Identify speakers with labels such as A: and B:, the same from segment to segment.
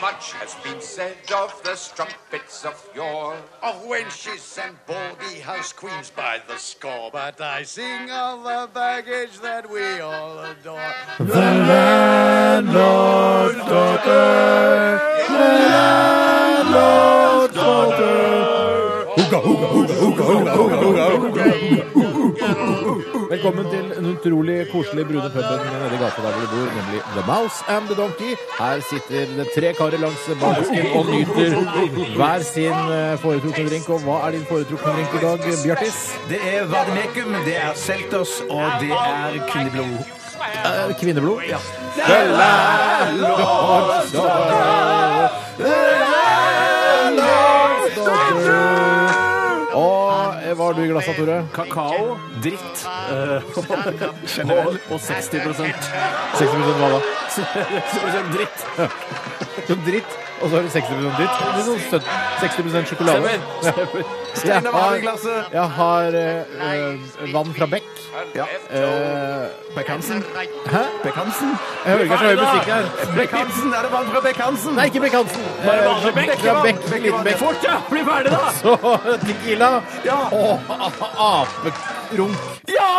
A: Much has been said of the strumpets of yore.
B: of wenches and baldy house queens by the score. But I sing of the baggage that we all adore.
C: Velkommen til den utrolig koselige brune puben nede i gata der hvor du bor, nemlig The Mouse and the Donkey. Her sitter det tre karer langs barsken og nyter hver sin eh, foretrukne drink. Og hva er din foretrukne drink i dag, Bjartis?
D: Det er Vademekum, det er Selters, og det er kvinneblod.
C: Eh, Kvinneblod? Ja. Og eh, hva har du i glasset, Tore?
D: Kakao, dritt og, og 60
C: 60 hva da?
D: 60 dritt.
C: Som dritt, og så har du 60 dritt. Det er sånn søtt- 60 sjokolade. Jeg
D: Stein og vann i glasset.
C: jeg har eh, eh, vann fra Beck.
D: Ja.
C: Eh,
D: Beck Hansen.
C: hæ?
D: Beck Hansen.
C: Jeg hører ikke så høy musikk her.
D: Beck Hansen, er det vann fra Beck Hansen?
C: Nei, ikke Beck Hansen. Eh,
D: vanlig Beck,
C: Beck fra
D: ja.
C: Beck,
D: Beck,
C: liten
D: vanlig.
C: Beck.
D: Fort, ja! Bli ferdig, da!
C: Så tequila
D: Ja!
C: og aperunk.
D: Ja!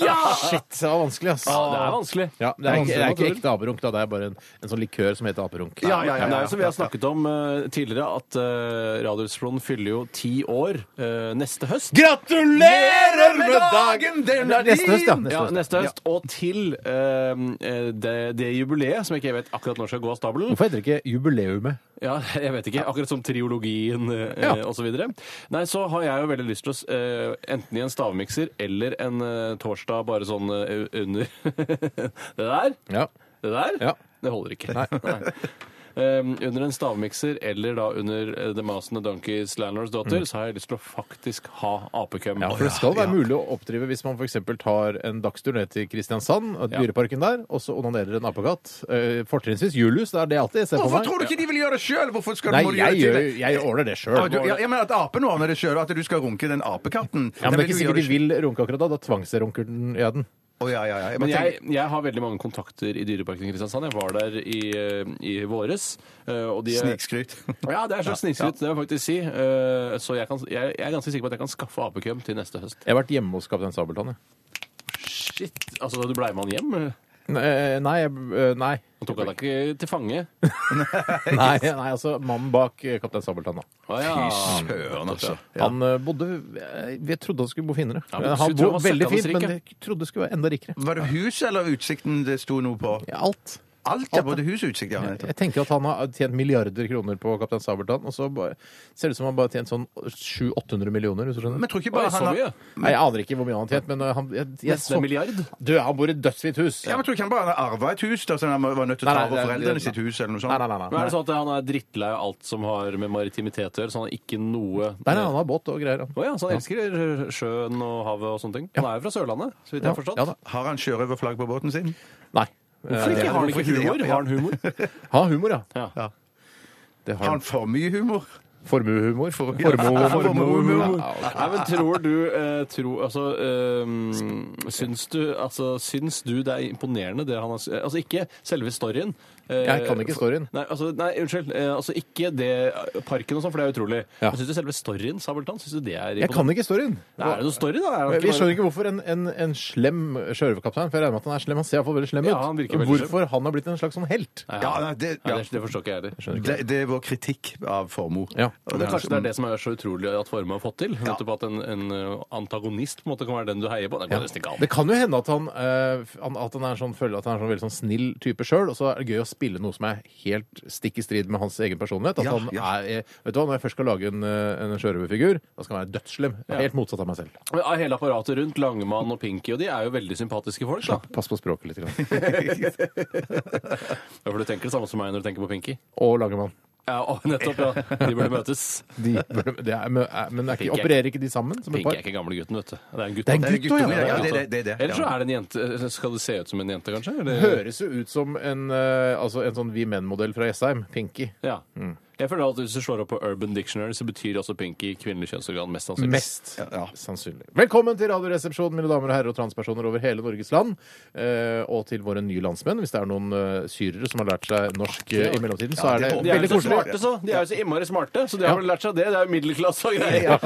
D: Ja!
C: Ah, Shit, det var vanskelig, ass.
E: Det er vanskelig.
C: Ja, det er ikke, det er ikke
E: Vanskelig,
C: ekte aperunk, da. Det er bare en, en sånn likør som heter aperunk.
E: Ja, ja, ja, Det er jo som vi har snakket om eh, tidligere, at uh, Radioresepsjonen fyller jo ti år eh, neste høst.
C: Gratulerer med dagen!
D: den
C: er Neste høst, ja.
E: Ja,
C: Neste høst.
E: neste høst. Og til eh, det, det jubileet, som jeg ikke vet akkurat når skal gå av stabelen.
C: Hvorfor heter det ikke jubileumet?
E: Ja, jeg vet ikke. Akkurat som triologien
C: Ja.
E: eh, og så videre. Nei, så har jeg jo veldig lyst til å s- eh, enten i en stavmikser eller en eh, torsdag bare sånn eh, under Det der?
C: Ja.
E: Det der?
C: Ja.
E: Det holder ikke. Um, under en stavmikser eller da under eh, The Mouse and the Donkeys Landlords Daughter så har jeg lyst til å faktisk ha apekøm.
C: Ja, for det skal være mulig å oppdrive hvis man f.eks. tar en dagstur ned til Kristiansand, og
E: Ja.
C: dyreparken der, og så onanerer en apekatt. Eh, Fortrinnsvis Julius, det er det alltid jeg ser for
A: Hvorfor
C: meg.
A: tror du ikke de vil gjøre det sjøl? Hvorfor skal
C: Nei,
A: du må du
C: jeg,
A: gjøre
C: gjør,
A: det til
C: jeg ordner det sjøl.
A: Ah, du- ja, jeg mener at apen ordner det sjøl, og at du skal runke den apekatten.
C: Ja, men det er ikke
A: Nei, du gjør
C: sikkert de
A: det
C: vil runke akkurat da. Da tvangsrunker den ja, den.
A: selv. Å, ja, ja, ja. Jeg bare
E: Men jeg,
A: tenker-
E: jeg har veldig mange kontakter i Dyreparken i Kristiansand. Jeg var der i, eh, i våres. eh, Og de
A: Snikskryt.
E: Ja, det er et slags snikskritt, det må jeg faktisk si. Eh, Så jeg, kan, jeg, jeg er ganske sikker på at jeg kan skaffe apekøm til neste høst.
C: Jeg har vært hjemme hos Kaptein Sabeltann, jeg.
E: Shit! Altså, da du blei med han hjem? eh,
C: Nei, eh, Nei, jeg- eh, nei.
E: Han tok han deg ikke til fange?
C: Nei, nei, altså mannen bak eh, Kaptein Sabeltann, da.
E: Å, ja.
A: Søren, altså.
C: Han eh, bodde jeg- Jeg trodde han skulle bo finere. Eh,
E: Ja, men
C: han
E: skulle tro
C: bo
E: han var
C: veldig
E: søkkende
C: fint, men
E: rik,
C: jeg trodde det skulle være enda rikere.
A: Var det huset eller utsikten det sto noe på?
C: Ja, alt.
A: Alt, ja. Både hus og utsikt. Ja. nettopp.
C: Jeg tenker at han har tjent milliarder kroner på Kaptein Sabeltann, og så bare, ser det ut som han bare har tjent sånn 700-800 millioner, hvis du skjønner.
A: Men tror ikke
E: Oi,
A: bare
E: så
A: han har
E: mye?
C: Nei, jeg aner ikke hvor mye han har tjent, men uh, han jeg, jeg,
E: Nesten en milliard?
C: Du, han bor i et dødsfint hus.
A: Ja, men tror ikke han bare har arva et hus, da, så han var nødt til
C: Nei,
A: å ta
C: nei,
A: over
C: det er-
A: foreldrene sitt hus, eller noe sånt?
C: Nei, nei, nei.
E: Men er
C: nei.
E: det sånn at han er drittlei av alt som har med maritimitet å gjøre, så han har ikke noe
C: Nei, nei, han har båt og greier. han.
E: Å ja, så han elsker sjøen og havet og sånne ting. Han er jo fra Sørlandet, så vidt jeg har forstått. Eh,
C: Ja, da.
A: Har han sjørøverflagg på båten sin?
C: Nei.
E: Hvorfor ikke? Har han
A: Hvorfor ikke
E: ikke
A: det? Ja.
E: humor? Har han humor?
C: Ha humor, ja.
E: Ja.
C: Det
A: Har
C: har
A: han
C: han.
A: for mye humor?
C: Formuehumor.
A: ja.
C: Formuehumor.
A: Formuehumor.
C: Ja, ok.
E: Nei, men tror du eh, tro, Altså, eh, syns du Altså, syns du det er imponerende det han har s- Altså, ikke selve storyen. eh,
C: Jeg kan ikke storyen.
E: Nei, altså, nei unnskyld. Eh, altså, ikke det parken og sånn, for det er utrolig.
C: Ja.
E: Men syns du selve storyen, Sabeltann, syns du det er
C: Jeg kan ikke storyen.
E: Nei, Er det noe story, da? Er det
C: Vi
E: bare-
C: skjønner ikke hvorfor en, en, en slem sjørøverkaptein For jeg regner med at han er slem. Han ser iallfall veldig slem ut.
E: Ja, han virker veldig
C: hvorfor han har blitt en slags sånn helt.
E: Nei,
A: Ja, nei, det-
E: nei,
A: ja.
E: det, det forstår ikke jeg heller.
A: Det, det er vår kritikk av formue.
C: Ja.
A: Og
E: Men
A: er-
E: kanskje det er
D: sånn,
E: det som er så utrolig at Forme har fått til? Nettopp at en, en eh, antagonist på en måte kan være den du heier på. Det går nesten ikke
C: Det
E: an.
C: kan jo hende at han, eh, f- han, at han er sånn, føler at han er sånn veldig sånn snill type sjøl, og så er det gøy å spille noe som er helt stikk i strid med hans egen personlighet. At
A: Ja,
C: han
A: ja.
C: er, eh, vet du hva, Når jeg først skal lage en, eh, en sjørøverfigur, da skal han være dødsslem. Helt motsatt av meg selv.
E: Men av Hele apparatet rundt, Langemann og Pinky, og de er jo veldig sympatiske folk. da.
C: Pass på språket litt. Grann.
E: Ja, For du tenker det samme som meg når du tenker på Pinky?
C: Og Langemann.
E: Ja, å, nettopp, ja. De burde møtes.
C: De, det er, men er- men er ikke,
E: Pink er-
C: opererer ikke de sammen som et
E: Pink
C: par?
E: er ikke gamle gutten, vet du. Det er en gutt.
C: Det er en
E: da.
C: gutt,
D: Guttunge,
C: ja,
D: ja,
C: ja, Mm.
D: det, det, det, det.
E: Eller så
D: ja.
E: er det en jente. Skal det se ut som en jente, kanskje? Eller?
C: Høres jo ut som en, eh, altså en sånn Vi Menn-modell fra Jessheim. Pinky.
E: Ja. Jeg føler at hvis du slår opp på Urban Dictionary, så betyr også Pinky kvinnelig kjønnsorgan mest sannsynlig.
C: Mest sannsynlig. Velkommen til Radioresepsjonen, mine damer og herrer og transpersoner over hele Norges land. eh, og til våre nye landsmenn. Hvis det er noen eh, syrere som har lært seg norsk eh, i mellomtiden, så er det
E: De er
C: veldig
E: jo så
C: koselig.
E: smarte, så. De er jo så innmari smarte, så de har vel lært seg det. Det er jo middelklasse og greier.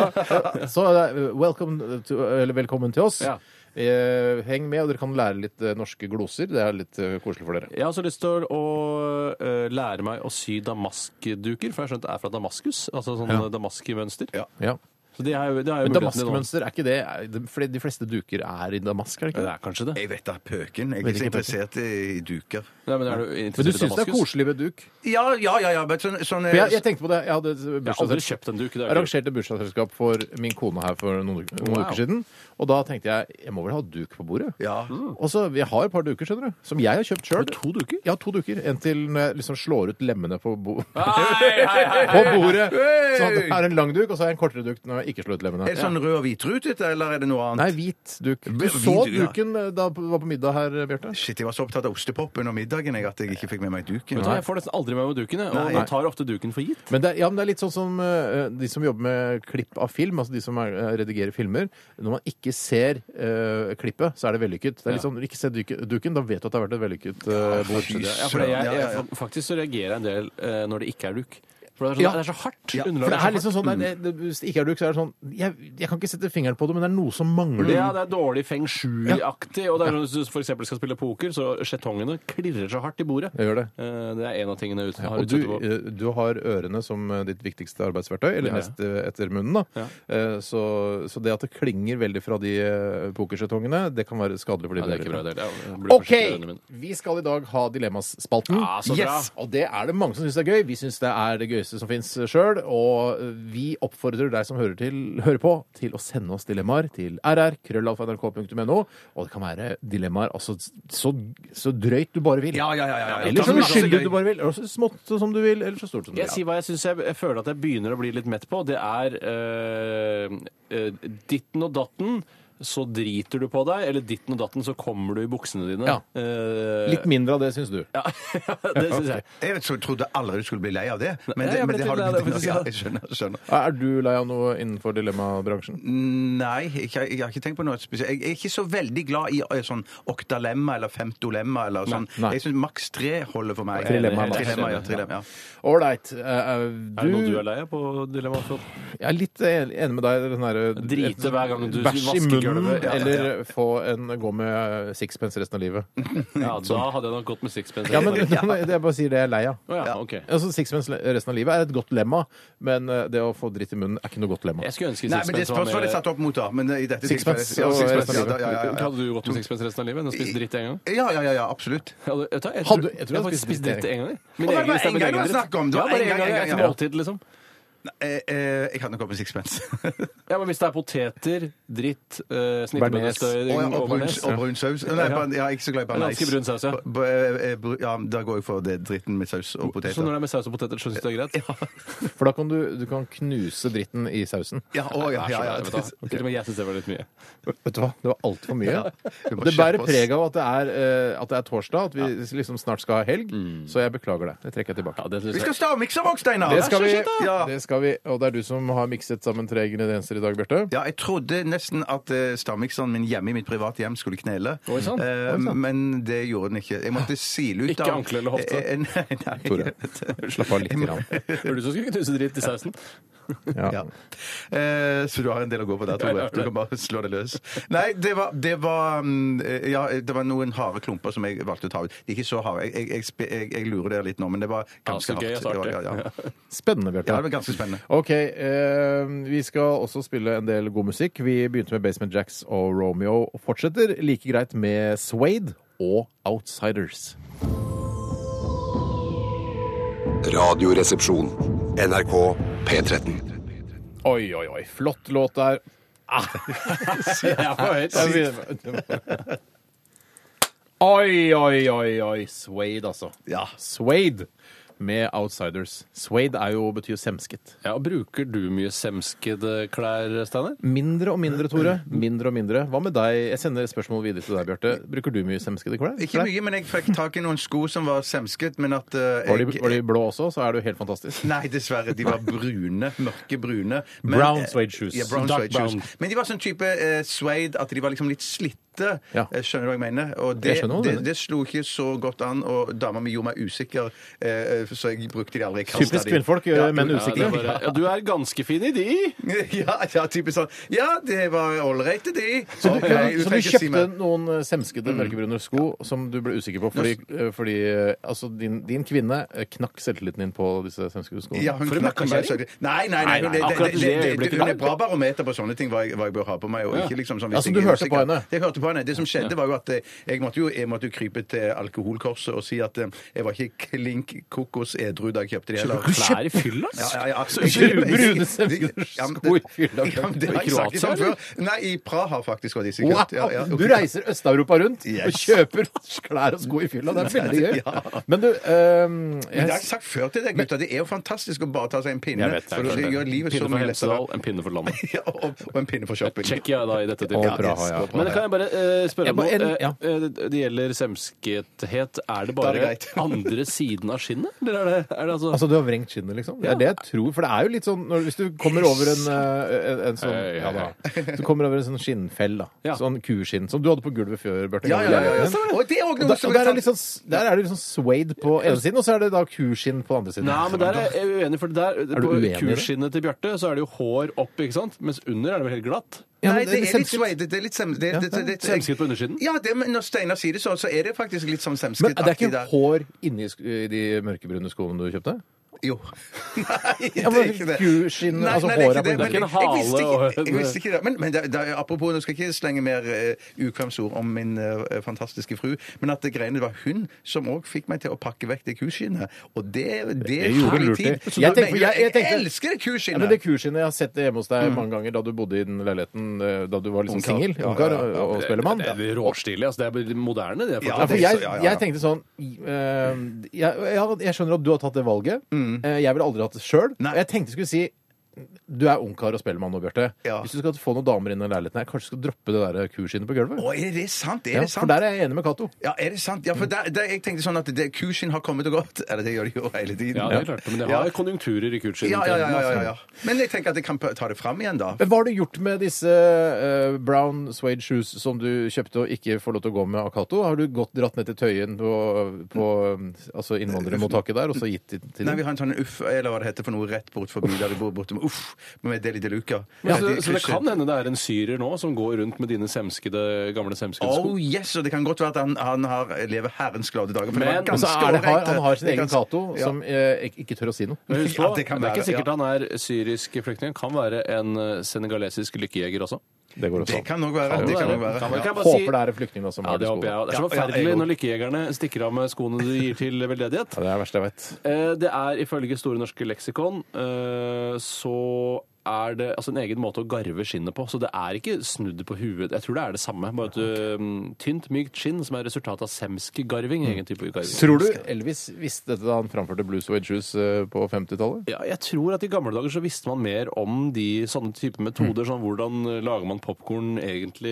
C: Så eh, welcome to, eller velkommen til oss.
E: Ja.
C: Eh, heng med, og dere kan lære litt eh, norske gloser. Det er litt eh, koselig for dere.
E: Jeg har også lyst til å eh, lære meg å sy damaskduker, for jeg har skjønt det er fra Damaskus. Altså sånn ja. damaskmønster.
C: Ja.
E: Så det er jo, det er
C: Men
E: jo muligheten din nå.
C: damaskmønster, er ikke det er det- Fordi de fleste duker er i damask, er det ikke?
E: Ja,
C: det?
E: Det er kanskje det.
D: Jeg vet da pøken. Jeg er ikke så interessert i duker.
E: Nei, men er du interessert
C: Men du
E: i
C: syns det er
E: Damaskus?
C: koselig med duk?
D: Ja, ja, ja. ja, men sånn, sånn,
C: For jeg, jeg tenkte på det. Jeg hadde et
E: Jeg har aldri
C: bursdagsselskap.
E: kjøpt en duk. Det
C: Jeg
E: er jo-
C: arrangerte bursdagsselskap for min kone her for noen, uker- noen
E: Wow.
C: uker siden. Og da tenkte jeg jeg må vel ha duk på bordet.
D: Ja.
C: Og så, Jeg har et par duker, skjønner du, som jeg har kjøpt sjøl.
E: Har du to duker?
C: Ja, to duker. En til når jeg liksom slår ut lemmene på, bo
E: Hei, hei, hei,
C: på
E: hei.
C: bordet. Så det er en lang duk, og så har jeg en kortere duk når jeg ikke slår ut lemmene.
D: Er det sånn rød og hvitrutet, eller er det noe annet?
C: Nei, hvit duk. Du
D: Hvit
C: så
D: duk, ja.
C: duken eh, da du var på middag her, Bjarte.
D: Shit, jeg var så opptatt av ostepop under middagen jeg, at jeg ikke fikk med meg duken.
E: Vet du, hva, jeg får nesten aldri med meg duken, jeg, og
D: Nei.
E: man tar ofte duken for gitt.
C: Men det, er- ja, men det er litt sånn som eh, de som jobber med klipp av film, altså de som er, eh, redigerer filmer. Når man ikke ser eh, klippet, så er det vellykket. Det er litt sånn, Når du ikke ser duken, duken, da vet du at det har vært et vellykket eh, bord.
D: Fy
E: Ja, for jeg,
D: søren.
E: jeg,
D: Ja, ja, ja.
E: Faktisk så reagerer jeg en del eh, når det ikke er duk. For det er, sånn,
C: Ja.
E: det er så hardt.
D: Ja, for
C: For
E: Underlaget
C: det
E: så
C: er liksom sånn, det, det, Hvis det ikke er duk, så er det sånn jeg, jeg kan ikke sette fingeren på det, men det er noe som mangler.
E: Ja, det er dårlig feng shui-aktig. Og det er, når du for eksempel skal spille poker, så skjetongene klirrer så hardt i bordet.
C: Jeg gjør det.
E: Eh, Det er en av tingene jeg ut- har
C: Og du,
E: utsatt på.
C: eh, du har ørene som eh, ditt viktigste arbeidsverktøy, eller
E: Ja, ja.
C: nest eh, etter munnen. da. Eh, Så, så det at det klinger veldig fra de eh, pokerskjetongene, det kan være skadelig for
E: Ja,
C: dine
E: det er ikke bra
C: ører.
E: det. Ja, jeg blir
C: OK!
E: forsiktig i øynene mine.
C: Vi skal i dag ha Dilemmaspalten.
E: Ja, så bra.
C: Yes! Og det er det mange som syns er gøy. Vi syns det er det gøyeste som fins sjøl. Og vi oppfordrer deg som hører, til, hører på, til å sende oss dilemmaer til rr.krøllalfa.nrk.no. Og det kan være dilemmaer altså, så, så drøyt du bare vil.
D: Ja, ja, ja, ja, ja.
C: Eller så
D: Det er masse
C: uskyldig
D: gøy.
C: du bare vil. Eller så smått som du vil, eller så stort som du
E: Jeg
C: vil.
E: sier hva jeg syns jeg, jeg føler at jeg begynner å bli litt mett på. Det er eh, eh, ditten og datten. Så driter du på deg, eller ditten og datten, så kommer du i buksene dine.
C: Ja.
E: Eh,
C: Litt mindre av det, syns du.
E: ja, det syns jeg.
D: Jeg så- trodde aldri du skulle bli lei av det. Men
E: Nei, jeg
D: det, men
E: ble
D: det har du
E: litt lei av det,
D: blitt. Ja,
E: faktisk.
D: jeg skjønner. jeg skjønner.
C: Er du lei av noe innenfor dilemmabransjen?
D: Nei, jeg, har- jeg har ikke tenkt på noe spesielt. Jeg er ikke så veldig glad i eh, sånn oktalemma eller femtolemma eller sånn.
C: Nei.
D: Jeg syns maks tre holder for meg.
C: Trilemma, da.
D: Trilemma, ja, trilemma, ja.
C: Ålreit. eh,
E: Er det noe du er
C: Du
E: lei av på Dilemma?
C: Jeg er litt en- enig med deg. Den derre
E: Drite hver gang
C: Bæsj
E: du
C: i
E: vasker
C: munnen,
E: gulvet. Ja, ja, ja.
C: eller få en gå med sixpence resten av livet.
E: Ja, da hadde jeg nok gått med sixpence.
C: Ja, men det, Jeg bare sier det jeg er lei av.
E: Å ja, ok.
C: Altså, Sixpence le- resten av livet er et godt lemma, men eh, det å få dritt i munnen er ikke noe godt lemma.
E: Jeg skulle ønske
D: Nei, men det
E: sixpence var
D: spørsmålet er
E: mer
D: satt opp mot, da. Men eh, i dette
C: Sixpence
D: tilfellet- ja,
C: og
D: sixpence,
C: resten av
D: ja, ja, ja, ja.
E: Hadde du gått med sixpence resten av livet enn å spise dritt en gang?
D: Ja, ja, ja, ja, absolutt.
E: Ja, det- vet du hva, Jeg
C: Hadde-
E: tror
C: jeg
E: jeg
C: tror jeg
E: har faktisk spist dritt en gang. Min
D: Å, det var
E: egen-
D: en
E: stemmer,
D: gang det
E: egen
D: var
E: dritt.
D: snakk om, det var
E: Ja,
D: en
E: bare en
D: gang,
E: gang
D: en
E: etter
D: gang, ja.
E: måltid, liksom.
D: Eh, eh, jeg hadde nok gått med sixpence.
E: Ja, men hvis det er poteter, dritt, eh, snittebønnestøy
D: Og, og,
E: og
D: brun,
E: bearnés
D: og brun saus. Nei, ban- ja, jeg er ikke så glad i
E: En
D: bearnés.
E: ganske brun saus, ja.
D: B- b- eh, bru- Ja, da går jeg for det dritten med saus og
E: Så når
D: poteter.
E: det er med saus og poteter, så syns du det er greit?
C: For da kan du, du kan knuse dritten i sausen.
D: Ja, å, ja, ja,
E: Vet du
D: ja.
E: hva? Til og med jeg syns det var litt mye.
C: Vet du hva? Det var altfor mye.
D: vi må
C: Det bærer
D: skjerpe oss.
C: preg av at det er, eh, at det er torsdag, at vi liksom snart skal ha helg, så jeg beklager det. Det trekker jeg tilbake.
E: Mm. Ja, det synes
D: Vi
E: jeg.
D: skal stavmikse våg, Steinar!
C: Det skal, vi,
D: Ja.
C: det skal vi. Og det er du som har mikset sammen tre ingredienser i dag, Bjarte.
D: Ja, jeg trodde nesten at eh, stavmikseren min hjemme i mitt private hjem skulle knele.
E: Oi, sant.
D: Eh, men det gjorde den ikke. Jeg måtte sile ut
E: Ikke ankle eller hofte?
D: Eh, eh, nei, nei.
C: Tore, slapp av litt. Grann.
E: Det var du som skulle knuse dritt i sausen.
C: Ja.
D: Ja. Eh, så du har en del å gå på der, Tore. Du kan bare slå det løs. Nei, det var, det var, mm, eh, ja, det var noen harde klumper som jeg valgte å ta ut. De er ikke så harde. Jeg, jeg, jeg, spe- jeg, jeg lurer dere litt nå, men det var ganske
E: så gøy og så
D: hardt.
E: artig.
D: Ja, ja, ja.
C: Spennende,
D: ja, det
C: Bjarte.
D: var ganske spennende.
C: OK. Eh, vi skal også spille en del god musikk. Vi begynte med Basement Jacks og Romeo og fortsetter like greit med Swade og Outsiders.
F: Radioresepsjon. NRK P13.
C: Oi, oi, oi. Flott låt der.
E: Ja, for høyt.
C: Jeg begynner- Oi, oi, oi, oi. Swade, altså.
D: Ja.
C: Swade. med outsiders. Suede er jo, betyr jo semsket.
E: Ja, og Bruker du mye semskede klær, Steinar?
C: Mindre og mindre, Tore. Mindre og mindre. Hva med deg? Jeg sender et spørsmål videre til deg, Bjarte. Bruker du mye semskede klær?
D: Ikke mye, men jeg fikk tak i noen sko som var semsket, men at eh,
C: Var de,
D: jeg-
C: var de blå også, så er du helt fantastisk.
D: Nei, dessverre. De var brune. Mørke brune. Men- eh,
C: Brown suede shoes.
D: Ja, brown
E: Dark
D: suede
E: brown.
D: shoes. Men de var sånn type eh, suede at de var liksom litt slitte.
C: Ja.
D: Eh, Skjønner du hva jeg mener? Og det,
C: Jeg skjønner hva du
D: det,
C: mener.
D: det slo ikke så godt an, og dama mi gjorde meg usikker, eh, så jeg brukte de aldri. kastet
C: Typisk
D: de.
C: kvinnfolk gjør
D: Ja,
C: menn
D: ja,
E: Ja, det
C: usikre.
E: er bare, ja, du er ganske fin i de!
D: Ja, ja, typisk sånn. Ja, det var ålreit, de.
C: Så du,
D: Ok, du
C: så
D: trenger
C: du
D: ikke si Mm.
C: kjøpte
D: meg-
C: noen eh, semskede mørkebrune sko som du ble usikker på fordi, eh, fordi eh, altså, din, din kvinne eh, knakk selvtilliten din på disse semskede skoene?
D: Ja, hun
E: For en
D: knakker meg
E: møkkakjerring?
D: søker- Nei, nei, nei.
E: Nei,
D: Hun,
E: nei,
D: det,
E: akkurat
D: det,
E: i det
D: det, det,
E: øyeblikket
D: hun
E: der.
D: er bra barometer på sånne ting, hva jeg, hva jeg bør ha på meg. Og ikke liksom sånn,
C: Ja,
D: hvis
C: så
E: Altså,
D: jeg
C: du
D: er
C: hørte
D: usikker.
C: på henne?
D: Jeg hørte på henne. Det som skjedde, var jo at eh, jeg måtte jo, jeg måtte jo krype til alkoholkorset og si at eh, jeg var ikke klink kokos edru da jeg kjøpte de heller.
E: Du klær i fylla,
D: Ja,
E: ass!
D: ja, ja.
E: Så
D: Jeg- jeg-
C: brune
D: Ja, men-
C: semskede sko i fylla.
D: Ja, men det har
E: I
D: jeg sagt
E: Kroatia,
D: om før. Nei, i Praha faktisk var de
C: Wow!
D: sikkert. Ja, ja.
C: Du reiser Øst-Europa rundt og
D: Yes.
C: kjøper klær og sko i fylla. Det er veldig gøy. Men du eh,
D: Men det har
C: jeg,
D: jeg sagt før til deg, gutta. Det er jo fantastisk å bare ta seg en pinne.
E: Jeg vet det.
D: for
E: jeg
D: det
E: skjønner.
D: gjør livet så
E: pinne
D: mye
E: for
D: lettere.
E: Hemsedal, en pinne for landet.
D: Ja, og, og en pinne for shopping.
E: Tsjekkia da, i dette
C: Og
E: tilfellet.
C: Praha, ja.
E: Men kan jeg bare eh, spørre
C: Jeg
E: om noe?
C: bare- en- ja.
E: Eh, eh, det- det gjelder semskethet. Er det
D: Da er
E: bare
D: det greit.
E: andre siden av skinnet? Eller er det, er det altså,
C: Altså, du har vrengt skinnet, liksom? Det er det jeg tror. For det er jo litt sånn når, Hvis du kommer over en, eh, en, en sånn
E: Hei, hei,
C: ja, da. Du kommer over en sånn skinnfell, da.
E: Ja.
C: Sånn kuskinn. Som du hadde på gulvet før, Bjarte.
D: Ja, ja, ja, ja,
C: Og
D: stemmer det. Og det er også noe
C: der,
D: som
C: sånn, og der, er
D: kan-
C: litt sånn, der er det litt sånn suede på ene siden, og så er det da kuskinn på den andre siden.
E: Nei, men der er jeg uenig, for der,
C: du
E: på
C: uenig i det?
E: kurskinnet til Bjarte så er det jo hår opp, ikke sant? Mens under er det vel helt glatt?
C: Ja,
D: Nei,
C: men liksom
D: det er litt
C: semsket.
D: suede. Det er litt sem... Det,
C: Ja,
D: det, det, det,
E: Semsket på undersiden?
D: Ja, det, men når Steinar sier det sånn, så er det faktisk litt sånn
C: Men det er
D: semsketaktig
C: ikke
D: der.
C: hår inni sk- i de mørkebrune skoene du kjøpte?
D: Jo. Nei, det
C: men
D: er ikke det.
C: kuskinn, altså
D: er
C: håret
D: ikke
C: på-
D: men
E: Det er ikke en
D: jeg visste
E: hale og-
D: ikke- Jeg visste ikke det. Men, men det, det, apropos, nå skal jeg ikke slenge mer uh, ukvemsord om min eh, fantastiske fru, men at det greiene var hun som òg fikk meg til å pakke vekk det kuskinnet. Og det, det,
C: Det gjorde
D: tok litt
C: lurt i.
D: tid. Så
C: Jeg
D: du
C: tenker-
D: mener-
C: jeg- jeg
D: jeg
C: tenker-
D: elsker det
C: Ja, men det
D: kuskinnet!
C: kurskinnet jeg har sett det hjemme hos deg mange ganger da du bodde i den leiligheten eh, da du var liksom
D: Mm. Ungkar.
C: singel,
D: Ja,
C: ungkar
D: ja, ja, ja.
C: og- og spellemann.
E: Det er råstilig. altså Det er moderne. det er
D: Ja,
C: Ja, for
E: faktisk.
D: det-
C: jeg,
D: så- ja, ja, ja.
C: jeg tenkte sånn eh, jeg, jeg, jeg skjønner at du har tatt det valget. Eh, jeg ville aldri hatt det sjøl.
D: Mm. Nei.
C: Jeg tenkte jeg skulle si du er ungkar og spellemann nå, Bjarte.
D: Ja.
C: Hvis du skal få noen damer inn i leiligheten her, kanskje du skal droppe det der kurskinnet på gulvet?
D: Å, er det sant? Er
C: ja,
D: det sant?
C: for der er jeg enig med Cato.
D: Ja, er det sant? Ja, for der, der, jeg tenkte sånn at det, kuskinn har kommet og gått. Eller det gjør det jo hele tiden.
E: Ja, det er klart. Men det har
D: Ja.
E: konjunkturer i kurskinnet.
D: Ja, ja, ja, ja, ja, ja. Men jeg tenker at jeg kan ta det fram igjen, da.
C: Men Hva har du gjort med disse eh, brown suede shoes som du kjøpte og ikke får lov til å gå med av Cato? Har du gått dratt ned til Tøyen på, på altså innvandrermottaket der og så gitt til, til
D: Nei, vi har en sånn uff, eller hva det heter for noe rett bort forbi der vi bor, borte med uff, med Deli de Luca.
E: Men
D: Ja,
E: så,
D: de
E: så det
D: kryssene.
E: kan hende det er en syrer nå som går rundt med dine semskede, gamle semskede sko?
D: Oh yes, og det kan godt være at han, han har lever herrens glade dager. For
E: Men-
D: det var
E: Men
C: så
D: ganske
C: er det, har,
D: ålreit.
C: Han har sin
D: Det
C: egen
D: ganske-
C: Cato
D: ja.
C: som eh, ikke- ikke tør å si noe.
E: Men husk på,
D: Ja,
E: det,
D: det kan
E: er ikke
D: være,
E: sikkert han er syrisk flyktning. Kan være en eh, senegalesisk lykkejeger også.
C: Det går også
D: Det kan nok være. Det kan nok være.
E: Kan
D: Ja.
E: være. Kan jeg bare si-
C: Håper det er en flyktning da, som
E: Ja,
C: har
E: det håper jeg. Det er
D: Ja,
E: så
D: ja, jeg
E: forferdelig
D: går.
E: når lykkejegerne stikker av med skoene de gir til veldedighet.
C: Ja, det er det verste jeg vet.
E: Eh, Det er ifølge Store norske leksikon eh, så er det altså en egen måte å garve skinnet på. Så det er ikke snudd på huet. Jeg tror det er det samme. Bare et eh, tynt, mykt skinn som er resultatet av semskegarving. Egen type garving.
C: Tror du Elvis visste dette da han framførte Blue Suede Shoes eh, på 50-tallet?
E: Ja, jeg tror at i gamle dager så visste man mer om de sånne type metoder, sånn hvordan eh, lager man popkorn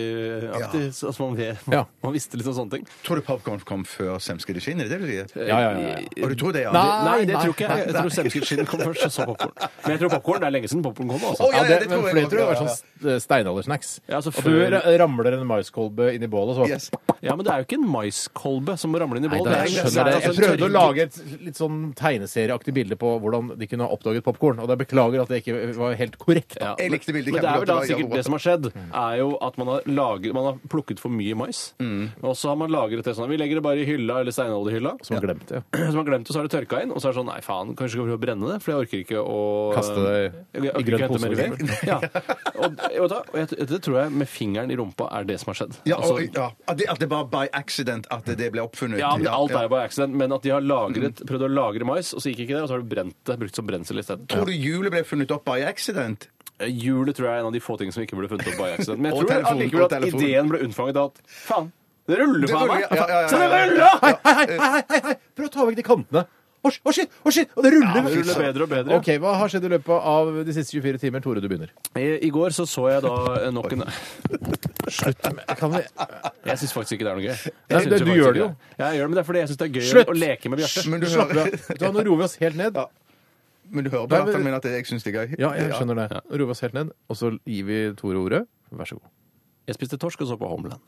E: egentlig-aktig.
D: Ja.
E: Så Altså man, vet,
C: Ja.
E: man visste litt om sånne ting.
D: Tror du popkorn kom før semskede skinn? Er det det du sier?
C: Ja, ja, ja, ja.
D: Og du tror det, ja?
C: Nei.
E: Eh, Nei, det tror
C: nei,
E: ikke jeg. Jeg tror semskeskinn kom først, og så popkorn. Men jeg tror popkorn, det er lenge siden popkorn kom, altså.
D: Å, ja, ja, det
C: men
D: tror jeg
C: for det
D: nok,
C: tror jeg
D: ja,
C: var sånn st- steinaldersnacks.
E: Ja, altså
C: At du
E: før-
C: ra- ramler en maiskolbe inn i bålet, så
D: Yes.
E: Ja, men det er jo ikke en maiskolbe som ramler inn i
C: Nei,
E: bål.
C: da,
E: er-
C: jeg
E: er
C: skjønner det. Jeg
E: altså en
C: prøvde å
E: tørke-
C: lage et litt sånn tegneserieaktig bilde på hvordan de kunne ha oppdaget popkorn. Og jeg beklager at det ikke var helt korrekt. da.
E: Ja,
D: Jeg likte bildet
E: men, men det er vel
D: kjempegodt.
E: da
D: Det var
E: sikkert
D: jævla
E: det som har skjedd, er jo at man har, laget, man har plukket for mye mais. Og så har man lagret det sånn. Vi legger det bare i hylla eller steinalderhylla.
C: Som jeg glemte. Ja.
E: Mm. som har glemt det, så har det tørka inn. Og så er det sånn Nei, faen, kanskje skal vi prøve å brenne det? For jeg orker ikke å
C: Kaste det i-
E: Jeg orker
C: i
E: ikke
C: grønn
E: å hente mer
C: pose. liksom.
E: ved. Ja. Og, og, da, og jeg, det tror jeg med fingeren i rumpa er det som har skjedd.
D: Ja, og,
E: Altså,
D: ja. At, det, at det var by accident at det ble oppfunnet.
E: ja, men alt er
D: ja. Mm.
E: jo bare accident, men at de har lagret, prøvd å lagre mais, og så gikk ikke det, og så har de brent det, brukt som brensel isteden.
D: Tror du hjulet ble funnet opp by accident?
E: Eh, Hjulet tror jeg er en av de få tingene som ikke ble funnet opp by accident. Men jeg
D: Og
E: tror
D: telefonen,
E: allikevel
D: og
E: at
D: telefonen.
E: ideen ble unnfanget av at faen, det ruller
D: Det
E: faen
D: ruller,
E: meg!
D: ja, ja, ja, ja,
E: Se, det
D: ja, ja.
E: ruller!
C: Hei, hei, hei, hei, hei, hei! Prøv å ta vekk de kantene! Å, sh- å, shit! Å, shit! Og det ruller!
E: Det ruller bedre og bedre.
C: OK, hva har skjedd i løpet av de siste 24 timer? Tore, du begynner.
E: I, I går så så jeg da eh, nok en
C: Slutt med kan vi...
E: Jeg syns faktisk ikke det er noe gøy. Jeg
C: det-
E: synes
C: du
E: faktisk
C: gjør det
E: ikke
C: jo.
E: Ja, jeg gjør det, men det er fordi jeg syns det er gøy
C: Slutt!
E: å leke med Bjarte.
D: Men du
C: Slapp
D: hører,
C: av. Vet du hva, Nå roer vi oss helt ned.
D: men du hører på
C: Nei, men-
D: latteren min at jeg syns det er gøy?
C: Ja, jeg skjønner det. Nå roer vi oss helt ned, og så gir vi Tore ordet. Vær så god.
E: Jeg spiste torsk og så på Homeland.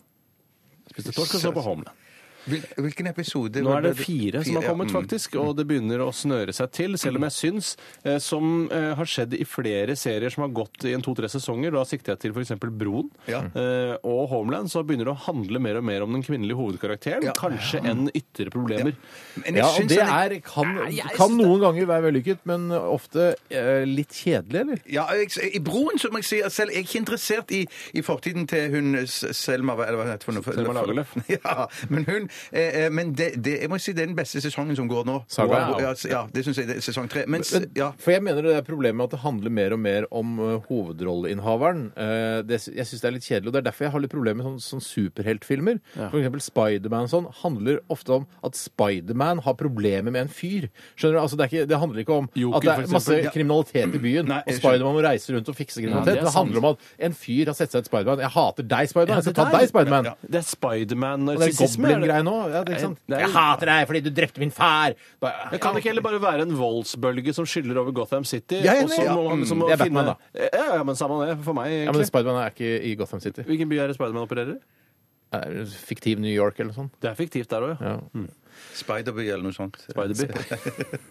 E: Jeg spiste torsk og så på Homeland.
D: Hvil- Hvilken episode
E: Nå
D: var
E: er det fire som har
D: ja,
E: kommet,
D: mm.
E: faktisk, og det begynner å snøre seg til. Selv om jeg syns, eh, som eh, har skjedd i flere serier som har gått i en to-tre sesonger, da sikter jeg til f.eks. Broen
D: Ja.
E: eh, og Homeland, så begynner det å handle mer og mer om den kvinnelige hovedkarakteren,
D: Ja.
E: kanskje enn ytre problemer.
D: Mm. Men jeg
C: Ja, og
D: syns
C: det
D: han er-
C: er, kan, kan noen ganger være vellykket, men ofte eh, litt kjedelig, eller?
D: ja, jeg, I Broen så må jeg si at selv jeg er ikke interessert i, i fortiden til hun S- Selma hva- eller hva heter hun? nå?
E: Selma Lagerløf.
D: Ja, men hun eh, eh, Men det, det, jeg må si det er den beste sesongen som går nå.
C: Saga.
D: Wow. Ja, s- ja, det syns jeg. Det er sesong tre. Mens
C: Men,
D: ja.
C: For jeg mener det er problemet med at det handler mer og mer om eh, hovedrolleinnehaveren. Eh, det, jeg syns det er litt kjedelig, og det er derfor jeg har litt problemer med sånne, sånne superheltfilmer. For eksempel Spiderman og sånn handler ofte om at Spiderman har problemer med en fyr. Skjønner du? Altså, det, er ikke, det handler ikke om
E: Joker,
C: at det
E: for
C: er
E: eksempel.
C: masse
E: Ja.
C: kriminalitet i byen,
D: Nei,
C: og
D: jeg
C: Spiderman må reise rundt og fikse kriminalitet.
E: det er
C: det, handler om at en fyr har sett seg et Spiderman. Jeg hater deg,
E: Ja,
C: Spiderman! Jeg
E: det
C: skal ta
E: der-
C: deg, Spiderman!
E: Ja. Det er
C: Og det er
E: Spiderman-narsissisme. er det-
C: goblin-greie nå. Ja, det er ikke sant?
E: Nei, det er-
C: Jeg hater deg fordi du drepte min far! Da,
E: Det kan ikke heller bare være en voldsbølge som skyller over Gotham City.
C: Ja, jeg er
E: og så
C: enig.
E: må man
D: Mm.
E: liksom
C: Det er Batman,
E: finne-
C: da.
E: Ja, ja, men samme det for meg,
C: ja, men
E: egentlig.
C: Spiderman er ikke i Gotham City.
E: Hvilken by er det Spiderman opererer i?
C: Er det Fiktiv New York eller noe sånt.
E: Det er fiktivt der òg, ja.
D: Spiderby eller noe sånt.
E: Spiderby.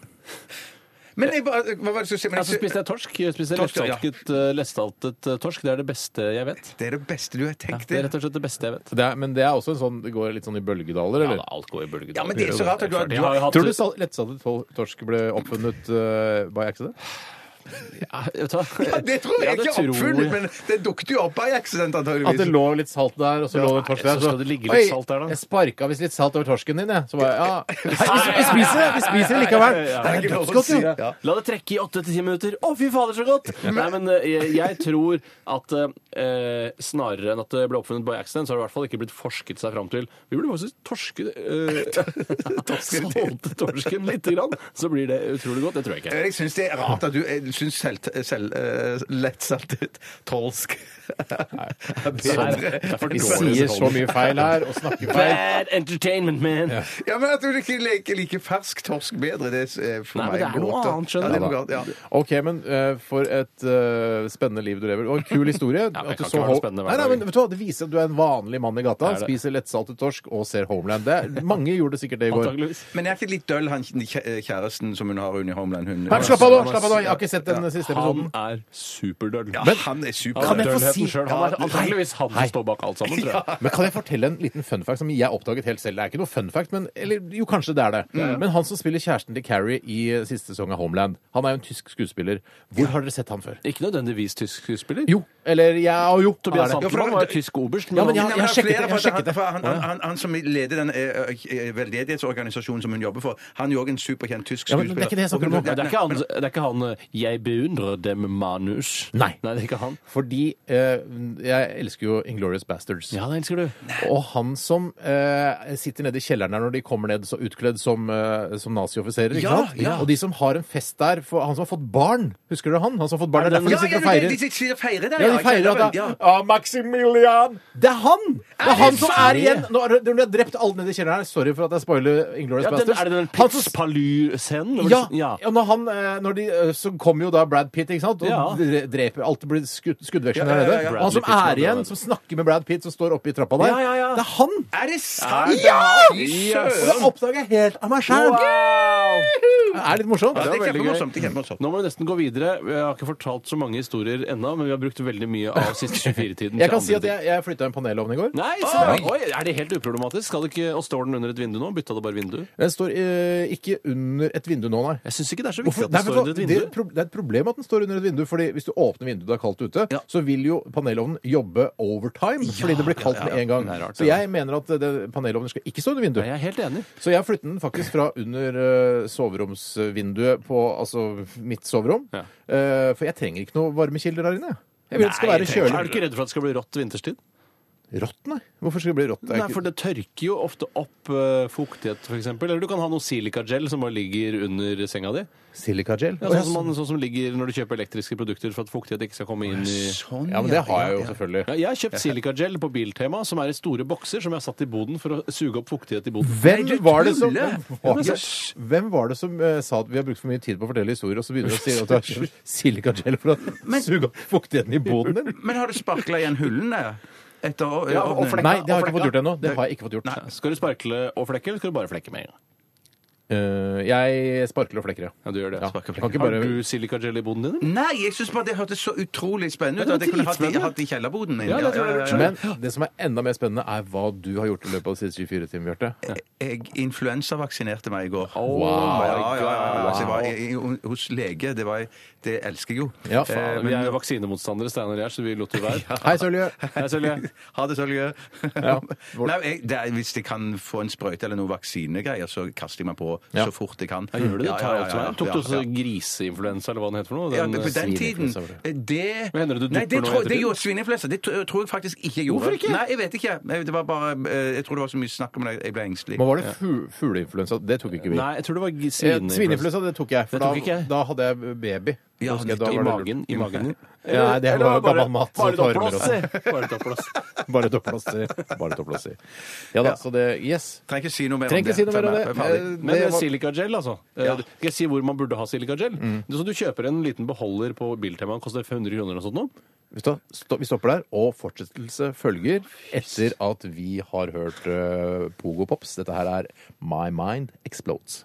D: Men jeg, bare- hva var det du skulle si? Men
E: Ja, så
D: jeg-
E: Altså, spiste jeg torsk. Jeg spiste
D: Torsk, ja.
E: lestaltet, eh, lestaltet eh, torsk. Det er det beste jeg vet.
D: Det er det beste du har
E: Ja,
D: tenkt
E: det er
D: deg.
E: rett og slett det beste jeg vet.
C: Det er, men det er også en sånn Det går litt sånn i bølgedaler,
E: Ja,
C: eller?
E: da, alt går i bølgedaler.
D: Ja, men det er så rart at du har-
E: Jeg har jo hatt-
C: Tror du sal- lettsaltet tol- torsk ble oppfunnet uh, by accident?
E: Ja, vet du hva?
D: Ja, det tror jeg ikke
E: Ja, det
D: er
E: tror jeg.
D: oppfunnet, men det dukket jo opp av accident, antageligvis.
C: At det lå litt salt der, og så lå det torsk
E: Nei,
C: der.
E: så skal det ligge litt
C: Oi,
E: salt der, da.
C: Jeg sparka visst litt salt over torsken din, jeg. Så bare Ja. Vi, vi spiser det! Vi spiser det likevel. Det er dødsgodt, jo.
D: Ja.
E: La det trekke i åtte til ti minutter. Å, fy fader, så godt! Nei, men eh, jeg, jeg tror at eh, snarere enn at det ble oppfunnet by accident, så har det i hvert fall ikke blitt forsket seg fram til. Vi burde faktisk torske eh, Salte torsken lite grann, så blir det utrolig godt. Det tror jeg ikke.
D: Jeg syns det er rart at du jeg syns selv, selv, eh, lettsaltet tolsk er bedre.
E: Det er for
C: Vi
E: dårlig
C: sier så
E: underholdning.
C: mye feil her, og snakker feil.
E: Bad entertainment, man!
D: Ja, men at du ikke liker like fersk torsk bedre, det er for
E: Nei, men
D: meg
E: det er
D: en
E: noe
D: gåte.
E: annet,
D: ja,
E: skjønner
D: det er
E: du.
D: noe annet, ja.
C: OK, men eh, for et eh, spennende liv du lever. Og en kul historie.
E: men
C: at
E: det
C: du
E: kan
C: så
E: ikke være
C: Ho-
E: spennende hver
C: nei, nei, men
E: dag.
C: vet du hva, Det viser at du er en vanlig mann i gata.
E: Er det?
C: Spiser lettsaltet torsk og ser Homeland. Det, er- mange gjorde sikkert det i går.
E: Antakeligvis.
D: Men er ikke litt døll, han kjæ- kjæresten som hun har under Homeland?
C: Nei,
D: Hun,
C: men slapp av nå! slapp av nå, Jeg har ikke sett den siste episoden.
E: Han er superdøll.
D: Ja, Ah, han er super.
C: Kan jeg få
E: Dølheten
C: si-
E: selv. Han er antakeligvis han som står bak alt sammen, tror jeg.
C: Men Kan jeg fortelle en liten fun fact som jeg oppdaget helt selv? Det er ikke noe fun fact, men eller, jo, kanskje det er det. Men han som spiller kjæresten til Carrie i eh, siste sesong av Homeland, han er jo en tysk skuespiller. Hvor har dere sett han før?
E: Ikke nødvendigvis tysk skuespiller.
C: Jo. Eller ja, jo. han
E: Tobias
C: er det.
D: Ja, for
E: Santelmann
D: det-
E: var jo tysk oberst. men
C: Ja, men
E: han-
C: jeg
D: Nei, men
C: har
D: det er
C: sjekket det,
D: flere,
C: jeg har
D: for
C: sjekket det.
D: for Han, han, han, han som leder den eh, eh, veldedighetsorganisasjonen som hun jobber for, han er jo også en superkjent tysk
C: Ja, men det
D: skuespiller.
C: er ikke det jeg snakker om nå.
E: Det er ikke han, det er ikke han eh, 'Jeg beundrer dem, manus'.
C: Nei.
E: Nei, det er ikke han.
C: Fordi eh, jeg elsker jo Inglorious Bastards.
E: Ja, det elsker du.
C: Og han som eh, sitter nede i kjelleren der når de kommer ned så utkledd som, eh, som nazioffiserer. ikke
D: Ja,
C: sant?
D: ja.
C: Og de som har en fest der for han som har fått barn. Husker du han? Han som har fått barn. Det er
E: den-
C: derfor
D: Ja,
C: de
D: ja,
C: sitter og
D: de,
C: feirer.
D: de, de sier feirer der.
C: Ja, de feirer at det
D: ja.
C: er ah, Maximilian! Det er han! Det er han som er
E: sant?
C: igjen! Nå har når de har drept alle nede i kjelleren her. Sorry for at jeg spoiler Inglorious
E: Ja, den,
C: Bastards.
E: er det den
C: Han som-
E: Pizzpalu-scenen? hvor
C: ja,
E: det- ja.
C: ja når han, eh, når de, eh, så kommer jo da Brad Pitt, ikke sant? Og
E: Ja.
C: dre- dreper Alt blir skudd, skuddveksling
D: Ja, ja, ja,
C: der
D: ja.
C: nede. Og han som
E: Bradley Pitt
C: er
E: som er
C: igjen,
E: Brad.
C: som snakker med Brad Pitt, som står oppe i trappa der,
E: Ja, ja, ja.
C: det er han!
D: Er det sant?
E: Er det-
D: Fy
E: Yes.
C: Og det
D: søren!
C: oppdager jeg helt av meg sjæl! Det er litt morsomt.
D: Ja, det er
E: veldig gøy.
D: kjempemorsomt. det er kjempemorsomt.
E: Nå må vi nesten gå videre. Jeg har ikke fortalt så mange historier ennå, men vi har brukt veldig mye av siste 24-tiden. til
C: Jeg kan si
E: andre
C: at jeg, jeg flytta en panelovn i går.
E: Nei, så, oi, er det helt uproblematisk? Skal det ikke, og Står den under et vindu nå? Bytta det bare vindu?
C: Den står eh, ikke under et vindu nå, nei.
E: Jeg syns ikke det er så viktig
C: Hvorfor?
E: at
C: Nei,
E: den
C: vet du
E: står
C: hva?
E: under et
C: det,
E: vindu.
C: er et prob- det er et problem at den står under et vindu. fordi Hvis du åpner vinduet det er kaldt ute,
E: Ja.
C: så vil jo panelovnen jobbe overtime fordi det blir kaldt
E: ja, ja.
C: med en gang.
E: Det er rart,
C: så
E: det
C: jeg mener at det- panelovnen skal ikke stå under vinduet.
E: Nei, Jeg er helt enig.
C: Så jeg flyttet den faktisk fra under eh, soveromsvinduet på altså mitt soverom.
E: Ja.
C: Eh, for jeg trenger ikke noe varmekilder der inne. Jeg vil at det skal
E: Nei,
C: være
E: tenk- Er du
C: kjølig.
E: ikke redd for at det skal bli rått vinterstid?
C: Rått, nei? Hvorfor skal det bli rått? Det er
E: Nei,
C: ikke-
E: for det tørker jo ofte opp eh, fuktighet, f.eks. Eller du kan ha noe silikagel som bare ligger under senga di.
C: Silikagel?
E: Ja, sånn, som man, sånn som ligger når du kjøper elektriske produkter for at fuktighet ikke skal komme inn i
D: Sånn,
C: ja, men det har jeg jo selvfølgelig.
E: ja, Jeg har kjøpt silikagel på Biltema, som er i store bokser som jeg har satt i boden for å suge opp fuktighet i boden.
C: Hvem var, det som,
D: tuller!
C: hvem, hvem var det som eh, sa at vi har brukt for mye tid på å fortelle historier, og så begynner du å si at du har silikagel for å suge opp fuktigheten i boden din?
D: Men har du sparkla igjen hullene? Etter å,
E: Ja, og
D: ovnen?
E: flekka.
C: Nei, det har jeg ikke fått gjort ennå. Det har jeg ikke fått gjort.
E: Skal du sparkle og flekke, eller skal du bare flekke med en gang?
C: Eh, jeg sparkler og flekker,
E: Ja, du gjør det.
C: Ja.
E: Sparker og
C: Kan ikke
E: flekker.
C: bare-
E: Har du silikagel i boden din? eller?
D: Nei, jeg syns bare det hørtes så utrolig spennende ut
E: Ja,
D: at
E: det
D: jeg kunne
E: var
D: hatt det
E: dritspennende.
D: hatt det i kjellerboden min.
E: Ja, det tror jeg det er.
C: Men det som er enda mer spennende, er hva du har gjort i løpet av de siste 24 timene, Bjarte.
D: Jeg influensavaksinerte meg i går.
E: Wow.
D: Ja, ja, ja, ja. Altså, jeg var i, i, hos lege. Det, var, det elsker jeg jo.
C: Ja, faen.
E: Faen, vi er jo vaksinemotstandere, Steinar og jeg, så vi lot det være.
C: Hei, Sølje.
E: Hei, Sølje.
D: Eh, Ha det, Sølje.
C: Ja. Hvor-
D: Nei, jeg, det er, hvis jeg kan få en sprøyte eller noe vaksinegreier, så kaster jeg meg på
C: Ja.
D: så fort jeg kan.
E: Ja, gjør du det?
D: Ja,
E: Tar
D: ja, ja,
E: alt som er.
D: ja,
E: Tok du
D: ja,
E: også
D: ja.
E: griseinfluensa, eller hva den heter for noe?
D: Ja, men på
E: eh,
D: den tiden
C: svineinfluensa var
D: det,
E: Hva hender det du
D: Nei, det
E: dupper nå i
D: tror, det
E: ettertid?
D: gjorde svineinfluensa. Det tro- tror jeg faktisk ikke jeg gjorde.
E: Hvorfor ikke?
D: Nei, jeg vet ikke. Det var bare, eh, jeg tror det var så mye snakk om det, jeg ble engstelig.
C: Men var det fu- fugleinfluensa? Det tok ikke vi.
E: Nei, jeg tror det var gi-
C: Eh,
E: svineinfluensa.
C: Svineinfluensa, det tok jeg. For
E: Det tok ikke jeg.
C: da, da hadde jeg baby.
D: Ja,
C: Husker jeg,
D: nettopp.
C: da
E: I
C: var det lurt.
E: magen. I magen din.
C: Ja, nei, det
E: Eller
C: var
E: bare-
C: gammel mat. og
E: Bare
C: tarmer og
E: topplås,
C: sånn.
E: si. Bare topplås.
C: Bare topplås i. Bare topplås i. Ja da, så det Yes.
D: Trenger ikke si noe mer om
C: Trenger
D: det.
C: ikke si noe mer om det.
D: Ferdig. Ferdig.
C: Eh,
E: Men
C: det
E: eh,
C: var-
E: silikagel, altså. Eh, Skal jeg si hvor man burde ha silikagel?
C: Mm.
E: Så sånn du kjøper en liten beholder på Biltema, den koster 500 kroner eller noe sånt nå.
C: Vet du hva? Stopp- Vi stopper der, og fortsettelse følger etter at vi har hørt eh, Pogo Pops. Dette her er My Mind Explodes.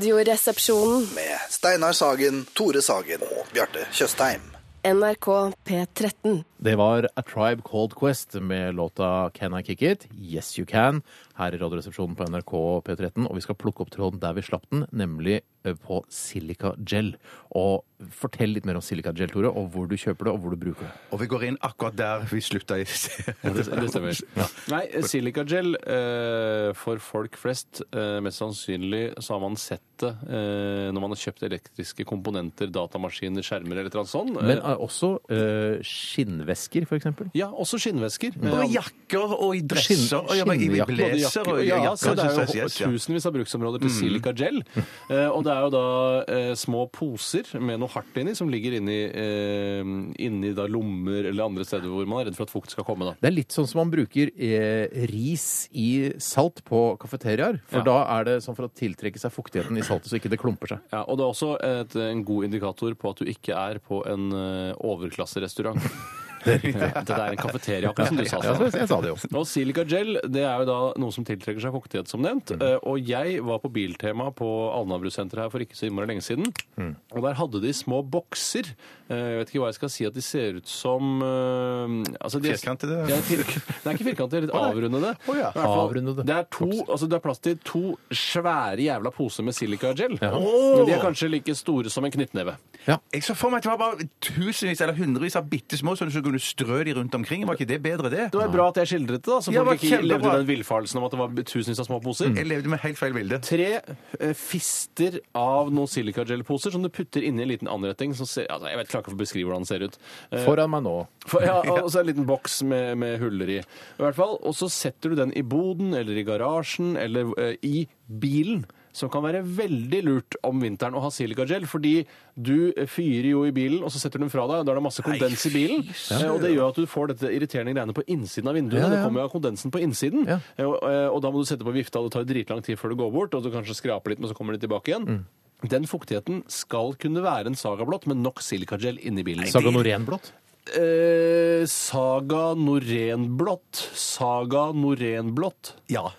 G: Radioresepsjonen.
H: Med Steinar Sagen, Tore Sagen og Bjarte Tjøstheim.
G: NRK P13.
C: Det var A Tribe Called Quest med låta Can I Kick It? Yes You Can. Her i Radioresepsjonen på NRK P13. Og vi skal plukke opp tråden der vi slapp den, nemlig eh, på Silica Gel. Og fortell litt mer om Silica Gel, Tore, og hvor du kjøper det, og hvor du bruker det.
D: Og vi går inn akkurat der vi slutta i sted.
E: Ja, det, det stemmer. Nei, silikagel eh, for folk flest eh, Mest sannsynlig så har man sett det eh, når man har kjøpt elektriske komponenter, datamaskiner, skjermer eller noe sånt.
C: Men
E: eh,
C: eh, også eh, skinnvesker, for eksempel.
E: ja, også skinnvesker. Eh,
D: Og i jakker og i dresser og ja, men i
C: skinnjakke.
E: både
D: blazer
E: jakker-
D: og i
E: ja, Mm.
D: jakker.
E: så det
D: synes
E: er
D: jeg,
E: jo
D: yes, ja.
E: tusenvis av bruksområder til silikagel. Eh, og det er jo da eh, små poser med noe hardt inni som ligger inni, eh, inni da lommer eller andre steder hvor man er redd for at fukt skal komme. da.
C: Det er litt sånn som man bruker eh, ris i salt på kafeteriaer. For
E: Ja.
C: da er det sånn for å tiltrekke seg fuktigheten i saltet, så ikke det klumper seg.
E: Ja, og det er også et, en god indikator på at du ikke er på en eh, overklasserestaurant. ja, det er en kafeteria, akkurat som du sa.
C: Ja,
E: Sara.
C: så Altså, jeg sa det jo.
E: Og silikagel det er jo da noe som tiltrekker seg fuktighet, som nevnt. Eh, Og jeg var på Biltema på Alnabru-senteret her for ikke så innmari lenge siden. Og der hadde de små bokser. Eh, Jeg vet ikke hva jeg skal si at de ser ut som eh, altså de,
D: Firkantede?
E: Ja, firk, det er ikke firkantede, litt avrundede.
C: Å ja.
E: I hvert fall,
C: Avrundede
E: Det er, to, altså det er plass til to svære jævla poser med silikagel.
D: Åh!
E: Men de er kanskje like store som en knyttneve.
D: Jeg så for meg at det var bare tusenvis eller hundrevis av bitte små, sånn at du kunne strø de rundt omkring. Var ikke det bedre, det?
E: Det var bra at jeg skildret det, da, så
D: Ja,
E: folk
D: det
E: ikke
D: var
E: levde
D: kjempebra.
E: i den villfarelsen om at det Mm. var tusenvis av små poser.
D: Jeg levde med helt feil bilde.
E: tre eh, fister av noen silicagelposer som du putter inni en liten anretting. Som ser, altså, jeg vet klarer ikke å beskrive hvordan den ser ut. Eh,
C: Foran meg nå.
E: for, ja, og så en liten boks med, med huller i. I hvert fall, Og så setter du den i boden eller i garasjen eller eh, i bilen. Som kan være veldig lurt om vinteren å ha silikagel, fordi du fyrer jo i bilen, og så setter du den fra deg, og da er det masse kondens i bilen. eh, Og det gjør at du får dette irriterende greiene på innsiden av vinduene.
C: Ja, ja.
E: Det kommer jo av kondensen på innsiden.
C: Ja.
E: Eh, Og, eh, og da må du sette på vifta, og det tar jo dritlang tid før det går bort, og du kanskje skraper litt, men så kommer det tilbake igjen.
C: Mm.
E: Den fuktigheten skal kunne være en sagablått med nok silikagel inni bilen.
C: Saga Norén-blått.
E: Eh, saga Norenblått. Saga Norenblått.
D: Ja.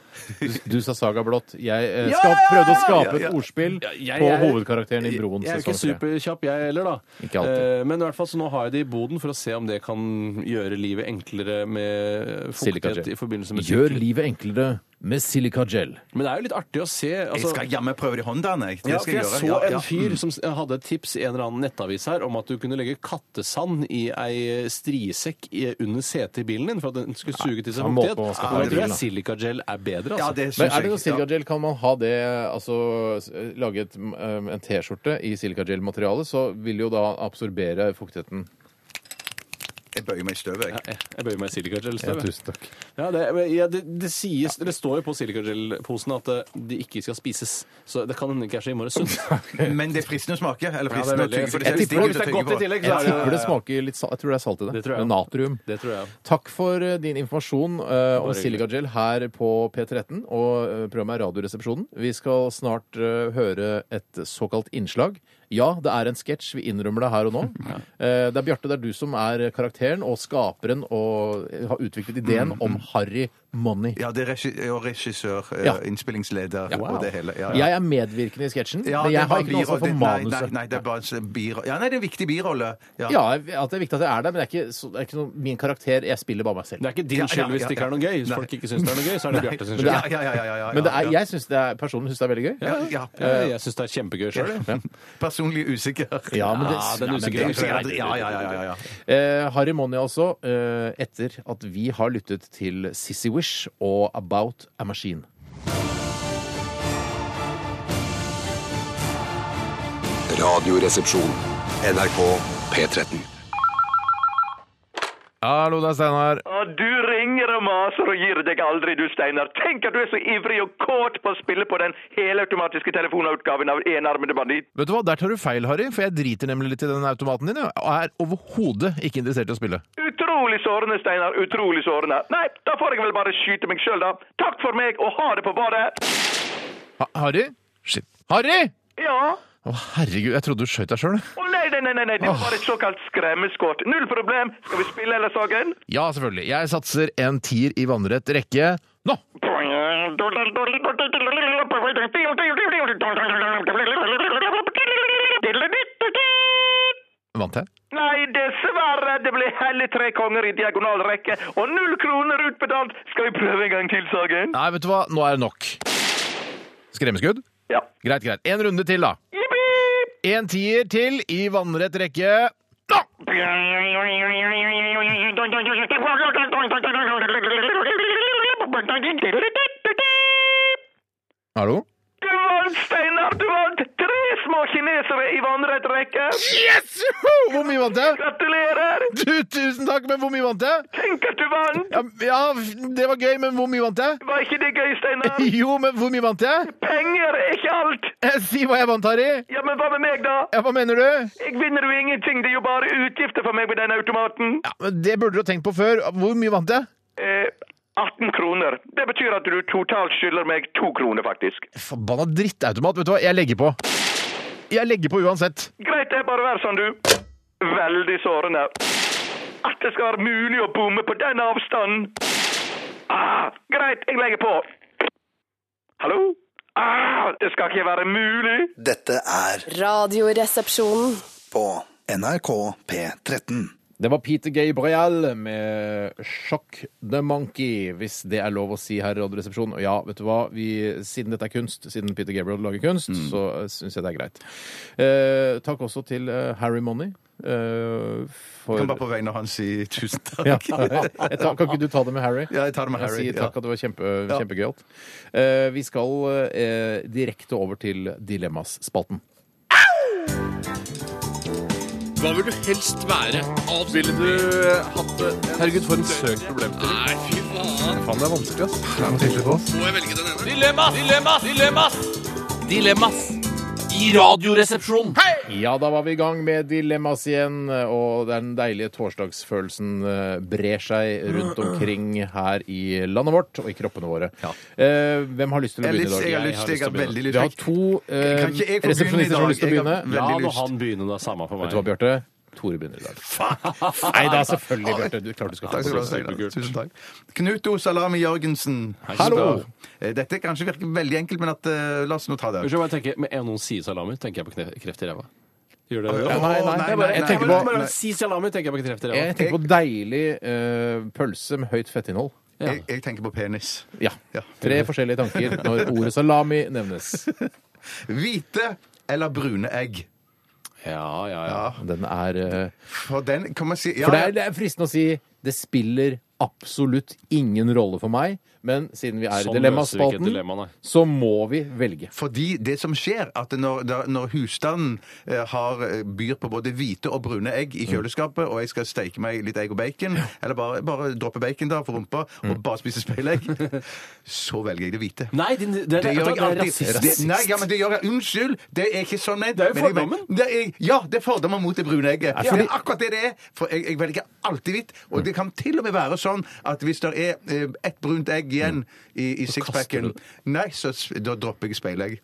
C: Du sa Saga Blått. Jeg eh,
E: Ja,
C: skal,
E: ja,
C: prøvde å
E: ja,
C: skape
D: ja, ja.
C: et ordspill
E: Ja, jeg
C: på
E: er-
C: hovedkarakteren i
E: Jeg
C: Broen
E: er jo ikke
C: sesong tre.
E: superkjapp, jeg heller, da.
C: Ikke alltid.
E: Eh, men i hvert fall så nå har jeg det i boden for å se om det kan gjøre livet enklere med fuktighet
C: Silikagel.
E: i forbindelse med
C: Gjør
E: sykkel.
C: livet enklere med silikagel.
E: Men det er jo litt artig å se. altså-
D: Jeg skal jammen prøve de håndene, jeg. Det
E: Ja, for
D: skal
E: jeg
D: gjøre.
E: så
D: Ja, ja.
E: en fyr som s- hadde et tips i en eller annen nettavis her om at du kunne legge kattesand i ei striesekk i- under setet i bilen din for at den skulle suge til seg
C: han må
E: fuktighet.
C: på å skaffe
E: Og
C: seg
E: jeg tror
C: bil, da.
E: jeg silikagel er bedre, altså.
D: Ja, det syns
C: Men er
D: jeg.
C: det noe
D: Ja.
C: silikagel? Kan man ha det Altså s- lage et, mm, en T-skjorte i silikagel-materiale, så vil jo da absorbere fuktigheten.
D: Jeg bøyer meg i støvet. jeg.
E: Jeg, jeg bøyer meg i silikagel.
C: Ja,
E: står det.
C: tusen takk.
E: Ja, det, men, ja, det, det, sies, det står jo på silikagel-posen at eh, de ikke skal spises. Så det kan hende ikke er så innmari sunt.
D: Men det er fristende å smake. Eller
E: Ja, det er
D: fristende å
E: veldig-
D: tygge for det ser
E: Jeg tipper
D: stygg
E: hvis
D: ut å
E: det er
D: tygge
E: godt i
D: på.
E: tillegg, så
C: Jeg
E: er det-
C: tipper det smaker litt salt. Jeg tror det er salt i det.
E: Det tror
C: Med
E: jeg.
C: natrium.
E: Det tror jeg.
C: Takk for eh, din informasjon eh, om
E: Bare hyggelig.
C: Silikagel her på P13 og eh, programmet er Radioresepsjonen. Vi skal snart eh, høre et såkalt innslag. Ja, det er en sketsj. Vi innrømmer det her og nå. Eh, det er Bjarte, det er du som er karakteren og skaperen og eh, har utviklet ideen
D: Mm-hmm.
C: om Harry Money.
D: Ja, det er regi- og regissør, eh,
C: Ja.
D: innspillingsleder
C: Ja.
D: og det hele. Ja, ja.
C: Jeg er medvirkende i sketsjen,
D: Ja,
C: men
D: det er
C: jeg
D: bare
C: har ikke noe ansvar
D: birolle-
C: for
D: det- Nei,
C: manuset.
D: nei, nei, det er bare en birolle. Ja, nei, det er en viktig birolle.
C: Ja, at det er viktig at jeg er der, men det er ikke, så, det er ikke noe, min karakter. Jeg spiller bare meg selv.
E: Det er
D: Ja,
E: ikke din
D: ja,
E: skyld hvis
D: ja,
E: det ikke er noe
D: ja.
E: gøy. Hvis
D: Nei.
E: folk ikke syns det er noe gøy, så er det Bjarte sin
C: men
E: skyld.
C: det
D: Ja, ja, ja, ja, ja, ja.
C: Men det er,
D: ja.
C: jeg synes det er, personen syns det er veldig gøy.
D: ja.
E: Ja, jeg syns det er kjempegøy sjøl.
C: Ja.
D: Personlig usikker.
C: Ja, men det,
E: Ja,
C: ja,
E: den
C: men
E: usikre-
C: det-
D: Ja, ja, ja, ja, ja, ja.
C: Eh, Harry Money altså, eh, etter at vi har lyttet til Sissy Wish og About a Machine.
F: Radioresepsjon. NRK P13.
I: Hallo, det er Steinar.
B: Du ringer og maser og gir deg aldri, du Steinar. Tenk at du er så ivrig og kåt på å spille på den helautomatiske telefonutgaven av Enarmede banditt.
I: Vet du hva, Der tar du feil, Harry, for jeg driter nemlig litt i den automaten din. Jeg og er overhodet ikke interessert i å spille.
B: Utrolig sårende, Steinar. Utrolig sårende. Nei, da får jeg vel bare skyte meg sjøl, da. Takk for meg, og ha det på badet.
I: Ha Harry? Shit. Harry!
B: Ja.
I: Å, herregud, jeg trodde du skjøt deg sjøl.
B: Å nei, nei, nei, nei, nei, det var bare et såkalt skremmeskudd. Null problem. Skal vi spille hele saken?
I: Ja, selvfølgelig. Jeg satser en tier i vannrett rekke nå. Vant jeg?
B: Nei, dessverre. Det ble hele tre konger i diagonal rekke, og null kroner utbetalt. Skal vi prøve en gang til, Sagen?
I: Nei, vet du hva, nå er det nok. Skremmeskudd?
B: Ja.
I: Greit, greit. En runde til, da. En tier til i vannrett rekke nå! Hallo?
B: Du vant, Steinar! Du vant tre små kinesere i vannrett rekke.
I: Yes! Woohoo! Hvor mye vant jeg?
B: Gratulerer!
I: Du, tusen takk, men hvor mye vant jeg?
B: Tenk at du vant!
I: Ja, ja, det var gøy, men hvor mye vant jeg?
B: Var ikke det gøy, Steinar?
I: Jo, men hvor mye vant jeg?
B: Penger er ikke alt!
I: Eh, Si hva jeg vant, Harry.
B: Ja, men hva med meg, da?
I: Ja, hva mener du?
B: Jeg vinner jo ingenting. Det er jo bare utgifter for meg med den automaten.
I: Ja, men Det burde du ha tenkt på før. Hvor mye vant jeg?
B: Eh, 18 kroner. Det betyr at du totalt skylder meg to kroner, faktisk.
I: Forbanna drittautomat. Vet du hva, jeg legger på. Jeg legger på uansett.
B: Greit, det er bare vær sånn, du. Veldig sårende. At det skal være mulig å bomme på den avstanden. Ah, greit, jeg legger på. Hallo? Ah, det skal ikke være mulig.
H: Dette er
G: Radioresepsjonen.
H: på NRK P13.
C: Det var Peter Gabriel med Shock the Monkey, hvis det er lov å si her i Radioresepsjonen. Og ja, vet du hva, vi, siden dette er kunst, siden Peter Gabriel lager kunst,
D: Mm.
C: så syns jeg det er greit. Eh, takk også til eh, Harry Money eh, for
D: Jeg kan bare på vegne av han si tusen takk.
C: ja. Jeg tar, kan ikke du ta det med Harry?
D: Ja, jeg tar det med Harry,
C: sier
D: ja.
C: takk at det var kjempe, kjempegøyalt. Eh, vi skal eh, direkte over til Dilemmas-spalten.
E: Hva vil du helst være? Ville du hatt det? Herregud, for en søk problemstilling. Nei, fy faen. Faen, det er vanskelig, ass. Må jeg velge den ene? Dilemmas! Dilemmas! Dilemmas! Dilemmas! I radioresepsjonen.
C: Ja, da var vi i gang med Dilemmas igjen, og den deilige torsdagsfølelsen eh, brer seg rundt omkring her i landet vårt og i kroppene våre. Eh, hvem har lyst til å
D: Jeg har
C: begynne i
D: lyst,
C: dag?
D: jeg har
E: Jeg
D: lyst, jeg har
E: har lyst til å begynne.
D: veldig
C: Vi har
D: lyst.
C: to eh,
D: Kan ikke jeg få begynne i
C: resepsjonister som har
D: dag?
C: lyst til å
D: Jeg har
C: begynne.
E: Ja,
D: Veldig
E: må
D: lyst.
E: han begynne, da. Samme for
C: Vet du hva,
E: meg.
C: Bjarte? Tore begynner i dag. Nei da, selvfølgelig, Bjarte. Du, klart du skal
D: Takk skal du
C: få
D: ha.
C: det.
D: Steinar. Tusen takk. Knut O. Salami Jørgensen.
C: Hallo.
D: Eh, Dette kanskje virker veldig enkelt, men at, eh, la oss nå ta det.
E: Unnskyld, hva jeg tenker. Med en gang noen sier salami, tenker jeg på kne- kreft i ræva. Gjør det?
D: Å,
C: nei, nei, jeg
D: nei,
C: bare-
D: nei,
C: jeg
D: nei,
C: tenker
D: nei,
C: på-
D: nei, nei.
E: Si salami, tenker jeg på kreft i ræva.
C: Jeg tenker på deilig eh, pølse med høyt fettinnhold.
E: Ja.
D: Jeg, jeg tenker på penis.
C: Ja.
D: Ja.
C: Tre forskjellige tanker når ordet salami nevnes.
D: Hvite eller brune egg?
E: Ja, ja, ja.
C: Den er eh,
D: For den kan man si ja,
C: For det er, det er fristende å si det spiller absolutt ingen rolle for meg, Men siden vi er
E: Sånn
C: i
E: løser vi ikke
C: Dilemmaspalten,
E: dilemmaene.
C: så må vi velge.
D: Fordi det som skjer, at når, da- når husstanden eh, har, byr på både hvite og brune egg
C: Mm.
D: i kjøleskapet, og jeg skal steike meg litt egg og bacon, eller bare, bare droppe bacon da på rumpa,
C: Mm.
D: og bare spise speilegg, så velger jeg det hvite.
E: Nei, din- det, det, det, det er rasistisk.
D: Det, nei, ja, men det gjør jeg. Unnskyld! Det er ikke sånn ment.
E: Det er jo
D: men jeg-
E: fordommen.
D: det er, ja, det er fordommer mot det brune egget.
C: Ja, fordi-
D: Det er akkurat det det er. For jeg, jeg velger alltid hvitt. Og det kan til og med være sånn at hvis det er eh, ett brunt egg igjen i, i
E: kaster du
D: sixpacken,
E: det.
D: nei, så s- da dropper jeg speilegg.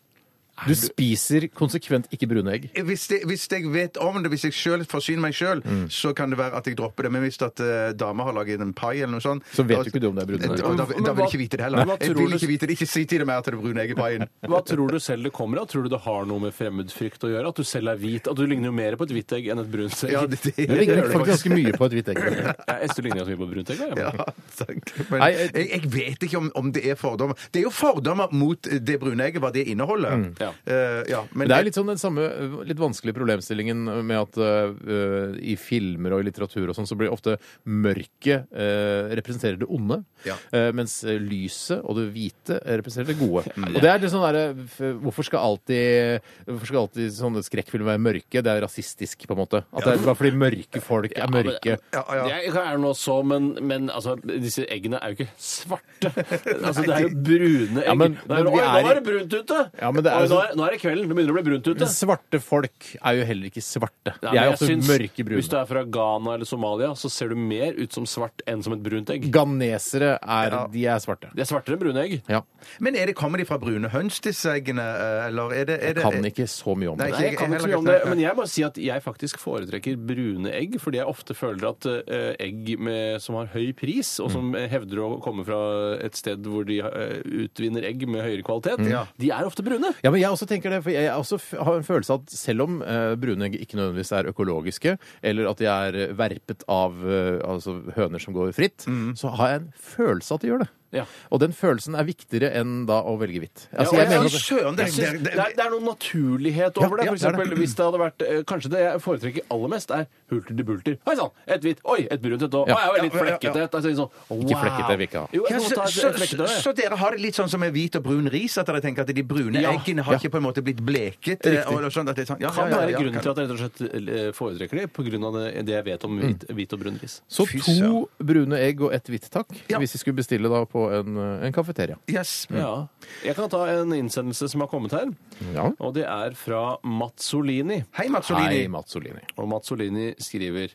C: Du spiser konsekvent ikke brune egg.
D: Hvis, det, hvis jeg vet om det, hvis jeg selv forsyner meg sjøl, så kan det være at jeg dropper det. Men hvis at eh, dama har laget en pai eller noe sånt
C: Så vet du ikke du om det er brune
D: Og
C: egg.
D: Da, da,
E: Men
D: vil jeg
E: hva-
D: ikke vite det
E: men
D: heller.
E: hva
D: Jeg
E: tror
D: vil
E: du-
D: ikke vite det. Ikke si til det mer at det er brune egg i paien.
E: Hva tror du selv det kommer av? Tror du det har noe med fremmedfrykt å gjøre? At du selv er hvit? At du ligner jo mer på et hvitt egg enn et brunt egg?
D: Ja, det, det,
C: Det ligner faktisk ganske mye på et hvitt egg.
E: Ja, Esther ligner ganske mye på brunt egg. da,
D: Ja,
E: Ja.
D: takk. Men
C: Nei,
D: jeg,
C: jeg-
D: jeg vet ikke om, om det er fordommer. Det er jo fordommer mot det brune egget, hva det inneholder.
E: Ja.
D: Eh, ja,
C: Mm. Men
D: men
C: det er jo litt sånn den samme øh, litt vanskelige problemstillingen med at øh, i filmer og i litteratur og sånn, så blir ofte mørket øh, representerer det onde,
D: Ja.
C: øh, mens lyset og det hvite representerer det gode. Og det er litt sånn derre f- Hvorfor skal alltid hvorfor skal alltid sånne skrekkfilmer være mørke? Det er rasistisk, på en måte. At det er bare fordi mørke folk er mørke.
D: ja, ja.
E: Jeg er nå så, men, men altså, disse eggene er jo ikke svarte. Altså, det er jo brune egg.
C: Ja, men-
E: det er,
C: men
E: jo,
C: vi
E: Oi, nå
C: er-
E: er det brunt ute!
C: Ja, men det er
E: Oi,
C: jo
E: nå,
C: så-
E: er, nå er det kvelden. Det begynner å bli brunt ute.
C: Men svarte folk er jo heller ikke svarte.
E: Nei,
C: De
E: men
C: er
E: jeg
C: jo ofte
E: syns Hvis du
C: mørkebrune.
E: er fra Ghana eller Somalia, så ser du mer ut som svart enn som et brunt egg.
C: Ghanesere er, de er svarte.
E: De er svartere enn brune egg.
C: Ja.
D: men er det, kommer de fra brune høns, disse eggene? eh, Eller er det, er det
C: Kan ikke så mye om det.
D: Nei,
E: Nei, jeg kan
D: jeg-
E: ikke så
D: jeg-
E: mye om det,
D: jeg-
E: men jeg bare sier at jeg faktisk foretrekker brune egg, fordi jeg ofte føler at eh, egg med, som har høy pris, og som eh, hevder å komme fra et sted hvor de eh, utvinner egg med høyere kvalitet,
D: Ja.
E: de er ofte brune.
C: Ja, men jeg også tenker det, for jeg jeg også f- har en følelse av at selv om eh, brune egg ikke nødvendigvis er økologiske, eller at de er eh, verpet av eh, altså høner som går fritt, så har jeg en følelse av at de gjør det.
E: Mm. Ja.
C: Og den følelsen er viktigere enn da å velge hvitt. Altså,
E: Ja,
C: jeg
E: og jeg
C: mener
D: Fy
C: at
D: søren, det,
E: Jeg synes, det, er, det er noe naturlighet over det.
C: ja,
E: For
C: det er det.
E: eksempel, hvis det hadde vært eh, Kanskje det jeg foretrekker aller mest, er hulter til bulter. Oi sann! Et hvitt. Oi, et brunt et. Og
C: Ja.
E: oi, jeg er litt
D: Ja, ja, ja.
E: flekkete. et. Altså, sånn,
C: Ikke
E: wow.
C: flekkete vil ikke ha.
E: Jo,
D: Ja, så,
E: jeg kan godt ta
D: så,
E: et-
D: så,
E: et flekkete.
D: så dere har det litt sånn som med hvit og brun ris, at dere tenker at de brune
E: Ja.
D: eggene har ikke på en måte blitt bleket? eh, Og, og sånn, at det er sånn, ja, ja,
E: Kan det
D: ja,
E: være
D: ja,
E: grunnen
D: kan-
E: til at jeg rett og slett eh, foretrekker det, pga. Det, det jeg vet om hvit, hvit og brun ris?
C: Mm. så
D: Fy
C: to brune egg og ett hvitt, takk,
D: Ja.
C: hvis vi skulle bestille da på en, eh, en kafeteria.
D: Yes.
E: Ja. Jeg kan ta en innsendelse som har kommet her.
C: Ja.
E: Og det er fra Mazzolini.
D: Hei, Mats
C: Hei,
D: Olini.
C: Mats Olini.
E: Og Mazzolini skriver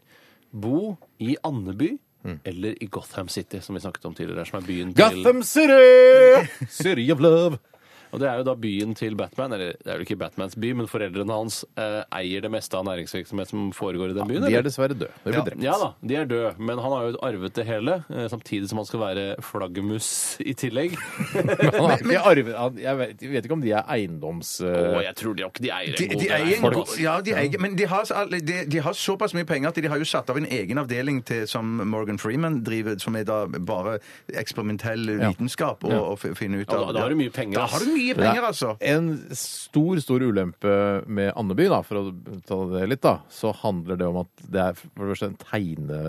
E: Bo i Andeby eller i Gotham City, som vi snakket om tidligere. Som er byen til
C: Mm. Gotham City! City of love.
E: Og det er jo da byen til Batman, eller det er jo ikke Batmans by, men foreldrene hans eh, eier det meste av næringsvirksomhet som foregår i den byen.
C: De er
E: eller?
C: dessverre døde. De ble drept.
E: Ja da, de er døde, men han har jo arvet det hele, eh, samtidig som han skal være flaggermus i tillegg.
C: Han har ikke arvet han- Jeg vet, jeg vet ikke om de er eiendoms... eh,
E: Og jeg tror de nok de eier
D: De,
E: en god
D: de
E: del
D: eier en
E: folk,
D: god,
E: altså.
D: ja, de eier, men de har, så alle- de, de har såpass mye penger at de har jo satt av en egen avdeling til, som Morgan Freeman driver, som er da bare eksperimentell vitenskap å å fi- finne ut
E: Ja,
D: av.
E: da- da har du mye penger,
D: Da
E: ass.
D: har du mye
C: Men det
D: penger,
C: er
D: altså.
C: En stor, stor ulempe med Andeby, da, for å ta det litt, da, så handler det om at det er for det første en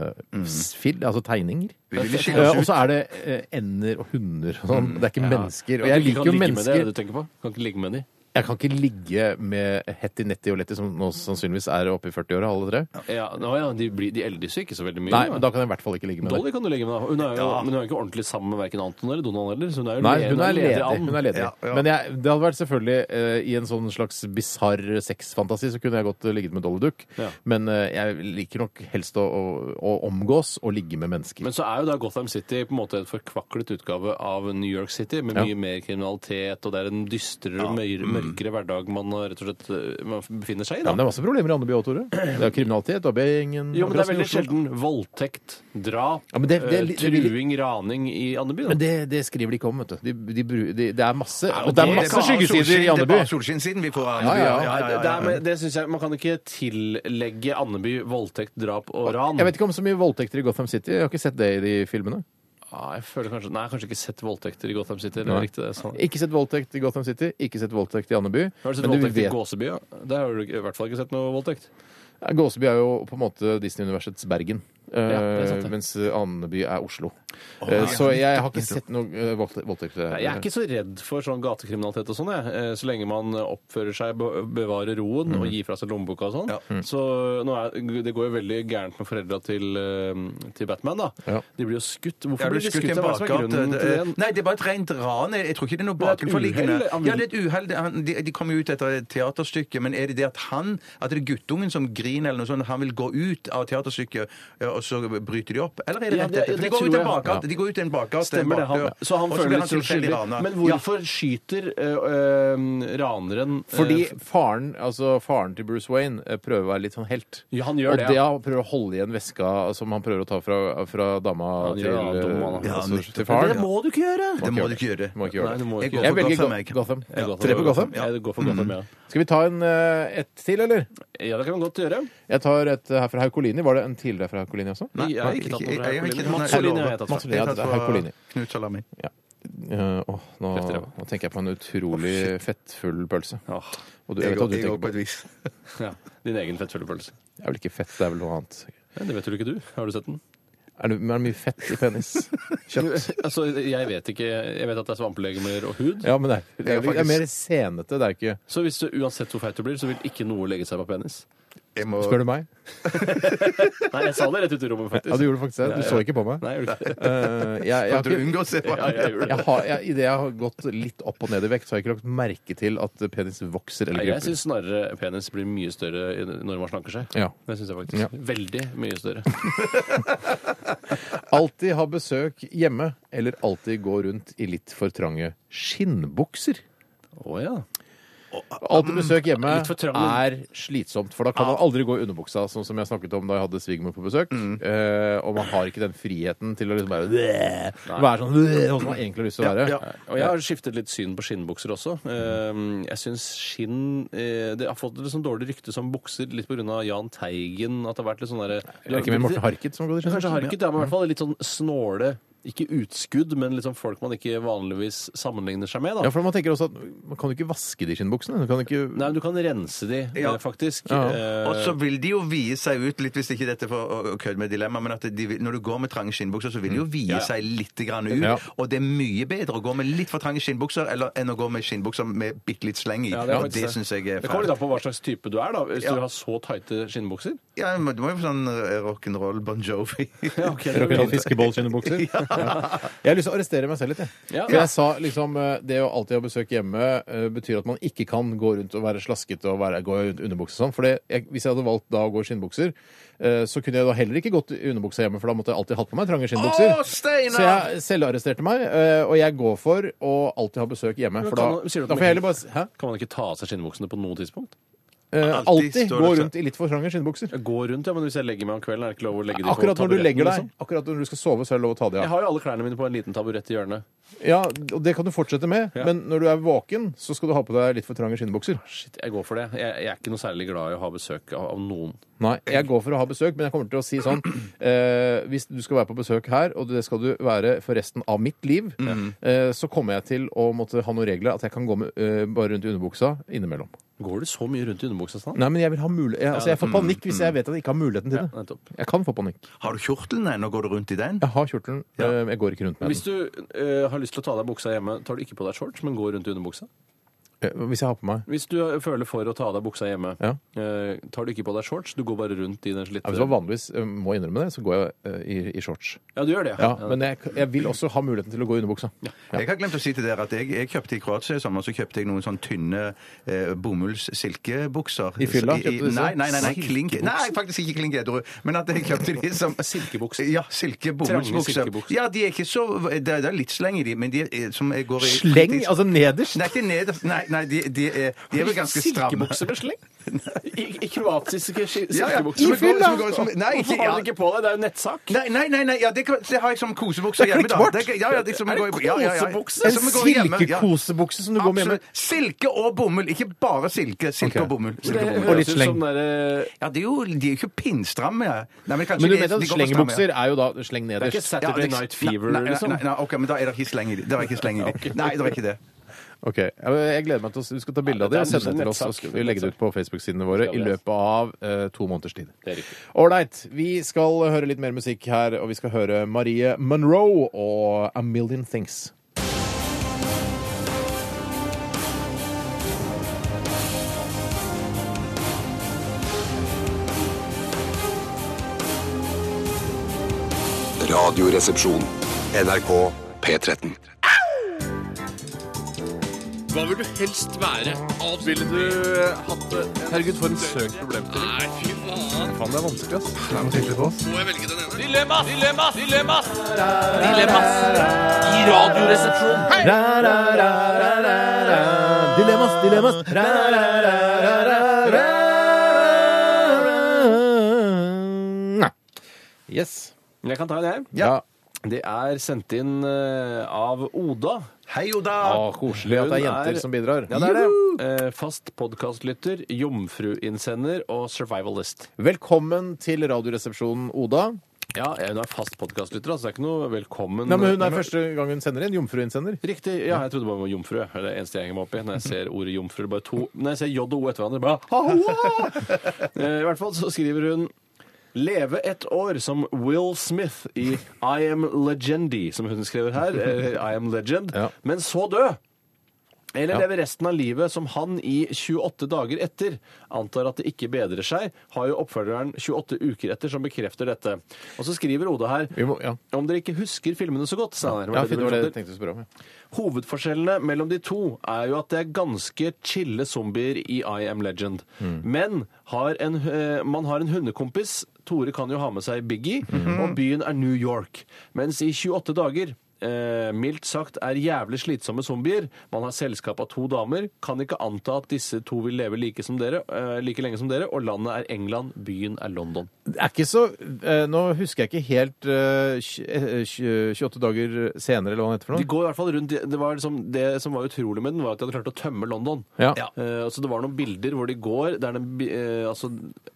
C: tegnefil, altså tegninger.
D: Vi ville skille
C: Eh, Og
D: oss ut.
C: så er det eh, ender og hunder og sånn. Det er ikke mennesker. Og
E: Kan
C: jeg
E: ikke- kan
C: liker jo
E: ligge med Det, er
C: mennesker.
E: det du tenker på? Kan ikke ligge med de.
C: Jeg kan ikke ligge med Hetty, Netty og Letty, som nå sannsynligvis er oppe i 40-åra, alle tre.
E: Ja, nå, ja, de, blir, de eldes jo ikke så veldig mye.
C: Nei,
E: da.
C: men da kan jeg i hvert fall ikke ligge med det.
E: Dolly kan du legge med. da. Hun er jo, Men hun er jo ikke ordentlig sammen med verken Anton eller Donald heller. Så hun er jo
C: Nei,
E: le-
C: hun er ledig.
E: and.
C: Hun er ledig.
D: Ja, ja.
C: Men jeg, det hadde vært selvfølgelig eh, i en sånn slags bisarr sexfantasi så kunne jeg godt eh, ligget med Dolly Duck.
E: Ja.
C: Men eh, jeg liker nok helst å, å, å omgås og ligge med mennesker.
E: Men så er jo da Gotham City på en måte et forkvaklet utgave av New York City, med
C: Ja. Mm.
E: mye mer kriminalitet, og det er en dystrere, mørkere, mørkere hverdag man har rett og slett eh, man befinner seg i.
C: ja,
E: da.
C: men det er masse problemer i Andeby òg, Tore. Det er kriminalitet, AB-gjengen
E: Mm. Jo, men det er
C: overraskende
E: veldig
C: i Oslo.
E: sjelden voldtekt, drap,
C: Ja, men det- det-
E: eh,
C: det- det-
E: truing, raning i Andeby. da.
C: Men det, det skriver de ikke om, vet du. De, de, bru- de, det er masse, og det
E: det
C: er
E: er
C: masse
E: bare
C: skyggesider i
D: solskinn- Det er
C: Andeby.
D: bare solskinnssiden vi får
C: Ja,
D: av Andeby.
C: ja,
E: Nei, det, det, er, men det synes jeg, Man kan ikke tillegge Andeby voldtekt, drap og ran.
C: Jeg vet ikke om så mye voldtekter i Gotham City. Jeg har ikke sett det i de filmene.
E: Ah, jeg føler kanskje, nei, jeg har kanskje ikke sett voldtekter i Gotham City. Det
C: Nei.
E: er riktig, det er sant.
C: Ikke sett voldtekt i Gotham City, ikke sett voldtekt i Andeby.
E: Har du sett
C: Men du
E: voldtekt i
C: vet-
E: Gåseby? Ja? Der har du i hvert fall ikke sett noe voldtekt.
C: Ja, Gåseby er jo på en måte Disney-universets Bergen.
E: det er sant,
C: eh,
E: det.
C: mens Andeby er Oslo. Eh, så jeg har ikke sett noe eh, voldte- voldtekt der.
E: Nei, Jeg er ikke så redd for sånn gatekriminalitet og sånn, jeg. Eh, Så lenge man oppfører seg, be- bevarer roen og gir fra seg lommeboka og sånn. Så nå er, det går jo veldig gærent med foreldra til, eh, til Batman, da.
C: Ja.
E: De blir jo skutt.
D: Jeg
E: Hvorfor blir de skutt?
D: i en
E: Hva er det som er
D: bakgate.
E: grunnen til det?
D: Nei, det er bare et rent ran. Jeg jeg tror ikke det er noe
E: er et
D: bakenforliggende.
E: uhell, han vil-
D: Ja, det er et uhell. Det- han- De, de kommer jo ut etter et teaterstykke, men er det det at han, at det er guttungen som griner eller noe sånt, han vil gå ut av teaterstykket, ja, og så bryter de opp? Eller er det
E: Ja,
D: rett
E: det-
D: etter? For
E: det
D: de går
E: tror
D: ut i en
E: jeg.
D: bakgate.
E: Ja.
D: De går ut i en bakgate.
E: Stemmer det. Han,
D: bakdøra,
E: så han
D: og
E: føler
D: blir
E: litt seg
D: tilfeldig
E: skyldig.
D: ranet.
E: Men
D: Ja.
E: hvorfor skyter eh, eh, raneren eh,
C: Fordi faren, altså faren til Bruce Wayne eh, prøver å være litt sånn helt.
E: Ja, han gjør
C: og
E: det,
C: det
E: ja.
C: han prøver å holde igjen veska som han prøver å ta fra, fra dama
E: Han
C: til,
E: gjør det,
C: eh,
E: dama, da.
D: Ja,
C: altså,
D: nettopp.
C: til
E: Men
C: faren.
E: Det må du ikke gjøre!
D: Det må du ikke gjøre.
C: Må ikke gjøre
E: Nei,
C: det.
E: du må
D: Jeg
E: ikke
D: går
E: gjøre
C: Jeg
E: det.
D: for
C: velger
D: Gotham,
C: Go- Gotham. Tre
D: jeg.
E: Jeg går for
C: på Gotham.
E: Ja, det går for Gotham, ja.
C: Skal vi ta en, eh, ett til, eller?
E: Ja, det kan man godt gjøre.
C: Jeg tar et eh, her fra Haukolini. Var det en tidligere fra Haukolini også?
E: Nei, jeg har ikke tatt noe fra
D: jeg har ikke
E: Herculean.
D: tatt noe fra
E: Mats Olin
D: Herculean.
E: har jeg tatt
C: Mats
E: fra.
C: Olin, ja, det er Herculein.
D: Knut Salami.
C: Eh, åh, nå,
E: Krefter, ja.
C: nå tenker jeg på en utrolig fettfull pølse.
E: Åh,
C: Og du, jeg, vet hva du
D: jeg
C: tenker
D: går på
C: på.
D: et vis.
E: ja. Din egen fettføllepølse.
C: Det er vel ikke fett, det er vel noe annet.
E: Ja, det vet vel ikke du. Har du sett den?
C: Er det, men er det mye fett i penis? Kjøtt?
E: Altså, jeg vet ikke. Jeg vet at det er svampelegemer og hud.
C: Ja, men det er, det
D: er
C: er, det er mer senete. Det er ikke
E: Så hvis du, uansett hvor feit du blir, så vil ikke noe legge seg på penis.
D: Jeg må...
C: Spør du meg?
E: Nei, jeg sa det rett ut i rommet, faktisk.
C: Ja, du gjorde faktisk det.
E: Ja,
C: Du
E: ja.
C: så ikke på meg.
E: Nei, jeg gjorde ikke det.
C: Eh, jeg, jeg, har
D: At du
C: ikke-
D: unngår å se på
E: Ja, jeg gjorde det.
C: jeg har, jeg, I det jeg har gått litt opp og ned i vekt, så har jeg ikke lagt merke til at penis vokser eller
E: Nei, Jeg
C: krymper.
E: syns snarere penis blir mye større i- når man slanker seg.
C: Ja.
E: Det syns jeg faktisk.
C: Ja.
E: Veldig mye større.
C: Alltid ha besøk hjemme, eller alltid gå rundt i litt for trange skinnbukser.
E: Å ja.
C: Alltid besøk hjemme
E: Mm. Litt for trang,
C: er
E: men-
C: slitsomt, for da kan man aldri gå i underbuksa, sånn som jeg snakket om da jeg hadde svigermor på besøk.
E: Mm.
C: Eh, og man har ikke den friheten til å liksom bare "Bleh", være sånn "Bleh", sånn som man egentlig har lyst til å være.
E: Og jeg har skiftet litt syn på skinnbukser også. Ehm, Jeg syns skinn eh, Det har fått et litt sånn dårlig rykte som bukser, litt pga. Jahn Teigen. At det har vært litt sånn derre
C: Det er ikke med Morten Harket som går i skinnbukser.
E: Kanskje harket, ja, men i hvert fall litt sånn snåle Ikke utskudd, men liksom folk man ikke vanligvis sammenligner seg med. da.
C: Ja, for man tenker også at man kan jo ikke vaske de skinnbuksene. Du kan ikke
E: Nei, men Du kan rense de,
D: Ja.
E: eh, faktisk.
C: Ja.
E: Eh,
D: Og så vil de jo vie seg ut litt, hvis ikke dette er for å- å kødde med dilemma, men at de, vil- når du går med trange skinnbukser, så vil de
E: Mm.
D: jo vie seg litt grann ut.
C: Ja.
D: Og det er mye bedre å gå med litt for trange skinnbukser eller, enn å gå med skinnbukser med bitte litt sleng i.
E: ja,
D: det
E: er
D: og
E: faktisk
D: det syns jeg er
E: Det kommer
D: fælt.
E: litt an på hva slags type du er, da. Hvis
D: Ja.
E: du har så tighte skinnbukser.
D: Ja, men du må jo få sånn eh, rock'n'roll Bon Jovi.
E: Ja, ok, det er
C: Rock'n'roll
E: jo fint.
C: fiskebollskinnebukser. Ja. Jeg har lyst til å arrestere meg selv litt. Jeg.
E: Ja.
C: For jeg sa liksom eh, det å alltid ha besøk hjemme eh, betyr at man ikke kan gå rundt og være slaskete og være, gå i underbukse og sånn. For det, jeg, hvis jeg hadde valgt da å gå i skinnbukser, eh, så kunne jeg da heller ikke gått i underbuksa hjemme, for da måtte jeg alltid hatt på meg trange skinnbukser.
D: Å, Steinar!
C: så jeg selvarresterte meg, eh, og jeg går for å alltid ha besøk hjemme.
E: Men
C: For
E: kan
C: da,
E: man- sier du at
C: da
E: man-
C: får jeg heller bare Hæ?
E: Kan man ikke ta av seg skinnbuksene på noe tidspunkt?
C: Eh,
D: Alltid
C: alltid gå
D: står det så-
C: rundt i litt for trange skinnbukser.
E: Gå rundt, ja, men hvis jeg legger meg om kvelden, er det ikke lov å legge de på
C: Akkurat når du
E: taburetten,
C: legger deg,
E: liksom?
C: akkurat når du skal sove, så er det lov å ta det av.
E: Jeg har jo alle klærne mine på en liten taburett i hjørnet.
C: Ja, og det kan du fortsette med,
E: Ja.
C: men når du er våken, så skal du ha på deg litt for trange skinnbukser.
E: Shit, jeg går for det. Jeg, jeg er ikke noe særlig glad i å ha besøk av, av noen.
C: Nei, jeg går for å ha besøk, men jeg kommer til å si sånn eh, Hvis du skal være på besøk her, og det skal du være for resten av mitt liv, eh, så kommer jeg til å måtte ha noen regler at jeg kan gå med, eh, bare rundt i underbuksa innimellom.
E: Går du så mye rundt i underbuksa sånn?
C: Nei, men jeg vil ha mulighet jeg, altså, jeg får panikk hvis jeg vet at jeg ikke har muligheten til det.
E: Nettopp.
C: Jeg kan få panikk.
D: Har du kjortelen ennå? Går du rundt i den?
C: Jeg har kjortelen, eh, jeg går ikke rundt med
E: Hvis
C: den.
E: du eh, har lyst til å ta av deg buksa hjemme, tar du ikke på deg shorts, men går rundt i underbuksa?
C: Eh, Hvis jeg har på meg
E: Hvis du eh, føler for å ta av deg buksa hjemme,
C: Ja.
E: eh, tar du ikke på deg shorts, du går bare rundt i den
C: ja,
E: slitte
C: Hvis jeg vanligvis eh, må innrømme det, så går jeg eh, i, i shorts.
E: Ja, du gjør det.
C: Ja, men jeg, jeg vil også ha muligheten til å gå i underbuksa.
D: Jeg har glemt å si til dere at jeg, jeg kjøpte i Kroatia i sommer så kjøpte jeg noen sånn tynne eh, bomullssilkebukser.
C: I fylla
D: I- i-
C: kjøpte du så?
D: Nei, nei, nei, nei, klink, nei faktisk ikke klink edru, men at jeg kjøpte de som
E: Silkebukser?
D: Ja, silke bomullsbukser.
E: silkebukser.
D: Ja, de er ikke så Det er, det er litt sleng i de, men de er, eh, som jeg går i
C: Sleng, altså nederst?
D: Nei, ikke nederst. Nei, nei de, de, er, de er vel ganske stramme.
E: Silkebukser med sleng? I, i kroatiske ski-
D: Ja, ja.
E: silkebukser?
D: Som går- som går som- Nei,
E: Hvorfor
D: ikke,
E: har
D: ja.
E: du det ikke på deg? Det er jo nettsak.
D: Nei, nei, nei, nei ja, det, kan- det har jeg som kosebukse hjemme. da.
C: klikk bort.
D: Det er- ja, ja, det som
E: Er det
D: går i- ja, ja, ja.
E: kosebukse?
D: Ja,
C: En
D: som går hjemme, ja.
C: silkekosebukse som du går med hjemme.
D: Absolutt. Silke og bomull. Ikke bare silke. Silke
C: Ok.
D: og bomull.
E: Det
D: Silke og bomull.
C: Og litt
E: høres ut
C: sleng.
E: som derre-
D: Ja, det er jo, de er jo ikke pinnstramme. Nei, men kanskje
C: Men du
D: de-
C: vet at
D: de går på
C: slengebukser er
D: stramme,
C: jo da sleng
E: Det er ikke
C: nederst.
D: ja. Ja,
E: Saturday
D: det-
E: Night Fever,
D: nei, nei,
E: liksom.
D: Nei, nei, ok, men da er det ikke sleng i de. Det er ikke sleng i de. Nei, det er ikke det.
C: Ok, ja, men Jeg gleder meg til å Du skal ta bilde av det
E: Ja,
C: og
E: det er en
C: sende det til oss.
E: nettsak.
C: Og skal vi legge det ut på Facebook-sidene våre i
E: Skal vi, altså.
C: løpet av eh, to måneders tid.
E: Det er riktig.
C: Ålreit. Vi skal høre litt mer musikk her, og vi skal høre Marie Monroe og A Million Things.
F: Radioresepsjon. NRK P13.
E: Hva vil du helst være? Ville du hatt det? Herregud, for en søk problemstilling. Nei, fy faen.
I: Faen, det er vanskelig, ass.
E: Må jeg velge den ene? Dilemmas! Dilemmas! Dilemmas! Dilemmas! I radioresepsjonen.
C: Dilemmas, dilemmas Yes.
E: Jeg kan ta en, jeg.
C: Ja.
E: Det er sendt inn eh, av Oda.
D: Hei, Oda!
C: Å, koselig at det er jenter som bidrar.
E: Ja, det er det. Eh, fast podkastlytter, jomfruinnsender og survivalist.
C: Velkommen til Radioresepsjonen, Oda.
E: Ja, eh, hun er fast podkastlytter, altså det er ikke noe velkommen
C: Nei, men Hun er første gang hun sender inn. Jomfruinnsender.
E: Riktig. Ja, jeg trodde bare det var jomfru. jeg. Det er det eneste jeg henger meg opp i når jeg ser ordet jomfru. Bare to Når jeg ser J og O etter hverandre, bare «Ahoa!» Eh, I hvert fall så skriver hun Leve et år som Will Smith i I Am Legendy, som hun skriver her. Eller I Am Legend.
C: Ja.
E: Men så død! Eller
C: Ja.
E: leve resten av livet som han i 28 dager etter. Antar at det ikke bedrer seg. Har jo oppfølgeren 28 uker etter, som bekrefter dette. Og så skriver Oda her
C: Vi må, ja.
E: om dere ikke husker filmene så godt, sa han.
C: Ja, fint, det var det jeg tenkte å spørre om. Ja.
E: Hovedforskjellene mellom de to er jo at det er ganske chille zombier i I Am Legend. Men har en, eh, man har en hundekompis, Tore kan jo ha med seg Biggie, og byen er New York. Mens i 28 dager Eh, mildt sagt er jævlig slitsomme zombier. Man har selskap av to damer. Kan ikke anta at disse to vil leve like, som dere, eh, like lenge som dere. Og landet er England, byen er London.
C: Det er ikke så eh, Nå husker jeg ikke helt eh, tj- eh, tj- 28 dager senere, eller hva han heter for
E: De
C: noe.
E: går i hvert fall rundt Det var liksom, det som var utrolig med den, var at de hadde klart å tømme London.
C: Ja.
E: Eh, så det var noen bilder hvor de går Det er den bi- eh, altså,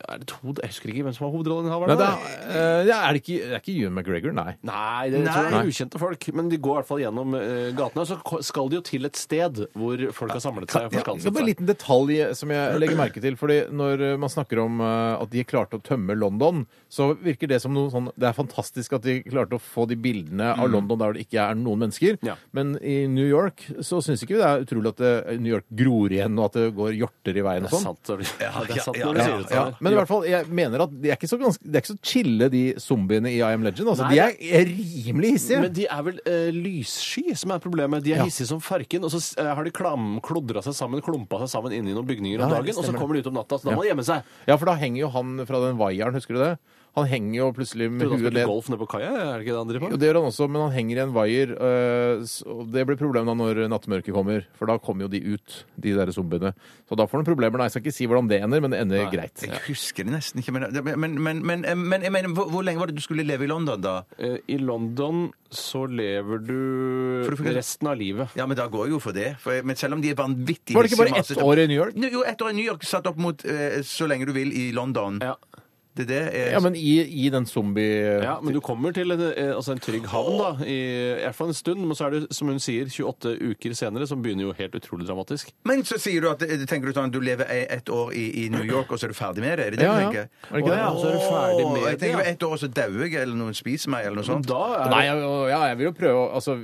E: Er det to Jeg husker ikke hvem som var
C: Nei,
E: hovedrollen.
C: det er, eh, ja, er det ikke, det er ikke Ewan McGregor, nei.
E: Nei, det jeg tror jeg er ukjente folk. Men de går i hvert fall gjennom eh, gatene. Og så ko- skal de jo til et sted hvor folk har samlet seg. og
C: Ja, det
E: forskanset
C: var en
E: seg.
C: liten detalj som jeg legger merke til. fordi Når eh, man snakker om eh, at de klarte å tømme London, så virker det som noe sånn Det er fantastisk at de klarte å få de bildene av London der det ikke er noen mennesker.
E: Mm. Ja.
C: Men i New York så syns ikke vi det er utrolig at eh, New York gror igjen, og at det går hjorter i veien og
E: Det er
C: sånn.
E: sant. Ole. Ja, det er sant
D: ja,
E: når du
C: Ja,
E: sier det.
C: ja.
E: sånn.
C: Men i hvert fall, jeg mener at de er ikke så, ganske, de er ikke så chille, de zombiene i I Am Legend. Altså,
E: Nei,
C: de er, er rimelig hissige.
E: Men de er vel eh, lyssky som er problemet. De er hissige som farken, og så eh, har de klam, klodra seg sammen, klumpa seg sammen inni noen bygninger om
C: Ja, det
E: dagen, og så
C: stemmer.
E: kommer de ut om natta, så da må de gjemme seg.
C: Ja, for da henger jo han fra den vaieren, husker du det? Han henger jo plutselig med
E: Trodde han
C: huet
E: spilte
C: ned.
E: golf nede på kaia, er det ikke det han driver
C: Jo,
E: på?
C: det gjør han også, men han henger i en vaier. øh, s- og det blir problemet da når nattmørket kommer, for da kommer jo de ut, de der zombiene. Så da får han problemer. Nei, jeg skal ikke si hvordan det ender, men det ender greit.
D: Jeg husker det nesten ikke, men, men, men, men, men jeg mener, hvor, hvor lenge var det du skulle leve i London, da?
E: Eh, I London så lever
D: For du
E: du
D: får ikke-
E: resten av livet.
D: Ja, men da går jeg jo for det. For, men selv om de er vanvittig
C: Var det ikke bare
D: hissige og
C: ett
D: masete-
C: år i New York?
D: Jo, ett år i New York satt opp mot eh, så lenge du vil i London.
E: Ja.
D: Det er det. eh,
C: Ja, men i, i den zombie...
E: Ja, men du kommer til en, eh, altså en trygg havn, da. I, i hvert fall en stund. Men så er det, som hun sier, 28 uker senere, som begynner jo helt utrolig dramatisk.
D: men så sier du at eh, tenker du sånn, du lever e- ett år i, i New York, og så er du ferdig med det? Er det det
C: Ja,
D: du
C: ja.
D: tenker?
C: Er det ikke det?
E: Ja, så er du ferdig med
D: Åh, Jeg
E: det, ja.
D: tenker ett år, og så dauer jeg, eller noen spiser meg, eller noe sånt.
E: Da er
C: Nei, jeg, ja, jeg vil jo prøve å altså,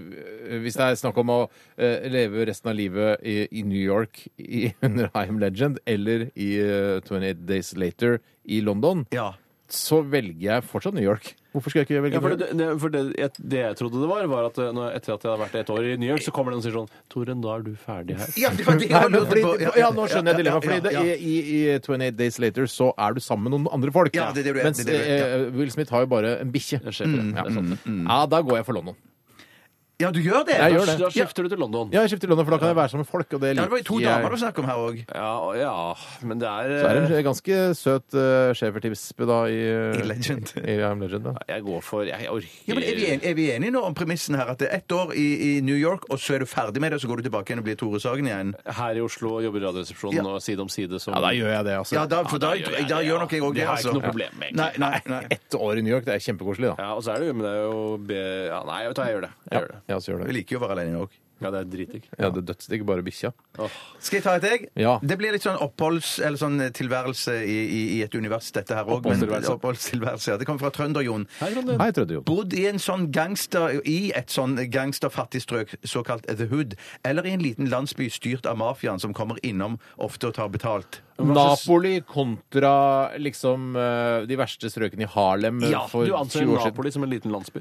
C: Hvis det er snakk om å eh, leve resten av livet i, i New York i, under I Am Legend eller i eh, 28 Days Later i London,
D: Ja.
C: så velger jeg fortsatt New York. Hvorfor skal jeg ikke velge
E: ja, for
C: New York?
E: det, det, for det, jeg, det jeg trodde det var, var at eh, når, etter at jeg hadde vært et år i New York, så kommer den og sier sånn Toren, da er du ferdig her.
D: Ja, det var det jeg
C: Nei, men
D: lurte
C: fordi,
D: på.
C: ja, nå skjønner jeg dilemmaet.
D: ja,
C: Fordi det,
D: ja, ja.
C: i, i, i 28 Days Later så er du sammen med noen andre folk.
D: Ja, det er det du er,
C: mens
D: det er det du er,
C: eh, Will Smith har jo bare en bikkje. Mm,
E: Jeg skjønner det.
C: Ja. ja, da går jeg for London.
D: ja, du gjør det?
C: Jeg gjør
E: Da,
C: det.
E: da skifter du til London.
C: Ja, jeg skifter til London, for da kan jeg være sammen med folk. Og det
D: Ja, det var jo to
C: liker jeg.
D: damer du snakket om her òg.
E: Ja, og- ja, men det er,
C: Så er
E: eh,
C: det en ganske søt uh, schæfertispe da i, eh,
D: I Legend.
C: I I Am Legend da.
E: Jeg går for Jeg orker
D: Ja, men er, vi enige, er vi enige nå om premissen her at det er ett år i, i New York, og så er du ferdig med det, og så går du tilbake igjen og blir Tore Sagen igjen?
E: Her i Oslo jobber Radioresepsjonen
D: Ja.
E: og Side om side som
C: Ja, da gjør jeg det, altså.
D: Ja, da, for da, da, gjør nok jeg òg
E: Det
D: det,
E: har jeg
D: altså.
E: ikke noe problem med.
D: Nei,
E: egentlig.
D: nei, nei.
C: Ett år i New York, det er kjempekoselig, da.
E: Ja, og så er det jo, men det er jo be... ja, Nei, vet du hva, jeg gjør det. Jeg gjør det.
C: Ja, så gjør
D: Vi
C: det.
D: liker jo å være alene òg.
E: Ja, det er dritdigg.
C: Ja, det er dødsdigg, bare bikkja.
D: Skal jeg ta et egg?
C: Ja.
D: Det blir litt sånn oppholds- eller sånn tilværelse i, i, i et univers, dette her òg.
C: Oppholdstilværelse.
D: Oppholdstilværelse. Ja. Det kommer fra Trønder-Jon.
C: Hei, Trødde Jon.
D: Bodd i en sånn gangster, i et sånn gangsterfattig strøk, såkalt The Hood, eller i en liten landsby styrt av mafiaen som kommer innom ofte og tar betalt.
C: Napoli kontra liksom eh, de verste strøkene i Harlem eh,
E: Ja,
C: for
E: du
C: 20 år
E: anser
C: siden.
E: Napoli som en liten landsby.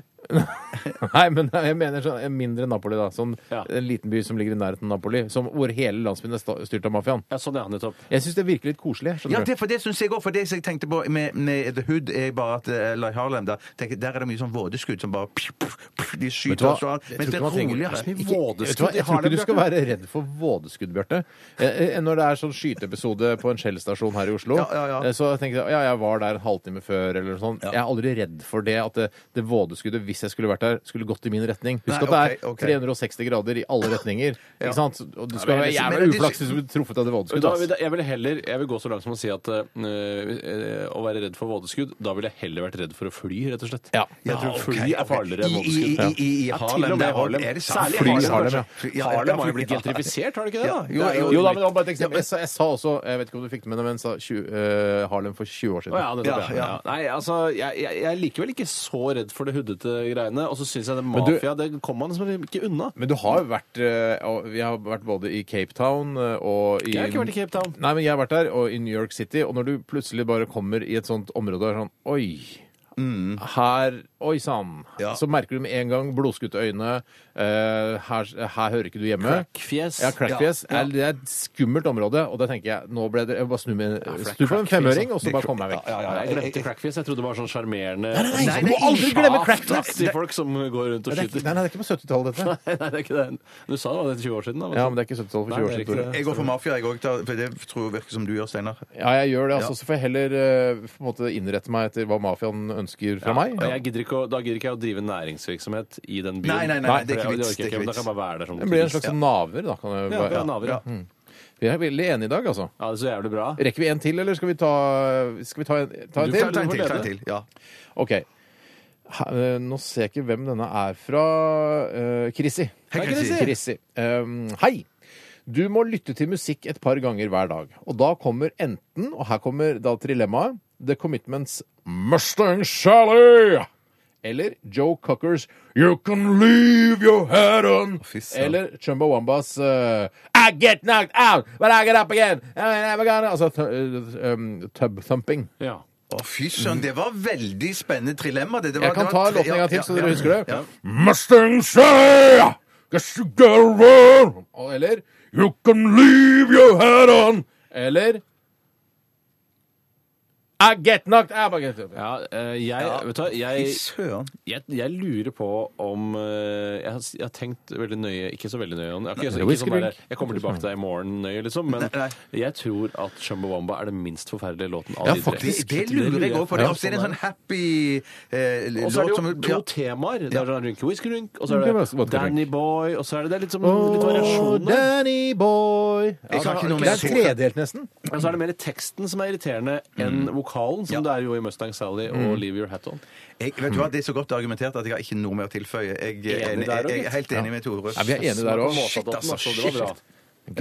C: Nei, men jeg mener sånn en mindre Napoli, da. Sånn
E: Ja.
C: en liten by som ligger i nærheten av Napoli, som, hvor hele landsbyen er sta- styrt av mafiaen.
E: Ja, sånn er han nettopp.
C: Jeg syns det virker litt koselig.
D: Ja,
C: skjønner du?
D: det, for det syns jeg òg. For det som jeg tenkte på med, med The Hood, er bare at eh, eller i Harlem der, tenker, jeg, der er det mye sånn vådeskudd som bare pju, pju, pju, De
C: Vet du hva?
D: skyter og sånn.
C: Jeg tror
D: Men det
C: ikke
D: er
C: man trenger-
D: rolig.
C: Nei,
D: altså.
C: men
D: Ikke-
C: vådeskudd, Vet du hva, Jeg tror ikke du skal være redd for vådeskudd, Bjarte. Eh, eh, Når det er sånn skyteepisode på en Shell-stasjon her i Oslo,
D: Ja, ja, ja.
C: eh, så tenker jeg ja, jeg var der en halvtime før, eller noe sånt. Jeg er aldri redd for det at det, det vådeskuddet, hvis jeg skulle vært der, skulle gått i min retning. Husk
D: Nei,
C: at det er
D: ok, ok.
C: 360 grader i alle retninger. Ikke sant? Og du skal
D: men
C: være
D: jeg-
C: jævla
D: men det-
C: uflaks hvis du blir truffet av det
E: Men Da,
C: vådeskuddet. ass.
E: vil jeg- jeg vil heller jeg vil gå så langt som å si at øh, øh, å være redd for vådeskudd Da ville jeg heller vært redd for å fly, rett og slett.
C: Ja.
E: Jeg tror
D: ok,
E: fly er
D: ok.
E: farligere enn
D: I-
E: vådeskudd.
D: i- i- i- i
E: Ja, til og
D: Harlem,
E: med
D: der også
E: Harlem.
D: er det samme.
E: Særlig
D: Fly i
E: Harlem.
C: Harlem, ja.
E: kanskje.
D: Ja, ja,
E: Harlem har
D: fly-
E: jo blitt
D: ja.
E: gentrifisert, har det ikke det? da?
D: Ja, jo,
C: Jo da, men det var bare et eksempel. Jeg sa, jeg sa også, jeg vet ikke om du fikk det med deg, men jeg sa 20, eh, Harlem for 20 år siden.
E: Å, ja, det tror jeg.
D: Ja,
E: ja,
D: ja.
E: Nei, altså, jeg, jeg, jeg er likevel ikke så redd for det huddete greiene. Og så syns jeg
C: du-
E: det mafia Det kommer man liksom ikke unna.
C: Men du har jo vært eh, og Vi har vært både i Cape Town eh, og i
E: Jeg har ikke vært i Cape Town.
C: Nei, men jeg har vært der, og i New York City. Og når du plutselig bare kommer i et sånt område og er sånn Oi! Mm. Her Oi sann!
D: Ja.
C: Så merker du med en gang blodskutte øyne. eh, her, her hører ikke du hjemme.
E: Crackfjes.
C: Ja, crackfjes.
E: Ja.
C: Det er et skummelt område, og da tenker jeg nå ble det Jeg bare snur meg
E: for det er
C: Snu på en
E: crackfjes,
C: femøring, og så bare kommer jeg vekk.
E: Ja, jeg glemte crackfjes. Jeg trodde det var sånn sjarmerende
C: nei,
E: sånn-
C: du må aldri glemme crackfjes.
E: Ass, til folk som går rundt og
C: Det er ikke,
E: skyter.
C: nei, nei, det er ikke på 70-tallet, dette.
E: Nei, det er ikke det. Du sa det var det 20 år siden, da. vet
C: Ja,
E: du.
C: men det er ikke 70-tallet for
E: Nei,
C: 20 år
E: det er
C: siden, Tore.
E: ikke
D: Jeg går for mafia, jeg òg, for det tror jeg virker som du gjør, Steinar.
C: Ja, jeg gjør det. altså, Så får jeg heller eh, på en måte innrette meg etter hva mafiaen ønsker fra meg.
E: Og jeg gidder ikke å, da gidder ikke jeg å drive næringsvirksomhet i den byen.
D: Nei, nei, nei,
C: Nei,
D: det er ikke vits. Det
E: for jeg- orker
D: er
E: ikke,
D: ikke
E: men Da kan
D: vits.
E: jeg bare være der som
C: Det blir en
E: turist.
C: slags naver, da. Kan jeg,
E: Ja, det
C: bare-
E: er naver, ja.
C: Mm. Vi er veldig enige i dag, altså.
E: Ja, det er så jævlig bra.
C: Rekker vi en til, eller skal vi ta, skal vi ta en, ta en
E: Du
C: til?
E: får ta en til,
D: Ta en til. Ja.
C: OK. Her, eh, Nå ser jeg ikke hvem denne er fra. eh, Chrissy.
D: Hei, Chrissy.
C: Chrissy. Um, hei. Du må lytte til musikk et par ganger hver dag. Og da kommer enten, og her kommer da trilemmaet, The Commitments Mustang Sally! Eller Joe Cockers You Can Leave Your Head On!
D: søren.
C: Eller Chumbawambas eh, I Get Knocked Out, But I Get Up Again! I'm never gonna- Altså th um, tub thumping.
E: Ja.
D: Å, fy søren, det var veldig spennende trilemma. Det, det var,
C: Jeg kan
D: det
C: ta
D: var tre-
C: låten en gang
D: ja,
C: til, så
D: ja,
C: dere
D: ja.
C: husker det.
D: Ja.
C: Mustang Sally! Guess you got a run! Og- Eller You can leave your head on! Eller I get knocked out. I get knocked out.
E: ja eh, jeg, Vet du hva,
D: Fy
E: jeg,
D: søren.
E: jeg, jeg lurer på om eh, jeg, har, s- jeg har tenkt veldig nøye Ikke så veldig nøye om det.
C: Nei,
E: Jeg, ikke, ikke sånn
C: whiskydrink.
E: der, jeg kommer tilbake til deg i morgen nøye, liksom. Men jeg tror at Chumbawamba er den minst forferdelige låten av
C: Ja,
E: de
D: Det,
C: faktisk.
E: tre.
D: det lurer jeg òg, for det er
E: Ja.
D: ofte en sånn happy eh,
E: Og så
D: låt
E: er det
D: som
E: jo to
D: ja.
E: temaer. Det er sånn Rynke Whisky Rynk, og så
C: Det
E: er
C: var
E: det
C: vodka drink.
E: Danny Boy, og så er det, det er litt, som, litt
C: Oh,
E: variasjon der.
C: Danny boy
D: Jeg kan ikke noe
C: Det er
D: mer.
C: tredelt, nesten.
E: Men så er det mer teksten som er irriterende enn
D: Mm.
E: vokalen, som det er jo i Mustang Sally og Leave Your Hat On.
D: Jeg, vet du hva, Det er så godt argumentert at jeg har ikke noe mer å tilføye. Jeg, er enig-
E: Enig der også,
D: jeg,
E: gitt.
D: er helt enig med Tore.
C: Ja, vi er enige der òg.
E: Shit,
D: altså,
E: Det var bra.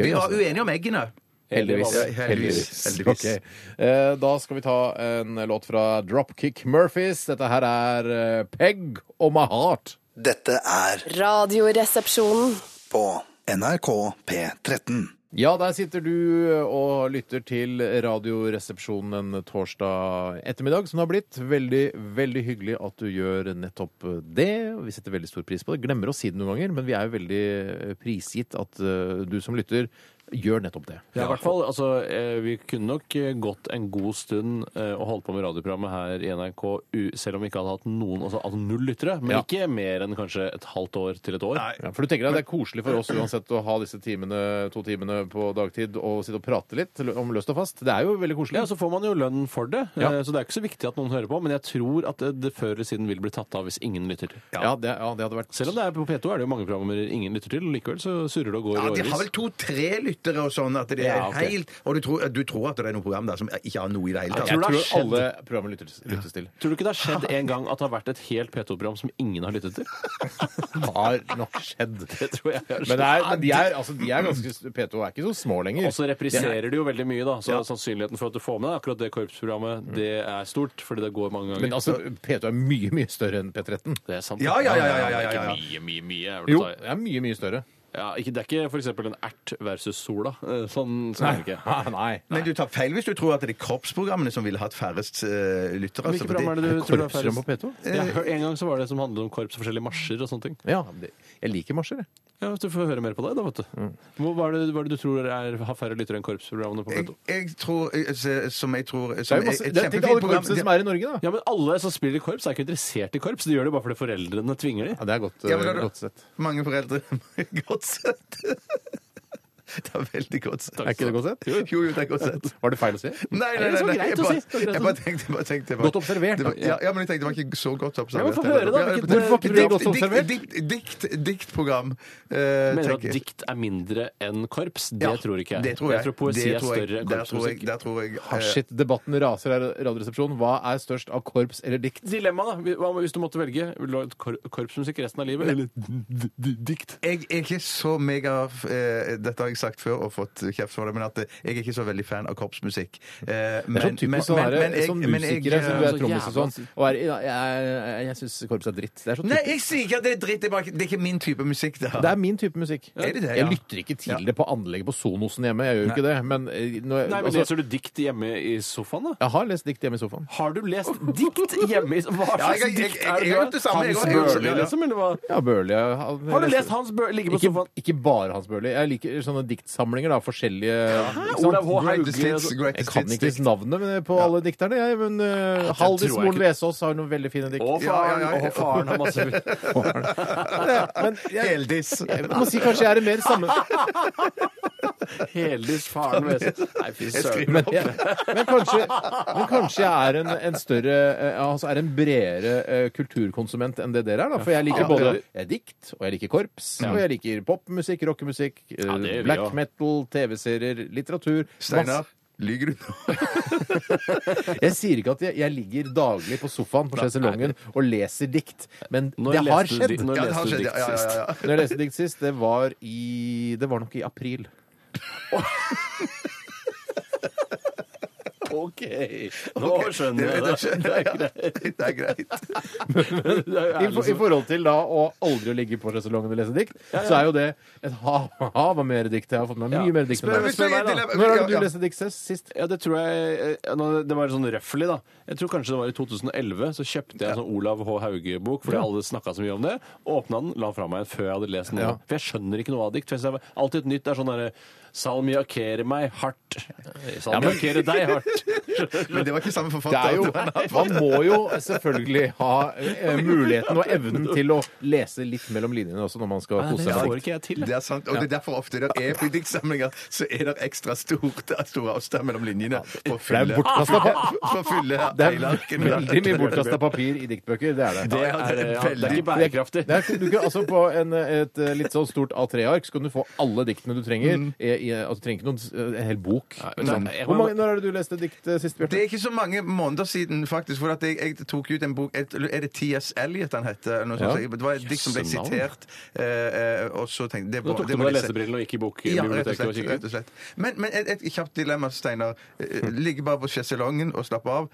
D: Vi var uenige om eggene.
C: Heldigvis.
D: Ja, heldigvis. Heldigvis.
C: Ok. Eh, Da skal vi ta en låt fra Dropkick Murphys. Dette her er eh, Peg og My Heart.
H: Dette er
G: Radioresepsjonen.
H: på NRK P13.
C: Ja, der sitter du og lytter til Radioresepsjonen en torsdag ettermiddag, som det har blitt. Veldig, veldig hyggelig at du gjør nettopp det. Vi setter veldig stor pris på det. Glemmer å si det noen ganger, men vi er jo veldig prisgitt at eh, du som lytter gjør nettopp det.
E: Ja, i hvert fall, altså, eh, Vi kunne nok eh, gått en god stund eh, og holdt på med radioprogrammet her i NRK, u- selv om vi ikke hadde hatt noen, altså, altså null lyttere, men
C: Ja.
E: ikke mer enn kanskje et halvt år til et år.
C: Ja, for du tenker deg Det er koselig for oss uansett å ha disse timene, to timene på dagtid og sitte og prate litt om løst og fast. Det er jo veldig koselig.
E: Ja, altså, Så får man jo lønn for det,
C: Ja.
E: eh, så det er ikke så viktig at noen hører på. Men jeg tror at det, det før eller siden vil bli tatt av hvis ingen lytter.
C: Ja, det, ja, det hadde vært
E: Selv om det er på P2 er det jo mange programmer ingen lytter til, og likevel så surrer det og går
D: Ja,
E: i
D: De har
E: årevis.
D: vel to-tre lyttere og sånn at det er
C: Ja, ok.
D: helt Og du tror, du tror at det er noe program der som ikke har noe i det
C: Jeg
D: hele tatt?
E: tror det
C: tror
E: har skjedd.
C: alle programmer lyttes, lyttes til.
E: Tror du ikke det har skjedd en gang at det har vært et helt P2-program som ingen har lyttet til?
C: Det har nok skjedd.
E: Det tror jeg har
C: Men, det
E: skjedd.
C: er, men de, er, altså, de er ganske P2 er ikke så små lenger.
E: Og så repriserer de jo veldig mye, da. Så sannsynligheten for at du får med deg akkurat det
D: Mm.
E: korpsprogrammet, det er stort, fordi det går mange ganger.
C: Men altså, P2 er mye, mye større enn P13.
E: det er sant.
D: Ja, ja, ja, ja, ja, ja, ja.
E: Ikke Mye, mye, mye. er vel
C: Jo,
E: å ta i.
C: det er mye, mye større.
E: Ja, ikke, det er ikke for eksempel en ert versus sola. eh, Sånn, sånn er det ikke.
C: Nei.
D: Men du tar feil hvis du tror at det er kroppsprogrammene som ville hatt færrest eh, lyttere. altså,
E: Hvilke
D: for
E: program er det du tror det er
C: Korpsprogram på
E: færrest?
C: P2?
E: Jeg har
D: Eh,
E: hørt- En gang så var det som handlet om korps og forskjellige marsjer og sånne ting.
C: Ja, men det- jeg liker marsjer, jeg.
E: Ja, hvis Du får høre mer på det, da, vet du.
D: Mm.
E: Hva hva er det, hva er det du tror er, har færre lyttere enn korpsprogrammene på
D: jeg,
E: P2?
D: jeg tror eh, se- Som jeg tror
C: Det
D: som
C: er jo masse,
D: et- et
C: det er, tenk
D: kjempefint
C: alle
D: program-
C: korpsene som er i Norge, da.
E: Ja, men alle som spiller i korps, er ikke interessert i korps. De gjør det bare fordi foreldrene tvinger dem.
C: Ja, det er godt,
D: Ja, men da-
C: godt sett.
D: Mange foreldre Godt sett. Det er veldig godt sett.
C: Er ikke det godt sett?
D: Jo, jo, det er godt sett.
C: Var det feil å si?
D: Nei, nei,
E: Det var
D: nei, nei.
E: greit
D: Jeg,
E: å
D: bare,
E: si. Det var greit
D: jeg
E: å
D: bare
E: si.
D: tenkte, jeg bare tenkte jeg bare,
C: Godt observert.
D: Det var, ja, ja, men jeg tenkte det var ikke så godt observert.
E: Ja, men få høre, da.
D: Ja,
E: Hvilket-
D: det-
C: Hvorfor var ikke det godt
D: dikt-
C: observert?
D: Dikt, dikt, diktprogram, eh,
E: Mener du
D: tenker
E: at
D: jeg.
E: dikt er mindre enn korps? Det
D: Ja,
E: tror ikke jeg.
D: Det tror jeg.
E: tror poesi
D: Det
E: er
D: tror jeg.
E: større
D: Der
E: enn
D: tror jeg-
E: korpsmusikk.
D: Der tror jeg eh,
C: Ah, shit, debatten raser her, i Radioresepsjonen. Hva er størst av korps eller dikt?
E: Dilemma, da. Hva om- Hvis du måtte velge vil du ha kor korpsmusikk resten av livet, eller d- d- dikt?
D: eh, Jeg er ikke så mega eh, Dette har jeg sagt før og fått kjeft for det, men at eh, jeg er ikke så veldig fan av korpsmusikk.
C: Det
D: Eh,
C: er sånn typisk sånn her, sånn musikere som du
E: eh,
C: er trommis og sånn.
E: så
C: Og er, ja, jeg jeg, jeg syns korps er dritt. Det er, så
D: Nei,
C: typisk.
D: jeg sier ikke at det er dritt. Det er, bare, ikke- det er ikke min type musikk. Det, her.
C: det er min type musikk.
D: Er det det, ja?
C: Jeg lytter ikke til
D: Ja.
C: det på anlegget på Sonosen hjemme. Jeg gjør jo ikke det. Men, eh, når, jeg-
E: Nei, men
C: altså,
E: Leser du dikt hjemme i sofaen, da?
C: jeg har lest dikt hjemme i sofaen.
E: Har du lest dikt hjemme i Hva
D: Ja, jeg-
E: slags
D: jeg- jeg-
E: dikt er
D: jeg har gjort
E: det?
D: det samme, jeg
E: Hans
D: har- jeg har-
E: Børli, liksom? Eller hva?
C: Ja, Børli jeg- han-
E: Har du
C: jeg
E: lest
C: leste-
E: Hans Børli? Ligge på
C: Ikke,
E: sofaen.
C: ikke bare Hans Børli. Jeg liker sånne diktsamlinger, da. Forskjellige ikke sant?
E: Olav H.
D: Greatest
E: Hauge. og
D: hits,
E: så-
C: Jeg
D: greatest
C: kan
D: hits.
C: ikke navnet men- eh, på alle dikterne, jeg, men eh, Haldis
E: tror jeg
C: Moren
E: ikke.
C: Vesaas har noen veldig fine dikt.
E: Å,
D: Ja, ja,
E: faren!
D: ja, ja.
E: Å, faren har masse
C: Men jeg,
D: Heldiss.
C: jeg må si kanskje jeg er en mer sammen...
E: Heldis faren Vesaas. Nei, fy søren.
C: Men, jeg, men, kanskje, men kanskje jeg er en, en større eh, Altså er en bredere eh, kulturkonsument enn det dere er, da. For jeg liker
E: Ja,
C: både
E: det
C: jeg er dikt, og jeg liker korps, og jeg liker popmusikk, rockemusikk, eh,
E: Ja, det gjør vi
C: black
E: også.
C: metal, TV-serier, litteratur
D: Steinar,
C: masse-
D: lyver du nå?
C: Jeg sier ikke at jeg, jeg ligger daglig på sofaen på sjeselongen og leser dikt, men
E: Når
C: det har
E: leste du
C: skjedd.
E: di- Når
D: Ja, det har
E: leste du
D: skjedd, ja,
E: dikt
D: ja, ja,
E: sist?
D: ja.
C: Når jeg leste dikt sist, det var i Det var nok i april.
E: OK. Nå skjønner jeg
D: Det
E: det.
D: skjønner jeg, ja. Det er greit.
C: I, for, I forhold til da å aldri å ligge på sjeselongen og lese dikt, så er jo det et hav, hav av mer dikt. Jeg har fått med meg mye
E: Ja.
C: mer dikt enn
E: Spør-
C: deg.
E: spør meg, da.
C: Når har du
D: Ja, ja.
C: lest dikt sist? sist?
E: Ja, det tror jeg eh, nå- Det var sånn røffelig, da. Jeg tror kanskje det var i 2011. Så kjøpte jeg en sånn Olav H. Hauge-bok, fordi alle snakka så mye om det. Åpna den, la den fra meg igjen før jeg hadde lest den.
C: Ja.
E: For jeg skjønner ikke noe av dikt. for jeg ser Alltid et nytt det er sånn derre Salmiakkere meg hardt. Salmiakkere deg hardt.
D: Men det var ikke sånn samme
C: Det
D: forfatter.
C: er jo,
D: Det var en annen.
C: man må jo selvfølgelig ha eh, muligheten og evnen til å lese litt mellom linjene også når man skal
E: Nei,
C: kose
E: Det
C: seg med
E: får
C: dikt.
E: ikke jeg til.
D: Det er sant, og det er derfor ofte det er på diktsamlinger så er det ekstra stort, store avstand mellom linjene. For å
C: Det er
D: fylle,
C: bortkastet pa-
D: for å fylle
C: Det er
D: hele arken.
C: veldig mye bortkasta papir i diktbøker. Det er det.
E: Det
D: Ja,
E: er,
D: det er
E: ja, det er
D: veldig-
E: ikke bærekraftig.
C: Det er, du kan, altså på en, et litt sånn stort A3-ark så kan du få alle diktene du trenger. I, i, altså, du trenger ikke noen, en hel bok.
E: Mm. Nei, men
C: Sånn.
E: jeg- jeg-
C: Hvor mange, når er det du leste dikt eh, sist,
D: Det er
C: Bjarte?
D: ikke så mange måneder siden, faktisk. For at jeg, jeg tok ut en bok et- Er det T.S. Eliot han heter? eller Noe sånt?
C: Ja.
D: Det var et dikt som ble
E: Jøsse navn.
D: sitert. eh, eh, og så tenkte jeg
E: Nå tok du på deg lesebrillene og gikk i
D: Ja, rett og
E: bokbiblioteket og
D: slett. Rett
E: kikket.
D: og slett. Men, men et, et kjapt dilemma, Steinar.
E: Hm.
D: Eh, Ligge bare på sjeselongen og slappe av.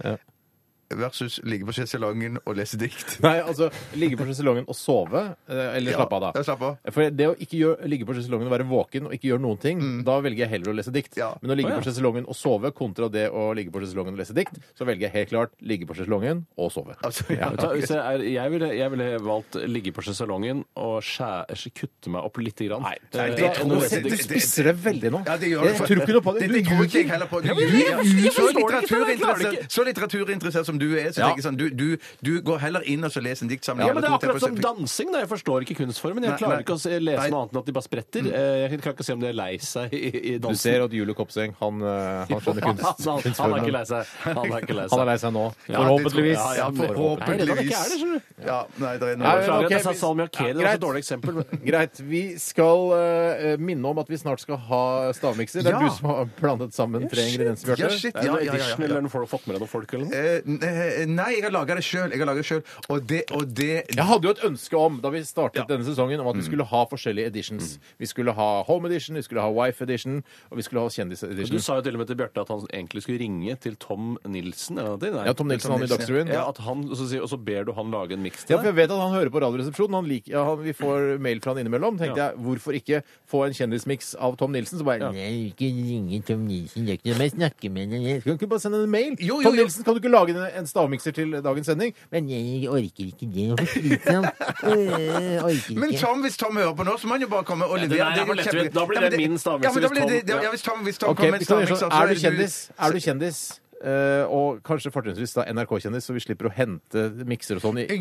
D: Versus ligge på sjeselongen og lese dikt.
C: Nei, altså ligge på sjeselongen og sove, eh, eller
D: Ja,
C: slappe av, da.
D: ja, slappe av.
C: For det å ikke gjøre, ligge på sjeselongen og være våken og ikke gjøre noen ting, da velger jeg heller å lese dikt.
D: Mm. Ja.
C: Men å ligge
E: Å, ja.
C: på sjeselongen og sove kontra det å ligge på sjeselongen og lese dikt, så velger jeg helt klart ligge på sjeselongen og sove.
D: Altså, ja.
E: Vet du hva, hvis jeg, er, jeg, ville, jeg ville valgt ligge på sjeselongen og skjæ, kutte meg opp lite grann. Eh, Nei,
D: det
C: Nå-
D: tror
C: nå
D: jeg-
C: Du
D: det- det-
C: spisser det veldig nå.
D: Ja, det gjør
C: jeg tror ikke noe på det.
D: Det, det tror ikke jeg heller på. Du,
E: jeg- jeg- jeg
D: så,
E: forstår det ikke, jeg klarer det
D: litteraturinteressert,
E: ikke.
D: så litteraturinteressert som du du er, så
C: Ja.
D: tenker jeg sånn du, du, du går heller inn og så leser en diktsamling.
E: Ja, men Det
D: eller
E: er
D: to,
E: akkurat som
D: tenker jeg.
E: dansing. da, Jeg forstår ikke kunstformen. Jeg
D: Nei,
E: klarer
D: nei.
E: ikke å se- lese
D: Nei.
E: noe annet enn at de bare spretter. Eh, Jeg kan ikke se om de er lei seg i, i
C: Mm. Du
E: dansen.
C: ser at Julie Kopseng, han, eh, han skjønner
E: han,
C: kunst.
E: altså, han, han er ikke lei seg. Han er ikke
C: Han
E: lei
C: er
E: seg.
C: lei seg nå,
E: Ja,
C: forhåpentligvis.
E: det tror jeg. Ja, ja,
D: forhåpentligvis.
E: Nei, det er det ikke er det, skjønner du.
D: Ja, nei, det er
C: Nei,
D: noe
C: men- ok,
E: Beklager at jeg sa
C: vi-
E: salmiakkere.
C: Ja,
E: Det var
C: greit.
E: et dårlig eksempel. men-
C: Greit. Vi skal eh, minne om at vi snart skal ha stavmikser. Det er
D: Ja.
C: du som har blandet sammen tre ingredienser,
D: Ja,
C: Bjarte.
D: shit,
E: Er det
D: ja,
E: noe
D: ja, ja,
E: edition,
D: ja.
E: eller har du fått- fått med deg noen folk? eller noe?
D: Eh, eh, Nei, jeg har laga det sjøl. Jeg har laget det selv, Og det, og det
C: Jeg hadde jo et ønske om da vi startet denne sesongen, om at vi skulle ha forskjellige editions. Vi skulle ha Home Edition, vi skulle ha Wife Edition, og vi skulle ha
E: Du
C: Kjendis-edition.
E: sa jo til og med til Bjarte at han egentlig skulle ringe til Tom Nilsen. Eller noe, nei.
C: Ja, Tom Nilsen, han i Dagsrevyen.
E: Ja, at han, og, så sier, og så ber du han lage en miks
C: Ja,
E: til
C: for jeg
E: deg?
C: vet at han hører på Radioresepsjonen. Han liker, ja, han, vi får mail fra han innimellom. tenkte jeg, Hvorfor ikke få en kjendismiks av Tom Nilsen? Så bare
E: Ja.
C: Nei, ikke ringe Tom Nilsen. Det er ikke noe mer å snakke med ham om. Kan du ikke bare sende en mail?
D: Jo, jo,
C: Tom
D: jo.
C: Nilsen, kan du ikke lage en, en stavmikser til dagens sending? Men jeg orker ikke det. Jeg er for slitsom. Øh, orker
D: Men
C: ikke.
D: Tom, hvis Tom hører på nå, så må han jo bare komme og
E: Ja, det
D: levere.
E: der er
D: jo
E: for lettvint.
D: kjempe-
E: Da blir
D: Ja, men
E: det min stavmikser
D: Ja, men da
E: hvis
D: blir det-
E: Tom-
D: ja, hvis Tom, hvis Tom
C: Ok,
D: kommer
C: vi
D: med en
C: kan gjøre
D: stavmikser,
C: sånn.
D: så
C: Er du kjendis, er du kjendis eh, og kanskje fortrinnsvis da NRK-kjendis, så vi slipper å hente mikser og sånn i
D: Jeg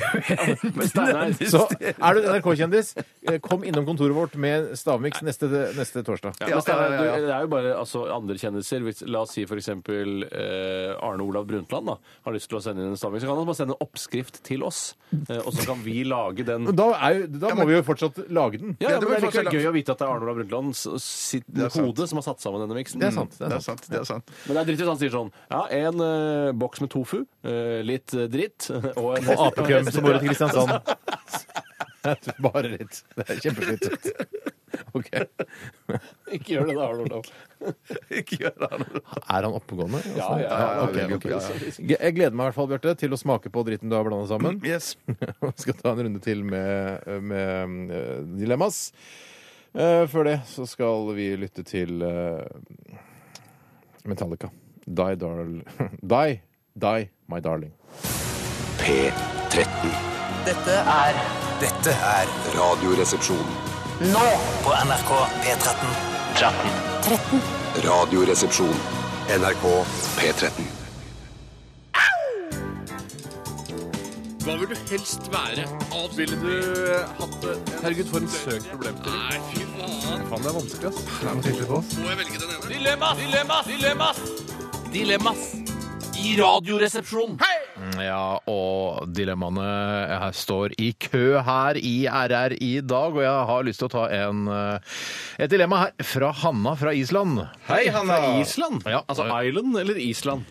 D: ikke
E: Men Steinar,
C: så er du NRK-kjendis, eh, kom innom kontoret vårt med stavmiks neste, neste torsdag.
E: Ja,
D: Ja, ja,
E: men
D: ja, ja.
E: Steinar, du- Det er jo bare altså, andre kjendiser. Hvis, la oss si f.eks. Eh, Arne Olav Brundtland da, har lyst til å sende inn en stavmikser. Så kan han bare sende en oppskrift til oss, eh, og så kan vi lage den.
C: Men Da, er jo, da må vi jo fortsatt lage den.
D: det
E: Ja, ja, men Det er
D: blir
E: likevel
D: forskjell.
E: gøy å vite at det er Arne Olav Brundtland s- sitt
D: er sant.
E: hode som har satt sammen denne miksen. Mm.
C: Det er sant. Det
D: Det
C: er
D: er
C: sant.
D: sant. det er sant.
E: Men det er dritt hvis han sier sånn Ja, en eh, boks med tofu, eh, litt eh, dritt og en
C: Og apekøm som bor i Kristiansand. Bare litt. Det er kjempefint. Ok.
E: Ikke gjør det, da, Arne Olav.
D: Ikke gjør det. Arne.
C: Er han oppegående?
E: Ja, ja, ja,
C: Ok, ok. Jeg gleder meg i hvert fall, Bjarte, til å smake på dritten du har blanda sammen.
D: Yes.
C: Vi skal ta en runde til med, med eh, dilemmas. Eh, Før det så skal vi lytte til eh, Metallica. Die, darl... Die, die, my darling.
F: P13.
J: Dette er
F: Dette er Radioresepsjon.
J: nå på NRK P13. 13.
F: Radioresepsjon. NRK P13.
E: eh,
C: Ja, og dilemmaene jeg står i kø her i RR i dag, og jeg har lyst til å ta en, eh, et dilemma her fra Hanna fra Island.
D: Hei, Hanna.
E: Island?
C: Ja.
E: Altså Island eller Island?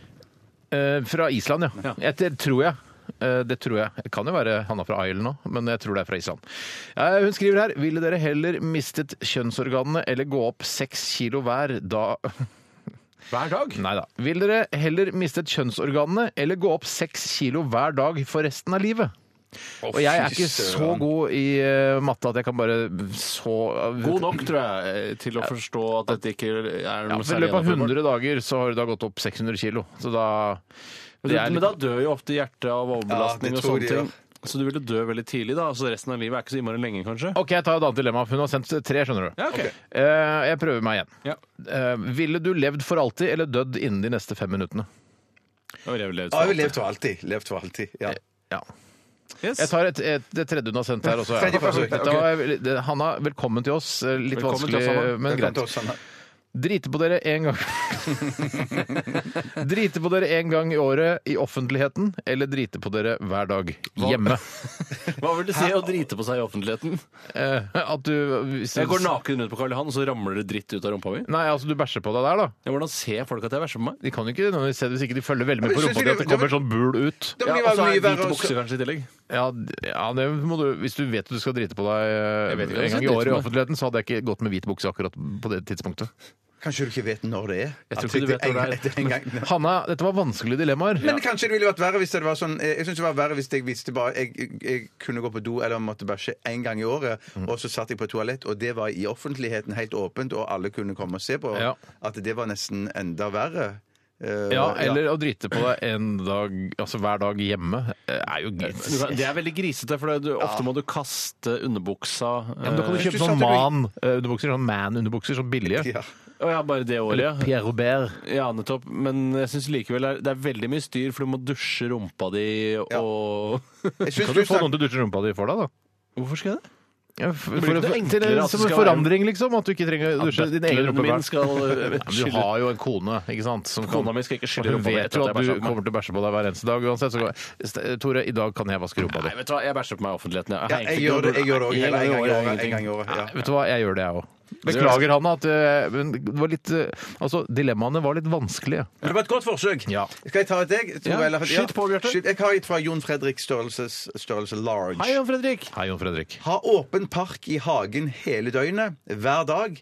C: Eh, fra Island, ja.
E: Ja.
C: Jeg, det tror jeg. Eh, Det tror jeg. Det kan jo være Hanna fra Isle nå, men jeg tror det er fra Island. Eh, Hun skriver her Ville dere heller mistet kjønnsorganene eller gå opp seks kilo hver da
E: Hver dag?
C: Nei da. Vil dere heller mistet kjønnsorganene eller gå opp seks kilo hver dag for resten av livet? Og jeg er ikke så god i eh, matte at jeg kan bare så
E: God nok, tror jeg, eh, til å forstå at dette ikke er
C: Ja,
E: noe
C: for I løpet av 100 dager så har du da gått opp 600 kilo. Så da det er
E: Men
C: litt-
E: da dør jo ofte hjertet av overbelastning
D: Ja, det
E: og
D: tror
E: sånne
D: de, ja.
E: ting. Så du ville dø veldig tidlig, da? Altså resten av livet er ikke så innmari lenge, kanskje?
C: OK, jeg tar et annet dilemma. Hun har sendt tre, skjønner du.
E: Ja, ok.
C: Eh, jeg prøver meg igjen.
E: Ja.
C: Eh, ville du levd for alltid eller dødd innen de neste fem minuttene?
E: Da ville jeg vel levd
D: Jeg har jo
E: for
D: levd for alltid. Levd for alltid. Ja.
C: Ja.
E: alltid. Yes.
C: Jeg tar et, et, det tredje hun har sendt her også. ja.
D: Tredje forsøk,
C: Dette var- det- Hanna, velkommen til oss. Eh, Litt
E: Velkommen til oss, Hanna.
C: vanskelig, men
D: Velkommen
C: greit.
D: til oss, Hanna.
C: Drite på dere en gang Drite på dere en gang i året i offentligheten, eller drite på dere hver dag hjemme.
E: Hva vil det si å drite på seg i offentligheten?
C: Eh, at du hvis,
E: Jeg går naken rundt på Karl Johan, og så ramler det dritt ut av rumpa mi.
C: Nei, altså du bæsjer på deg der, da.
E: Ja, hvordan ser folk at jeg bæsjer på meg?
C: De kan jo ikke nødvendigvis se det hvis ikke de følger veldig med
D: Men
C: på
D: synes
C: rumpa
D: du
C: di at
D: det-
C: det kommer sånn bul ut.
D: Det
E: Ja,
D: blir
E: og så
D: mye
E: er det
D: verre
E: hvite
D: å-
E: bukser kanskje i tillegg.
C: Ja, d- ja det må du, hvis du vet at du skal drite på deg eh,
E: Jeg vet ikke om
C: en
E: jeg
C: gang
E: skal
C: i
E: drite
C: året i
E: på meg.
C: offentligheten, så hadde jeg ikke gått med hvit bukse akkurat på det tidspunktet.
D: Kanskje du ikke vet når det er?
E: Jeg tror ikke du vet når det er.
D: En gang- en gang-
C: Hanna, dette var vanskelige dilemmaer.
D: Men kanskje det ville vært verre hvis det var sånn eh, Jeg synes det var verre hvis jeg visste bare jeg, jeg, jeg kunne gå på do eller måtte bæsje én gang i året,
C: Mm.
D: og så satt jeg på et toalett, og det var i offentligheten helt åpent, og alle kunne komme og se på.
C: Ja.
D: At det var nesten enda verre. eh,
C: Ja, eller å drite på deg en dag, altså hver dag hjemme, eh, er jo greit.
E: Du kan- Det er veldig grisete, for det- du, ofte må du kaste underbuksa. eh,
C: Ja, men da kan du
D: Hvis du
C: kjøpe sånn
D: satte deg-
C: man-underbukser, sånn man-underbukser, sånn billige.
D: Ja.
E: Å ja, bare det året, ja.
C: Pierre Robert.
E: Ja, nettopp. Men jeg syns likevel er, det er veldig mye styr, for du må dusje rumpa di og
D: Jeg synes
C: Kan du
D: du
C: få
D: snak-
C: noen til å dusje rumpa di for deg, da?
E: Hvorfor skal jeg det?
C: Ja, for,
E: Blir
C: for,
E: det
C: for,
E: enklere
C: til en,
E: at det
C: som en
E: skal være-
C: forandring, liksom. At du ikke trenger å dusje din egen
E: Bøtleren
C: rumpe.
E: min skal, eh,
C: Ja, men
E: skylle-
C: du har jo en kone, ikke sant. Som kan-
E: Kona mi skal ikke skylle
C: Hun
E: rumpa mi
C: vet
E: etter
C: jo
E: at
C: at
E: jeg bæsjer
C: du
E: på meg.
C: kommer til å bæsje på deg hver eneste dag uansett. Så går, Tore, i dag kan jeg vaske rumpa
E: Nei,
C: di.
E: vet du hva, jeg bæsjer på meg i offentligheten.
D: Ja, jeg gjør det jeg gjør det også. Eller En gang i året. En gang i året.
C: Nei,
D: Ja.
C: Vet du hva, jeg gjør det, jeg òg. Beklager, Hanna, at eh, men det var litt eh, Altså, dilemmaene var litt vanskelige.
D: Men det var et godt forsøk.
C: Ja.
D: Skal jeg ta et jeg? Tror
E: Ja,
D: jeg- eller-
E: skyt på, Bjarte.
D: Skyt. Jeg har et fra Jon Fredrik størrelses, størrelse large.
E: Hei, Jan Fredrik.
C: Hei, Jon Fredrik.
D: Ha åpen park i hagen hele døgnet, hver dag.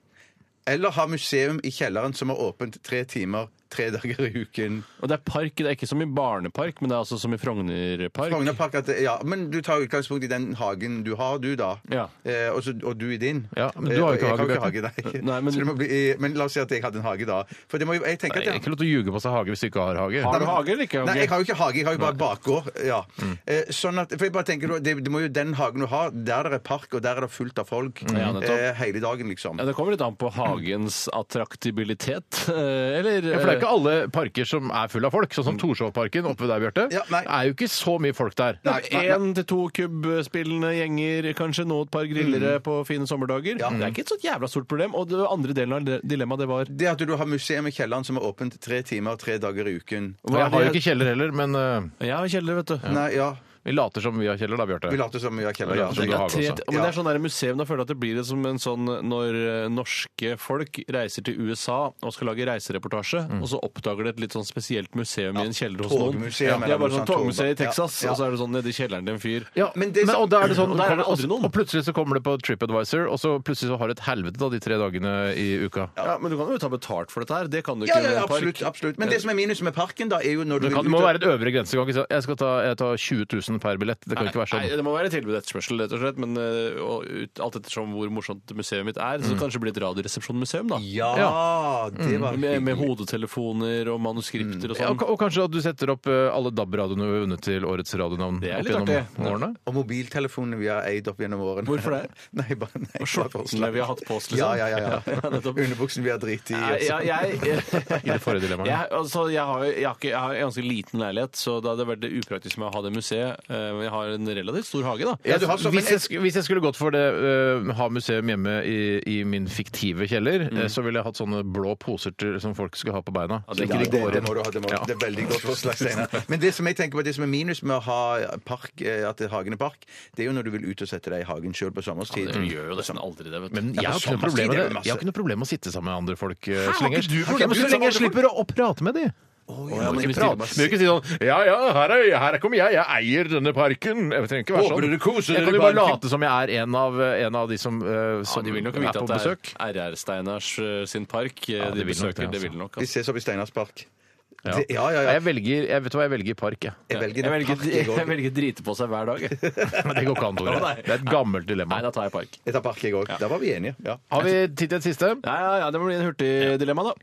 D: Eller ha museum i kjelleren som er åpent tre timer tre dager i uken.
E: Og det er park, det er ikke som i barnepark, men det er altså som i Frognerpark.
D: Frognerpark at, ja, Men du tar utgangspunkt i den hagen du har, du, da.
E: Ja.
D: Eh, og, så, og du i din. Eh,
C: Ja, men du har jo ikke
D: Jeg
C: hage,
D: hage, nei.
E: Nei, men-
D: Så det må bli, eh, men la oss si at jeg hadde en hage, da. For det må jo, jeg tenker
C: Det
D: at
C: er ikke lov til å ljuge på seg hage hvis du ikke har hage.
E: Har du hage eller ikke?
D: Nei,
E: hage?
D: jeg har jo ikke hage, jeg har jo bare bakgård. Ja.
C: Mm.
D: Eh, sånn at, for jeg bare tenker, det, det må jo den hagen du har, der det er park, og der er det fullt av folk
C: Mm.
E: Ja, nettopp.
D: eh, hele dagen, liksom.
E: Ja, det kommer litt an på hagens attraktibilitet, eh, eller
C: Ja, for det er ikke alle parker som er fulle av folk, sånn som Torshovparken oppe ved deg, Bjarte.
D: Ja, nei.
C: det er jo ikke så mye folk der.
D: Nei.
E: Én til to kubbspillende gjenger, kanskje nå et par
D: Mm.
E: grillere på fine sommerdager. Det er ikke et sånt jævla stort problem. Og det andre delen av dilemmaet, det var
D: Det at du har museum i kjelleren som er åpent tre timer tre dager i uken.
C: Og jeg har jo
E: det-
C: ikke kjeller heller, men eh,
E: Jeg har kjeller, vet du.
D: Nei, ja.
C: vi later som vi har kjeller da, Bjarte.
D: Vi later som vi har kjeller.
C: Vi
D: Ja,
C: later som
D: det
C: du
D: er
C: har hage
D: greit.
E: Tre,
C: også.
E: men det er sånn der museum, da føler jeg at det blir det som en sånn når eh, norske folk reiser til USA og skal lage reisereportasje, og så oppdager de et litt sånn spesielt museum i en kjeller hos noen.
D: togmuseum
E: Ja, de
D: eller
E: har bare
D: noe
E: sånn
D: sånt,
E: togmuseum i
D: tog-
E: Texas,
D: ja, ja.
E: og så er det sånn nedi kjelleren til en fyr.
C: Ja,
D: men det-
C: og da er det sånn,
E: Og der er det aldri noen.
C: Og plutselig så kommer det på TripAdvisor, og så plutselig så har du et helvete da, de tre dagene i uka.
E: Ja, men du kan jo ta betalt for dette her. Det kan du
D: Ja,
E: ikke
D: ja,
E: i
D: ja,
E: en park.
D: absolutt, absolutt. Men det som er minus med parken, da, er jo når du
C: Eh. Det, kan,
D: vil
C: det må
D: ut og-
C: være et øvre grense. Du kan ikke si, Jeg skal ta, jeg tar 20 000 per billett. Det kan ikke være
E: Nei,
C: sånn.
E: det må være tilbud etterspørsel, rett og slett. Men eh, og ut, alt ettersom hvor morsomt museet mitt er, så kanskje det blir et radioresepsjonmuseum, da.
D: Ja, det
C: Mm.
D: var
E: Med, med hodetelefoner og manuskripter og
C: Ja,
E: sånn.
C: og, ka- og kanskje at du setter opp eh, alle DAB-radioene vi har vunnet til årets radionavn.
E: Det er
C: opp
E: litt
C: gjennom
E: artig.
C: Årene.
D: Og mobiltelefonene vi har eid opp gjennom årene.
E: Hvorfor det?
D: Nei, bare, nei, bare
E: Og
D: for å slappe
E: skjortene vi har hatt på oss, liksom.
D: Ja, ja, ja. ja.
E: Ja, nettopp.
D: Underbuksen vi har driti i.
E: Nei,
D: og sånn.
E: jeg, jeg,
C: I det forrige dilemmaet.
E: jeg, altså, jeg, har, jo- jeg, har ikke, jeg har en ganske liten leilighet, så det hadde vært upraktisk med å ha det museet. eh, Men jeg har en relativt stor hage, da.
D: Ja, du har så-
C: hvis,
D: men-
C: jeg, sk- hvis jeg skulle gått for det øh, ha museum hjemme i, i min fiktive kjeller,
E: Mm.
C: eh, så ville jeg hatt sånne blå poser til, som folk skal ha på beina. Så
D: Ja,
C: ikke de
D: det,
C: går
D: det
C: inn.
D: må du ha. Det, må, du ha.
C: Ja.
D: det er veldig godt forslag, Steinar. Men det som jeg tenker på, det som er minus med å ha park, eh, at det er Hagen er park, det er jo når du vil ut og sette deg i hagen sjøl på sommerstid.
E: Du gjør jo nesten aldri det, sånn vet du.
C: Men jeg har, ikke noe
D: sommerstid
C: problem med
D: er
C: det.
D: det masse.
C: jeg har ikke noe problem med å sitte sammen med andre folk. eh,
E: har
C: Så lenge,
E: ikke du problem med
C: så
E: å sitte sammen
C: lenge jeg
E: med andre
C: slipper å, å prate med de.
D: ja, men
C: Ikke
D: hvis
C: prate.
D: de bare
C: Men ikke si sånn Ja, ja, her, er, her kommer jeg, jeg eier denne parken. Jeg trenger ikke være
D: Håper
C: sånn.
D: dere koser
C: Jeg kan
D: dere
C: jo bare
D: bare-
C: late som jeg er en av, en av de som, eh,
E: Ja,
C: som
E: de vil nok
C: er
E: vite
C: på
E: at det er
C: besøk.
E: RR-Steiners eh, sin park eh,
C: Ja,
E: de
C: det vil nok det,
E: besøker. Det
C: altså.
E: vil nok.
D: Vi
E: Altså.
D: ses opp i Steinars park.
C: Ja.
D: Det, ja, ja, ja.
C: Jeg velger, jeg vet du hva, jeg velger park, jeg.
D: Jeg velger,
E: Jeg velger,
D: park, jeg,
E: jeg
D: også.
E: velger drite på seg hver dag.
C: Men det går ikke an, Tore.
E: Å, nei.
C: Det er et gammelt dilemma.
E: Nei, da tar jeg park.
D: jeg tar park, jeg òg. Der var vi enige. Ja.
C: Har vi tid til et siste?
E: Ja, ja, ja, Det må bli en hurtig dilemma, da.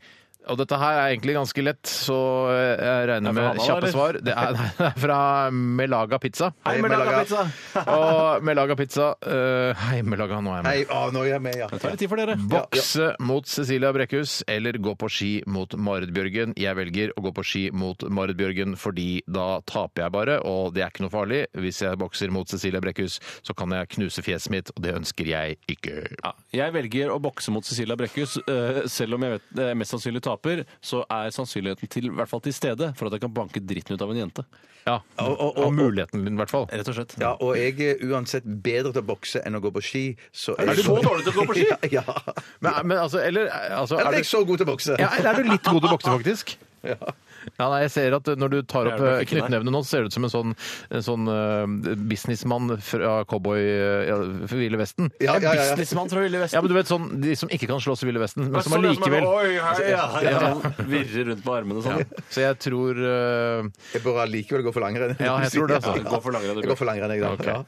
C: Og dette her er egentlig ganske lett, så eh, jeg regner
E: Er det fra
C: med
E: Hanna,
C: kjappe
E: eller?
C: svar. Det er, nei, det er fra Melaga Pizza.
E: Hei,
D: Hei,
E: Melaga
D: Melaga.
E: Pizza!
C: Og Melaga Pizza eh, Hei, Melaga, nå er jeg
D: Nei,
C: med.
D: å, nå er jeg med, ja.
E: Det tar litt tid for dere.
C: Bokse mot Cecilia Brekkhus eller gå på ski mot Marit Bjørgen. Jeg velger å gå på ski mot Marit Bjørgen, fordi da taper jeg bare, og det er ikke noe farlig. Hvis jeg bokser mot Cecilia Brekkhus, så kan jeg knuse fjeset mitt, og det ønsker jeg ikke.
E: Ja, jeg velger å bokse mot Cecilia Brekkhus. eh, Selv om jeg vet, eh, mest sannsynlig taper, så er sannsynligheten til, i hvert fall til stede for at jeg kan banke dritten ut av en jente.
C: Ja, og,
D: og- og-
C: muligheten din, i hvert fall.
E: Rett og slett.
D: Ja, og jeg er uansett bedre til å bokse enn å gå på ski. Så
E: Er du så dårlig til å gå på ski?
D: Ja.
C: Men, men altså, eller altså,
D: Eller
C: er
D: er
C: du-
D: jeg så god til å bokse?
C: Ja, eller er du litt god til å bokse, faktisk? Ja. nei, jeg ser at når du tar
E: Det er
C: opp
E: du nok
C: eh,
E: ikke, nei.
C: knyttneven nå, så ser du ut som en sånn, en sånn eh, businessmann fra cowboy eh, ja, fra Ville Vesten.
D: Ja, ja, ja, ja.
E: Businessmann fra Ville Vesten.
C: Ja, men du vet sånn, De som ikke kan slåss i Ville Vesten, men som
E: Sånn er det
C: allikevel
E: Oi, hei, ja, ja. Virrer rundt på armene sånn.
C: Så jeg tror eh,
D: Jeg bør allikevel gå for langrenn.
C: Ja, jeg tror det, altså.
D: Ja,
E: Gå for langrenn, du,
D: Jeg går for langrenn, jeg, da.
C: Ok.
D: Ja.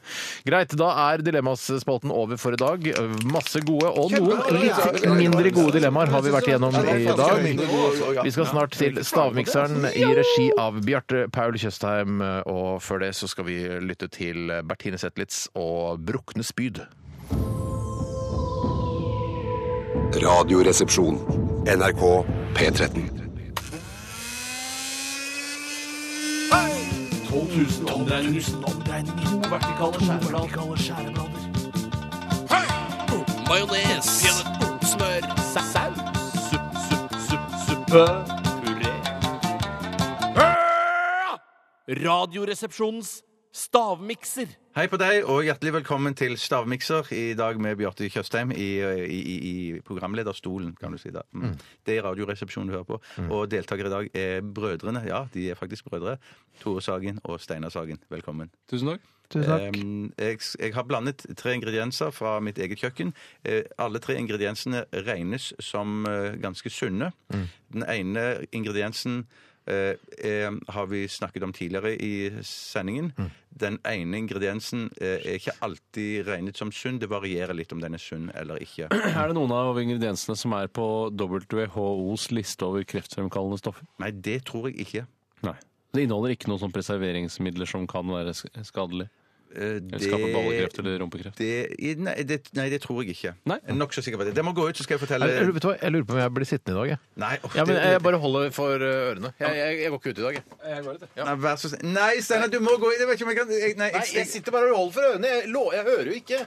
C: Greit, da er Dilemmaspalten over for i dag. Masse gode og
D: Kjempebra,
C: noen
D: ja.
C: litt mindre gode dilemmaer har vi vært igjennom i dag.
D: Mindre gode, ja.
C: Vi skal snart til stavmikseren.
I: Forræderen i regi av Bjarte Paul Tjøstheim. Og før det så skal vi lytte til Bertine Zetlitz og Brukne spyd.
F: Radioresepsjon. NRK P13.
E: 12 000 omdreininger. To vertikale skjæreblader. Majones. Smør. Saus. Supp, supp, supp, suppe. Puré. Radioresepsjonens stavmikser.
D: Hei på deg, og hjertelig velkommen til Stavmikser. I dag med Bjarte Tjøstheim i, i, i, i programlederstolen, kan du si. da. Mm. Det er Radioresepsjonen du hører på. Og deltakere i dag er brødrene. Ja, de er faktisk brødre. Tore Sagen og Steinar Sagen. Velkommen.
E: Tusen takk.
D: Em, jeg, jeg har blandet tre ingredienser fra mitt eget kjøkken. Eh, alle tre ingrediensene regnes som eh, ganske sunne.
I: Mm.
D: Den ene ingrediensen eh, eh, har vi snakket om tidligere i sendingen.
I: Mm.
D: Den ene ingrediensen eh, er ikke alltid regnet som sunn. Det varierer litt om den er sunn eller ikke.
E: Er det noen av ingrediensene som er på WHOs liste over kreftfremkallende stoffer?
D: Nei, det tror jeg ikke.
E: Nei. Det inneholder ikke noen sånne preserveringsmidler som kan være sk- skadelig?
D: Eh,
E: Eller skape ballekreft eller rumpekreft?
D: det, nei, det, nei, det tror jeg ikke.
E: Nei.
D: Nokså sikker på det. Det må gå ut, så skal jeg fortelle
I: Jeg, jeg, vet du hva? jeg lurer på om jeg blir sittende i dag. Jeg.
D: Nei, åh,
I: Ja, men
D: Eh,
I: eh,
D: det-
I: jeg bare holder for eh, ørene. Jeg, jeg, jeg går ikke ut i dag. Jeg.
D: Nei, vær så snill. Nei, Steinar, du må gå inn. Jeg vet ikke om jeg kan jeg, Nei, jeg, jeg,
I: sitter bare og holder for ørene. Jeg, hører jo ikke.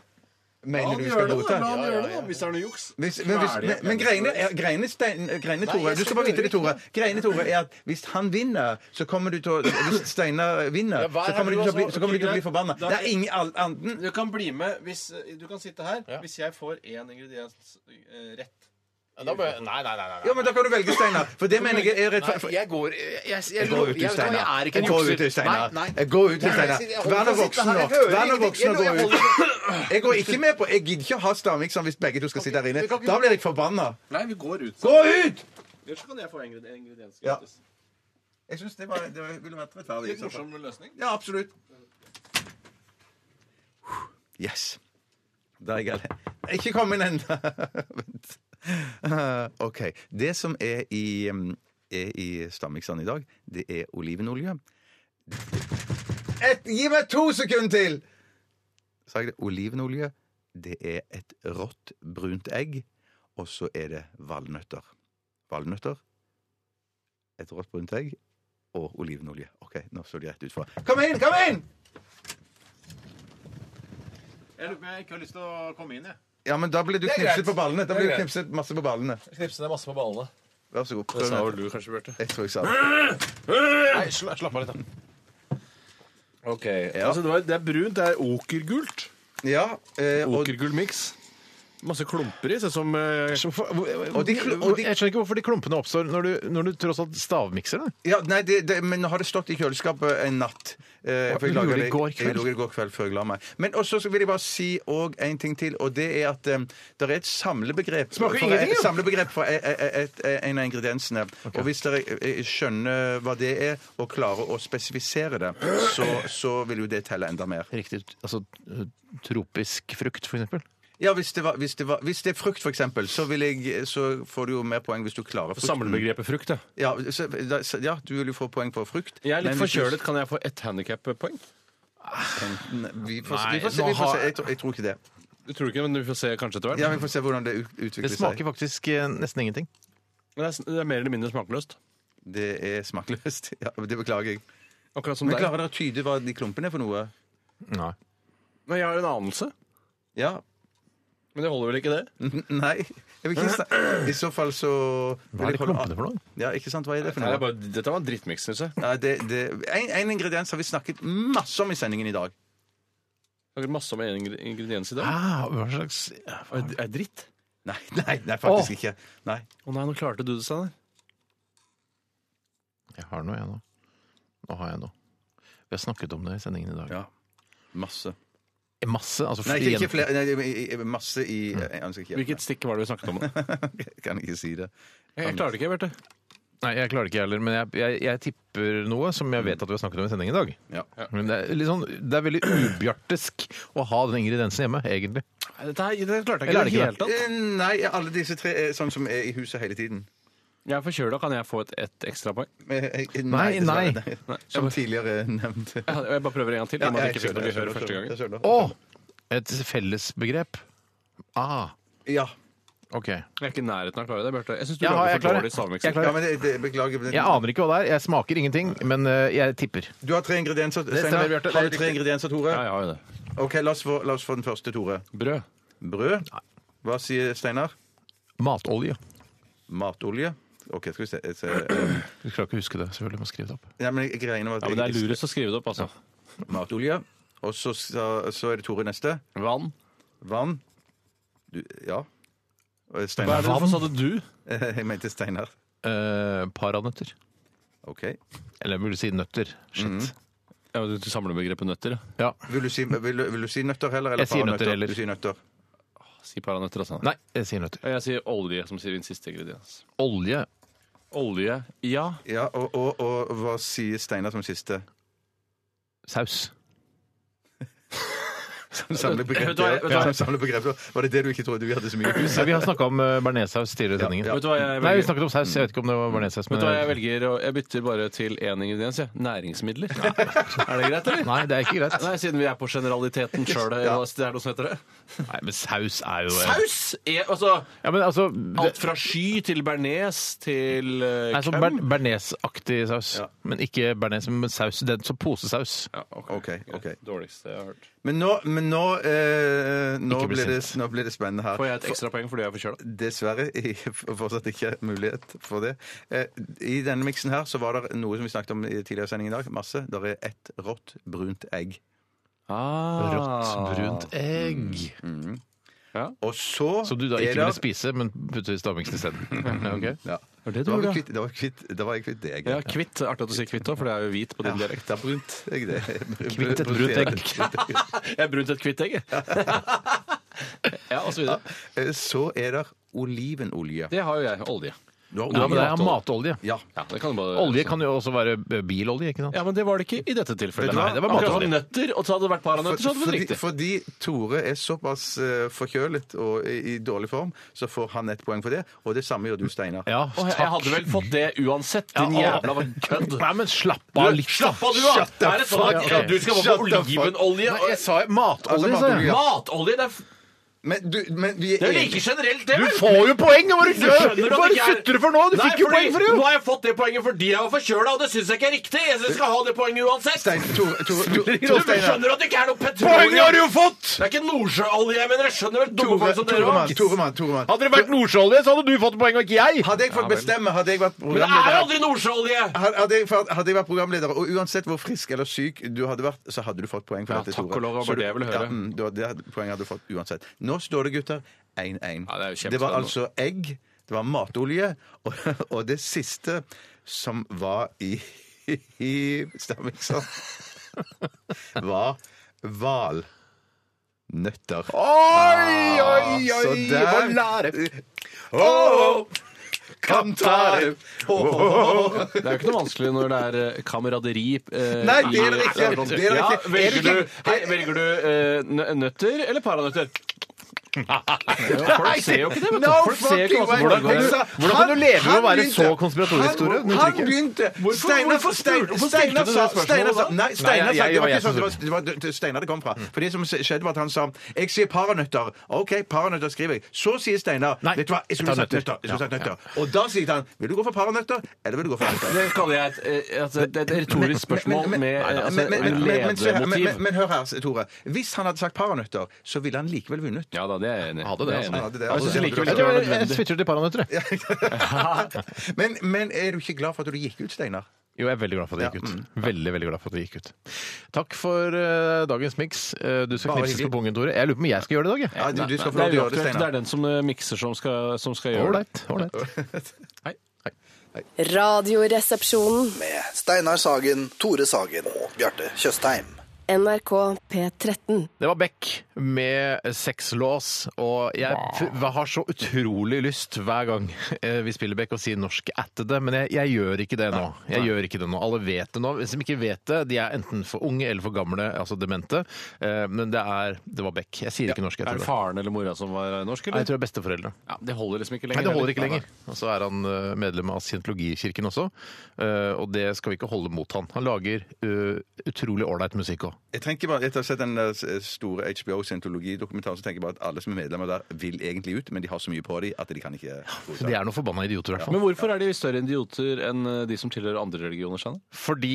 D: mener du skal gå ut her?
C: Hvis det er noe juks.
D: Hvis, men, hvis, men, men greiene, er- greiene, Stein, greiene Tore, du skal bare vite det, Tore. Greiene, Tore, er at hvis han vinner, så kommer du til å Hvis Steinar vinner,
C: Ja, hva er
D: så kommer
C: det
D: du
C: du
D: til å bli,
C: har
D: så kommer du til å bli
C: sagt?
D: forbanna.
C: Da-
D: Det er ingen all, anden
C: Du kan bli med hvis eh, Du kan sitte her
I: hvis
C: jeg får én ingrediens eh, rett.
I: nei, nei, nei.
D: Ja, men da kan du velge, Steinar. For det mener jeg er rettferdig.
I: jeg går jeg, jeg,
D: Jeg går ut til Steinar.
I: er ikke
D: Jeg
I: en
D: går ut
I: jukser.
D: til Steinar.
I: Nei, nei.
D: Jeg går ut til
I: Nei,
D: Steinar.
I: jeg sitter- jeg
D: Vær nå
I: holder på å sitte
D: voksen
I: her.
D: nå.
I: Jeg hører
D: Vær nå
I: ingenting.
D: voksen og
I: Jeg
D: gå
I: holder-
D: ut. Jeg går ikke med på Jeg gidder ikke ha stavmikseren hvis begge to skal sitte her inne. Da blir jeg forbanna.
C: Nei, vi går ut.
D: Gå ut!
C: Ellers kan jeg få ingrediens
D: Ja. Jeg syns det, var- det var- ville vært rettferdig. i så fall.
C: løsning.
D: Ja, absolutt. Yes. Da er jeg alle. Ikke kom inn ennå. Vent. Eh, OK. Det som er i, um, er i stammiksene i dag, det er olivenolje. Et, gi meg to sekunder til! Sa jeg det? Olivenolje. Det er et rått, brunt egg. Og så er det valnøtter. Valnøtter, et rått, brunt egg og olivenolje. OK, nå så det greit ut fra. Kom inn! Kom inn!
C: Jeg lurer på om jeg ikke har lyst til å komme inn, jeg.
D: Ja, men da ble du knipset på ballene. Da ble du knipset masse på ballene.
C: Knipse deg masse på ballene.
D: Vær så god. Prøv nå.
E: du kanskje, Bjarte.
D: Jeg tror jeg sa det.
C: Nei, sla, slapp av litt, da. OK.
E: Altså, det, var, det er brunt, det er okergult.
D: Ja, eh, og,
E: Okergullmiks. Masse klumper i, sånn som eh,
D: Og de kl- og de-
I: Jeg skjønner ikke hvorfor de klumpene oppstår når du, når du tross alt stavmikser det.
D: ja, nei, det, det, men nå har det stått i kjøleskapet en natt. Eh,
I: du gjorde det i går kveld.
D: Jeg gjorde det i går kveld før jeg la meg. Men også så vil jeg bare si og en ting til, og det er at eh, det er et samlebegrep
I: Smaker
D: for,
I: ingenting,
D: et
I: jo.
D: samlebegrep for et, et, et, e- en av ingrediensene. Og hvis dere eh, skjønner hva det er, og klarer å spesifisere det, så, så vil jo det telle enda mer.
I: Riktig. Altså tropisk frukt, for eksempel.
D: Ja, hvis det, var, hvis, det var, hvis det er frukt, for eksempel, så, vil jeg, så får du jo mer poeng hvis du klarer frukten.
E: samlebegrepet frukt. Ja.
D: Ja, så, da, så, ja, du vil jo få poeng for frukt.
E: Jeg er
D: men
E: litt
D: hvis du-
E: forkjølet. Kan jeg få ett handikappoeng?
D: Nei, Vi får se,
I: Nei,
D: vi får se,
I: nå
D: vi får
I: har-
D: se. Jeg, tror, jeg tror ikke det.
E: Du tror ikke, men vi får se kanskje etter hvert.
D: Ja, Vi får se hvordan det ut-
I: Det
D: utvikler seg.
I: smaker faktisk eh, nesten ingenting.
E: Men det, er, det er mer eller mindre smakløst.
D: Det er smakløst. Ja, det beklager jeg.
E: Akkurat som
D: Men
E: deg.
D: klarer dere å tyde hva de klumpene er for noe?
I: Nei.
E: Men jeg har en anelse.
D: Ja.
E: Men det holder vel ikke det?
D: N- Nei. Jeg vil ikke sna- I så fall så
I: Hva er det klumpene for noe?
D: Ja, ikke sant? Hva er det for noe?
E: dette var en drittmiks, syns jeg.
D: Ja, det, det, en, en ingrediens har vi snakket masse om i sendingen i dag.
E: Lager masse med ingre- ingredienser i dag.
I: Ah, hva slags
E: Er det- Er det dritt?
D: Nei, nei, nei faktisk ikke. Nei.
E: Å nei, nå klarte du det, Steinar.
I: Jeg har noe, jeg nå. Nå har jeg noe. Vi har snakket om det i sendingen i dag.
D: Ja. Masse.
I: Masse. Altså
D: Nei, ikke, ikke
I: igjen-
D: flere. Nei, i- i- masse i jeg ønsker ikke
E: Hvilket stikk var det vi snakket om? Jeg,
D: Jeg kan ikke si det.
E: jeg klarte det ikke, Bjarte.
I: Nei, jeg klarer det ikke jeg heller, men jeg, jeg, jeg tipper noe som jeg vet at vi har snakket om i sendingen i dag.
D: Ja.
I: Men det er, litt sånn, det er veldig ubjartisk å ha den ingrediensen hjemme, egentlig.
E: Dette her, det klarte jeg
I: Eller er det
E: ikke. i det
I: ikke
E: hele tatt.
D: Eh, Nei, alle disse tre er sånn som er i huset hele tiden.
E: Jeg er forkjøla, kan jeg få et, et ekstrapoeng?
D: Eh, eh,
C: Nei, nei.
D: dessverre. Som tidligere nevnt.
E: Jeg hadde- jeg bare prøver en gang til. i og med at jeg ikke fikk noe gehør første gangen.
C: Å! Et fellesbegrep. Ah,
D: Ja.
C: OK.
E: Jeg er ikke i nærheten av å klare det, Bjarte. Jeg syns du
C: Ja,
E: lager
C: jeg
E: for
C: klarer.
E: dårlig
C: Jeg
E: stavmikser.
C: klarer.
D: ja, men det, det, beklager. men-
C: Jeg aner ikke hva det er. Jeg smaker ingenting, men eh, jeg tipper.
D: Du har tre ingredienser. Steinar.
C: stemmer, Bjarte.
D: har
C: Det er
D: du tre
C: riktig.
D: ingredienser, Tore?
E: Ja, jeg har jo det.
D: OK, la oss, få, la oss få den første, Tore.
E: Brød.
D: Brød. Hva sier Steinar?
C: Matolje.
D: Matolje. OK, skal vi se, jeg ser- eh,
C: Du klarer ikke å huske det, selvfølgelig. Må skrive det opp.
D: Nei, men jeg greiene var at
E: Ja, men det er
D: jeg-
E: lurest å skrive det opp, altså.
D: Matolje. Og så, sa- så er det Tore neste.
E: Vann.
D: Vann. Du, ja. Og
E: Hva er
D: Steinar.
E: det? Hvorfor sa du du?
D: Jeg mente Steinar.
C: Eh, paranøtter.
D: OK.
C: Eller jeg burde si nøtter. Shit.
E: Mhm. Ja, men Du samler begrepet nøtter. ja.
C: Ja.
D: Vil du si, vil, du- vil du si nøtter heller? Eller
C: Jeg sier nøtter
D: paranøtter?
C: heller.
D: Du sier nøtter.
E: Si paranøtter, altså.
C: Nei, jeg sier nøtter.
E: Og Jeg sier olje som sier din siste ingrediens.
C: Olje.
E: Olje. Ja.
D: Ja, og, og, og hva sier Steinar som siste?
C: Saus.
D: Samle
E: Vet du hva, vet du hva?
D: begrepet. Samle begrepet. Var det det du ikke trodde vi hadde så mye hus?
C: Ja, vi har snakka om uh, bearnéssaus tidligere i sendingen.
E: Vet du hva jeg
C: Nei, vi
E: velger?
C: snakket om saus. Jeg vet ikke om det var bearnéssaus.
E: Vet du hva jeg velger? å- Jeg bytter bare til én ingrediens, jeg. Næringsmidler. Er det greit, eller?
C: Nei, det er ikke greit.
E: Nei, siden vi er på generaliteten sjøl, det er noe som heter det.
C: Nei, men saus er jo eh,
E: Saus! Er, altså,
C: Ja, men altså
E: alt fra sky til bearnés til eh,
C: Nei, sånn
E: køm.
C: ber Bearnés-aktig saus. Men ikke bearnés, men saus. Den som sånn posesaus.
E: Ja, ok.
D: Ok, ok.
E: Dårligste jeg har hørt.
D: Men nå, men nå, eh, nå,
C: Ikke bli
D: blir det,
C: sint.
D: nå blir det spennende her.
E: Får jeg et ekstrapoeng fordi jeg er forkjøla?
D: Dessverre jeg får fortsatt ikke mulighet for det. Eh, I denne miksen her så var det noe som vi snakket om i tidligere sending i dag. Masse. Der er ett rått, brunt egg.
C: Rått,
E: Ah.
C: brunt egg.
D: Og så
C: Som Mm. du da
D: er
C: ikke ville
D: der-
C: spise, men putter i stavmiksen isteden. Okay.
D: Ja.
E: Var det
D: Da var
E: du
D: vi
E: gjorde?
D: kvitt- Da var jeg kvitt, da var jeg kvitt det egget.
E: Ja, kvitt. Artig at du sier kvitt òg, for det er jo hvit på din
D: Ja,
E: dialekt.
D: det er brunt egg, det.
C: Kvitt et brunt egg.
E: Jeg er brunt et kvitt egg, jeg. ja, og så videre.
D: Eh, Så er der olivenolje.
E: Det har jo jeg. Olje.
C: Ja, men det er matolje.
D: Ja.
E: Ja, det kan du bare...
C: Olje kan jo også være eh, bilolje, ikke sant?
E: Ja, men det var det ikke i dette tilfellet.
D: Vet du hva?
E: Nei, det var
C: Akkurat
E: bare nøtter, og så hadde det vært paranøtter, så hadde det vært
D: fordi,
E: riktig.
D: fordi Tore er såpass eh, forkjølet og i, i dårlig form, så får han ett poeng for det. Og det samme gjør du, Steinar.
C: Ja,
E: Åh, jeg hadde vel fått det uansett, din
C: Ja, å.
E: jævla kødd.
C: Nei, men slapp av litt.
E: Slapp av, du, da!
C: Shut the
E: Er det sånn
C: fuck
E: at
C: up.
E: du skal få
D: Shut the fuck-
E: olivenolje?
C: Nei,
E: og-
C: jeg sa matolje,
D: Altså,
C: sa
D: matolje,
C: jeg.
D: ja.
E: Matolje? Det er, f-
D: Men, du, men vi
E: det
D: er
E: er jo
D: enige.
E: like generelt, det,
C: Du
E: vel?
C: får jo poeng! Hva er det du
E: skjønner at
C: Hva er det
E: ikke
C: du
E: jeg-
C: sutter for nå? Du
E: Nei,
C: fikk jo
E: fordi
C: poeng for det!
E: Nå
C: jo.
E: har jeg fått det poenget fordi jeg var forkjøla, og det syns jeg ikke er riktig! Jeg synes jeg skal ha det poenget uansett!
D: Stein, Tore, Tore, Tore,
E: Du
D: Tore Steinar.
E: skjønner at det ikke er noe
C: Poeng
E: petroleum?
C: har du jo fått!
E: Det er ikke nordsjøolje, jeg mener. Jeg skjønner vel dumme
D: Tore,
E: folk som dere
D: Toremann,
E: også.
D: Toremann, Toremann.
C: Hadde det vært nordsjøolje, så hadde du fått poeng, og ikke jeg!
D: Hadde jeg fått bestemme, hadde jeg vært
E: Men det er
D: programleder
E: aldri nordsjøolje!
D: Hadde hadde jeg, fått- hadde jeg vært programleder, og uansett hvor frisk eller syk du hadde vært, så hadde du fått poeng for
E: Ja,
D: dette, Tore.
E: takk og lov,
D: Så
E: det var bare
D: du-
E: det jeg ville høre.
D: Ja, mm, du, det hadde- poenget hadde du fått uansett. Nå står det, gutter, 1-1.
E: Ja, det er jo kjempespennende.
D: var altså egg, det var matolje, og, og det siste som var i, i stavmikser, var valnøtter.
C: Oi, oi,
D: Ah,
C: oi!
D: så der.
C: Hva lære?
D: Oh, Kantare! Oh, oh, oh, oh.
E: Det er jo ikke noe vanskelig når det er eh, kameraderi eh,
D: Nei, det er det
E: i-
D: ikke. Det er det ikke.
E: Ja,
D: Er
E: velger
D: det
E: du,
D: ikke-
E: hei, velger du eh, nø- nøtter eller paranøtter? Folk ser jo ikke det, vet du.
C: No
E: Folk ser jo ikke
C: fucking
E: hva som
C: way.
E: foregår.
C: Altså, Hvordan kan du leve med å
D: han
C: være
D: begynte-
C: så konspiratorisk, Tore?
D: Han,
C: Under
D: han
C: trykket.
D: begynte!
E: Hvorfor-
D: Steinar
E: hvorfor spurte- hvorfor stilte
D: Steinar
E: du det
D: sa
E: spørsmålet
D: Steinar sa
E: da?
D: Nei, Steinar
C: Nei,
D: sa
C: jeg-
D: Det var
C: jeg
D: ikke sånn
C: som
D: det var- det var det- Steinar det kom fra. For det som skjedde, var at han sa Jeg sier paranøtter. OK, paranøtter skriver jeg. Så sier Steinar
C: Nei,
D: Vet du hva, jeg
C: jeg tar
D: skulle sagt nøtter.
C: nøtter.
D: Jeg skulle sagt nøtter. Og da sier han Vil du gå for paranøtter, eller vil du gå for nøtter?
E: Det kaller jeg et, eh, altså, det er et retorisk spørsmål
D: Men- men-
E: med eh, altså,
D: men- men- men- men- men- men- men-
E: ledemotiv.
D: Men hør her, Tore. Hvis han hadde sagt paranøtter, så ville han likevel vunnet.
E: Ja da, det er jeg enig i.
C: Hadde det,
E: Det er jeg
C: altså.
E: enig i.
D: Hadde det,
E: Jeg synes
D: altså.
E: likevel
C: Jeg
E: ikke det
C: tror
E: var
C: jeg- jeg
E: nødvendig.
C: switcher til paranøtter. jeg.
D: men, men er du ikke glad for at du gikk ut, Steinar?
C: Jo, jeg er veldig glad for at det gikk ut.
E: Mm.
C: Veldig, veldig glad for at det gikk ut. Takk for eh, dagens miks. Eh, du skal
D: Bare
C: knipses
D: hyggelig.
C: på pungen, Tore. Jeg lurer på om jeg skal gjøre det i dag, jeg.
D: Ja, du, du skal få
E: Det
D: lov
E: er
D: til å gjøre det,
E: uaktuelt. Det
D: Steinar.
E: er den som eh, mikser som skal, som skal gjøre det.
C: Ålreit. ålreit.
G: Radioresepsjonen.
K: Med Steinar Sagen, Tore Sagen og Bjarte Tjøstheim.
G: NRK P13.
C: Det var Beck med sexlås, og jeg f har så utrolig lyst hver gang eh, vi spiller Beck å si norsk ættede, men jeg, jeg gjør ikke det nå. Jeg gjør ikke det nå. Alle vet det nå. Hvis de ikke vet det, de er enten for unge eller for gamle, altså demente, eh, men det er Det var Beck. Jeg sier ikke norsk
E: Er det
C: ættede.
E: faren eller mora som var norsk,
C: Nei,
E: eller?
C: jeg tror det er besteforeldre.
E: Ja, det holder liksom ikke lenger.
C: Nei, det holder ikke
E: heller.
C: lenger. Og så er han eh, medlem av Scientologikirken også, eh, og det skal vi ikke holde mot han. Han lager eh, utrolig ålreit musikk òg.
D: Jeg tenker bare, Etter å ha sett den eh, store HBO Scientologi-dokumentaren, så tenker jeg bare at alle som er medlemmer der, vil egentlig ut, men de har så mye på dem at de kan ikke
C: De er noen forbanna idioter, i hvert fall.
E: Men hvorfor er de større idioter enn eh, de som tilhører andre religioner? Skjønner?
C: Fordi,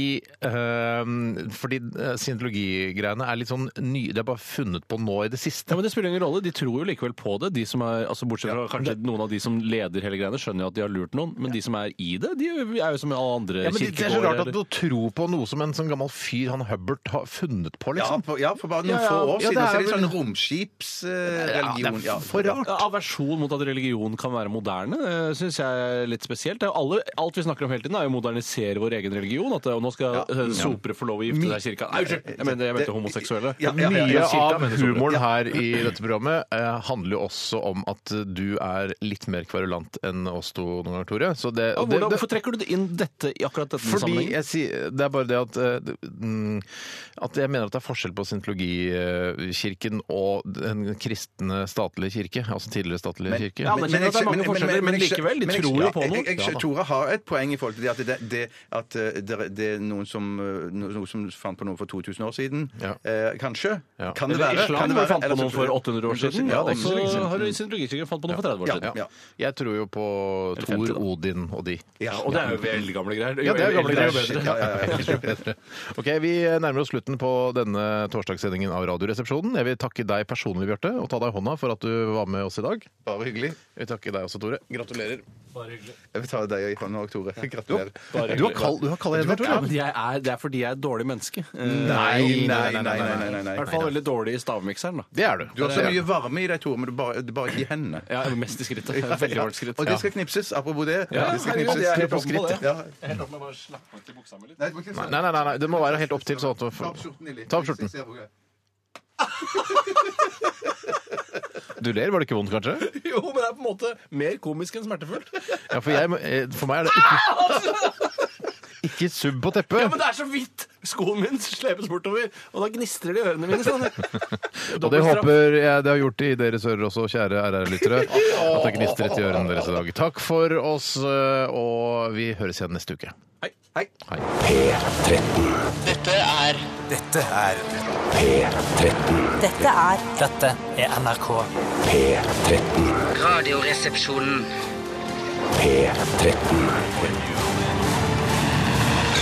C: ehm, fordi eh, scientologigreiene er litt sånn ny... Det er bare funnet på nå i det siste.
E: Ja, men Det spiller ingen rolle. De tror jo likevel på det. De som er, altså Bortsett fra kanskje noen av de som leder hele greiene, skjønner jo at de har lurt noen. Men de som er i det, de er jo som alle andre
C: Ja, men det, det er så rart at
E: kirkegårder.
C: du tror på noe som en sånn gammel fyr, han Hubbert, har funnet på,
D: Ja,
C: liksom.
D: for, ja, for bare noen
C: Ja, ja.
D: få år
C: Ja, det
D: siden
C: er
D: så er det
C: vel-
D: sånn romskipsreligion.
C: det er for rart.
E: Aversjon mot at religion kan være moderne, syns jeg er litt spesielt. Det er jo Alle, alt vi snakker om hele tiden, er jo å modernisere vår egen religion. At eh, nå skal eh, sopere få lov å gifte seg i kirka. Nei, unnskyld! Jeg mente, jeg mente homoseksuelle.
D: Ja, ja, ja,
C: Mye
D: ja, cirka,
C: av
D: mener jeg, Tore.
C: humoren her i dette programmet eh, handler jo også om at du er litt mer kverulant enn oss to noen ganger, Tore. Så det,
E: Og
C: det,
E: hvordan,
C: det,
E: hvorfor trekker du det inn dette i akkurat denne
C: Fordi
E: sammenhengen?
C: jeg sier, Det er bare det at eh, det- mm, At jeg mener at det er forskjell på scientologikirken og den kristne statlige kirke. Altså tidligere statlige kirke.
E: Ja, men- anerkjenner at det er mange forskjeller, men likevel, de tror jo på noe.
D: Jeg, jeg,
E: Ja, da.
D: Tore har et poeng i forhold til det at det, det, at eh, det, det er noen som, eh, no- noe som fant på noe for 2000 år siden.
C: Ja.
D: Eh, kanskje.
C: Ja.
D: Kan det
E: Eller
D: være?
E: Islam
D: kan det
E: hvor
D: være?
E: fant på
D: Eller så-
E: noen for 800 år siden,
D: Ja,
E: og
D: det er ikke så lenge
E: så
D: siden.
E: har scientologikirken fant på noe for 30 år
D: Ja,
E: siden.
D: ja.
C: Jeg tror jo på Thor,
E: 50 da.
C: Odin og de.
D: Ja,
E: Og det er jo veldig gamle greier.
C: Ja, det er jo gamle greier.
E: Eldre, jo bedre.
C: Ja, ja, ja. Ok, Vi nærmer oss slutten på denne torsdagssendingen av Radioresepsjonen. Jeg vil takke deg personlig, Bjarte, og ta deg i hånda for at du var med oss i dag.
D: Bare hyggelig.
C: Jeg vil takke deg også, Tore. Gratulerer.
D: Jeg vil ta deg i hånda òg, Tore. Gratulerer.
C: Du har kald, du har kald hender,
E: Ja, men
C: Tore.
E: jeg er, det er fordi jeg er et dårlig menneske. Eh,
D: Nei, nei, nei, nei, nei, nei, nei.
E: I hvert fall veldig dårlig i stavmikseren, da.
C: Det er du.
D: Du har så mye varme i deg, Tore, men du bare, du bare ikke i hendene.
E: Ja, mest i skrittet. Veldig hardt skritt.
D: Og det skal knipses. Apropos det.
E: Ja,
D: det skal
E: herregud,
D: knipses.
E: jeg er
D: Knipp
E: helt
D: og skritt.
E: åpen på det.
D: Ja.
E: Nei,
D: Nei, du må ikke-
C: Nei, nei, nei, nei. Det må være helt opp til. Sånn at du
D: Ta
C: får...
D: opp skjorten din litt.
C: Ta opp skjorten.
D: Se hvor jeg-
C: Du ler, var det ikke vondt, kanskje?
E: Jo, men det er på en måte mer komisk enn smertefullt.
C: Ja, for, jeg, eh, for meg er det ikke Ikke subb på teppet!
E: Ja, men det er så vidt! Skoen min slepes bortover, og da gnistrer det i ørene mine. sånn.
C: Og det håper jeg det har gjort i deres ører også, kjære RR-lyttere. At det gnistret i ørene deres i dag. Takk for oss, eh, og vi høres igjen neste uke.
L: Dette er
M: Dette er
L: Dette er NRK.
M: Radioresepsjonen.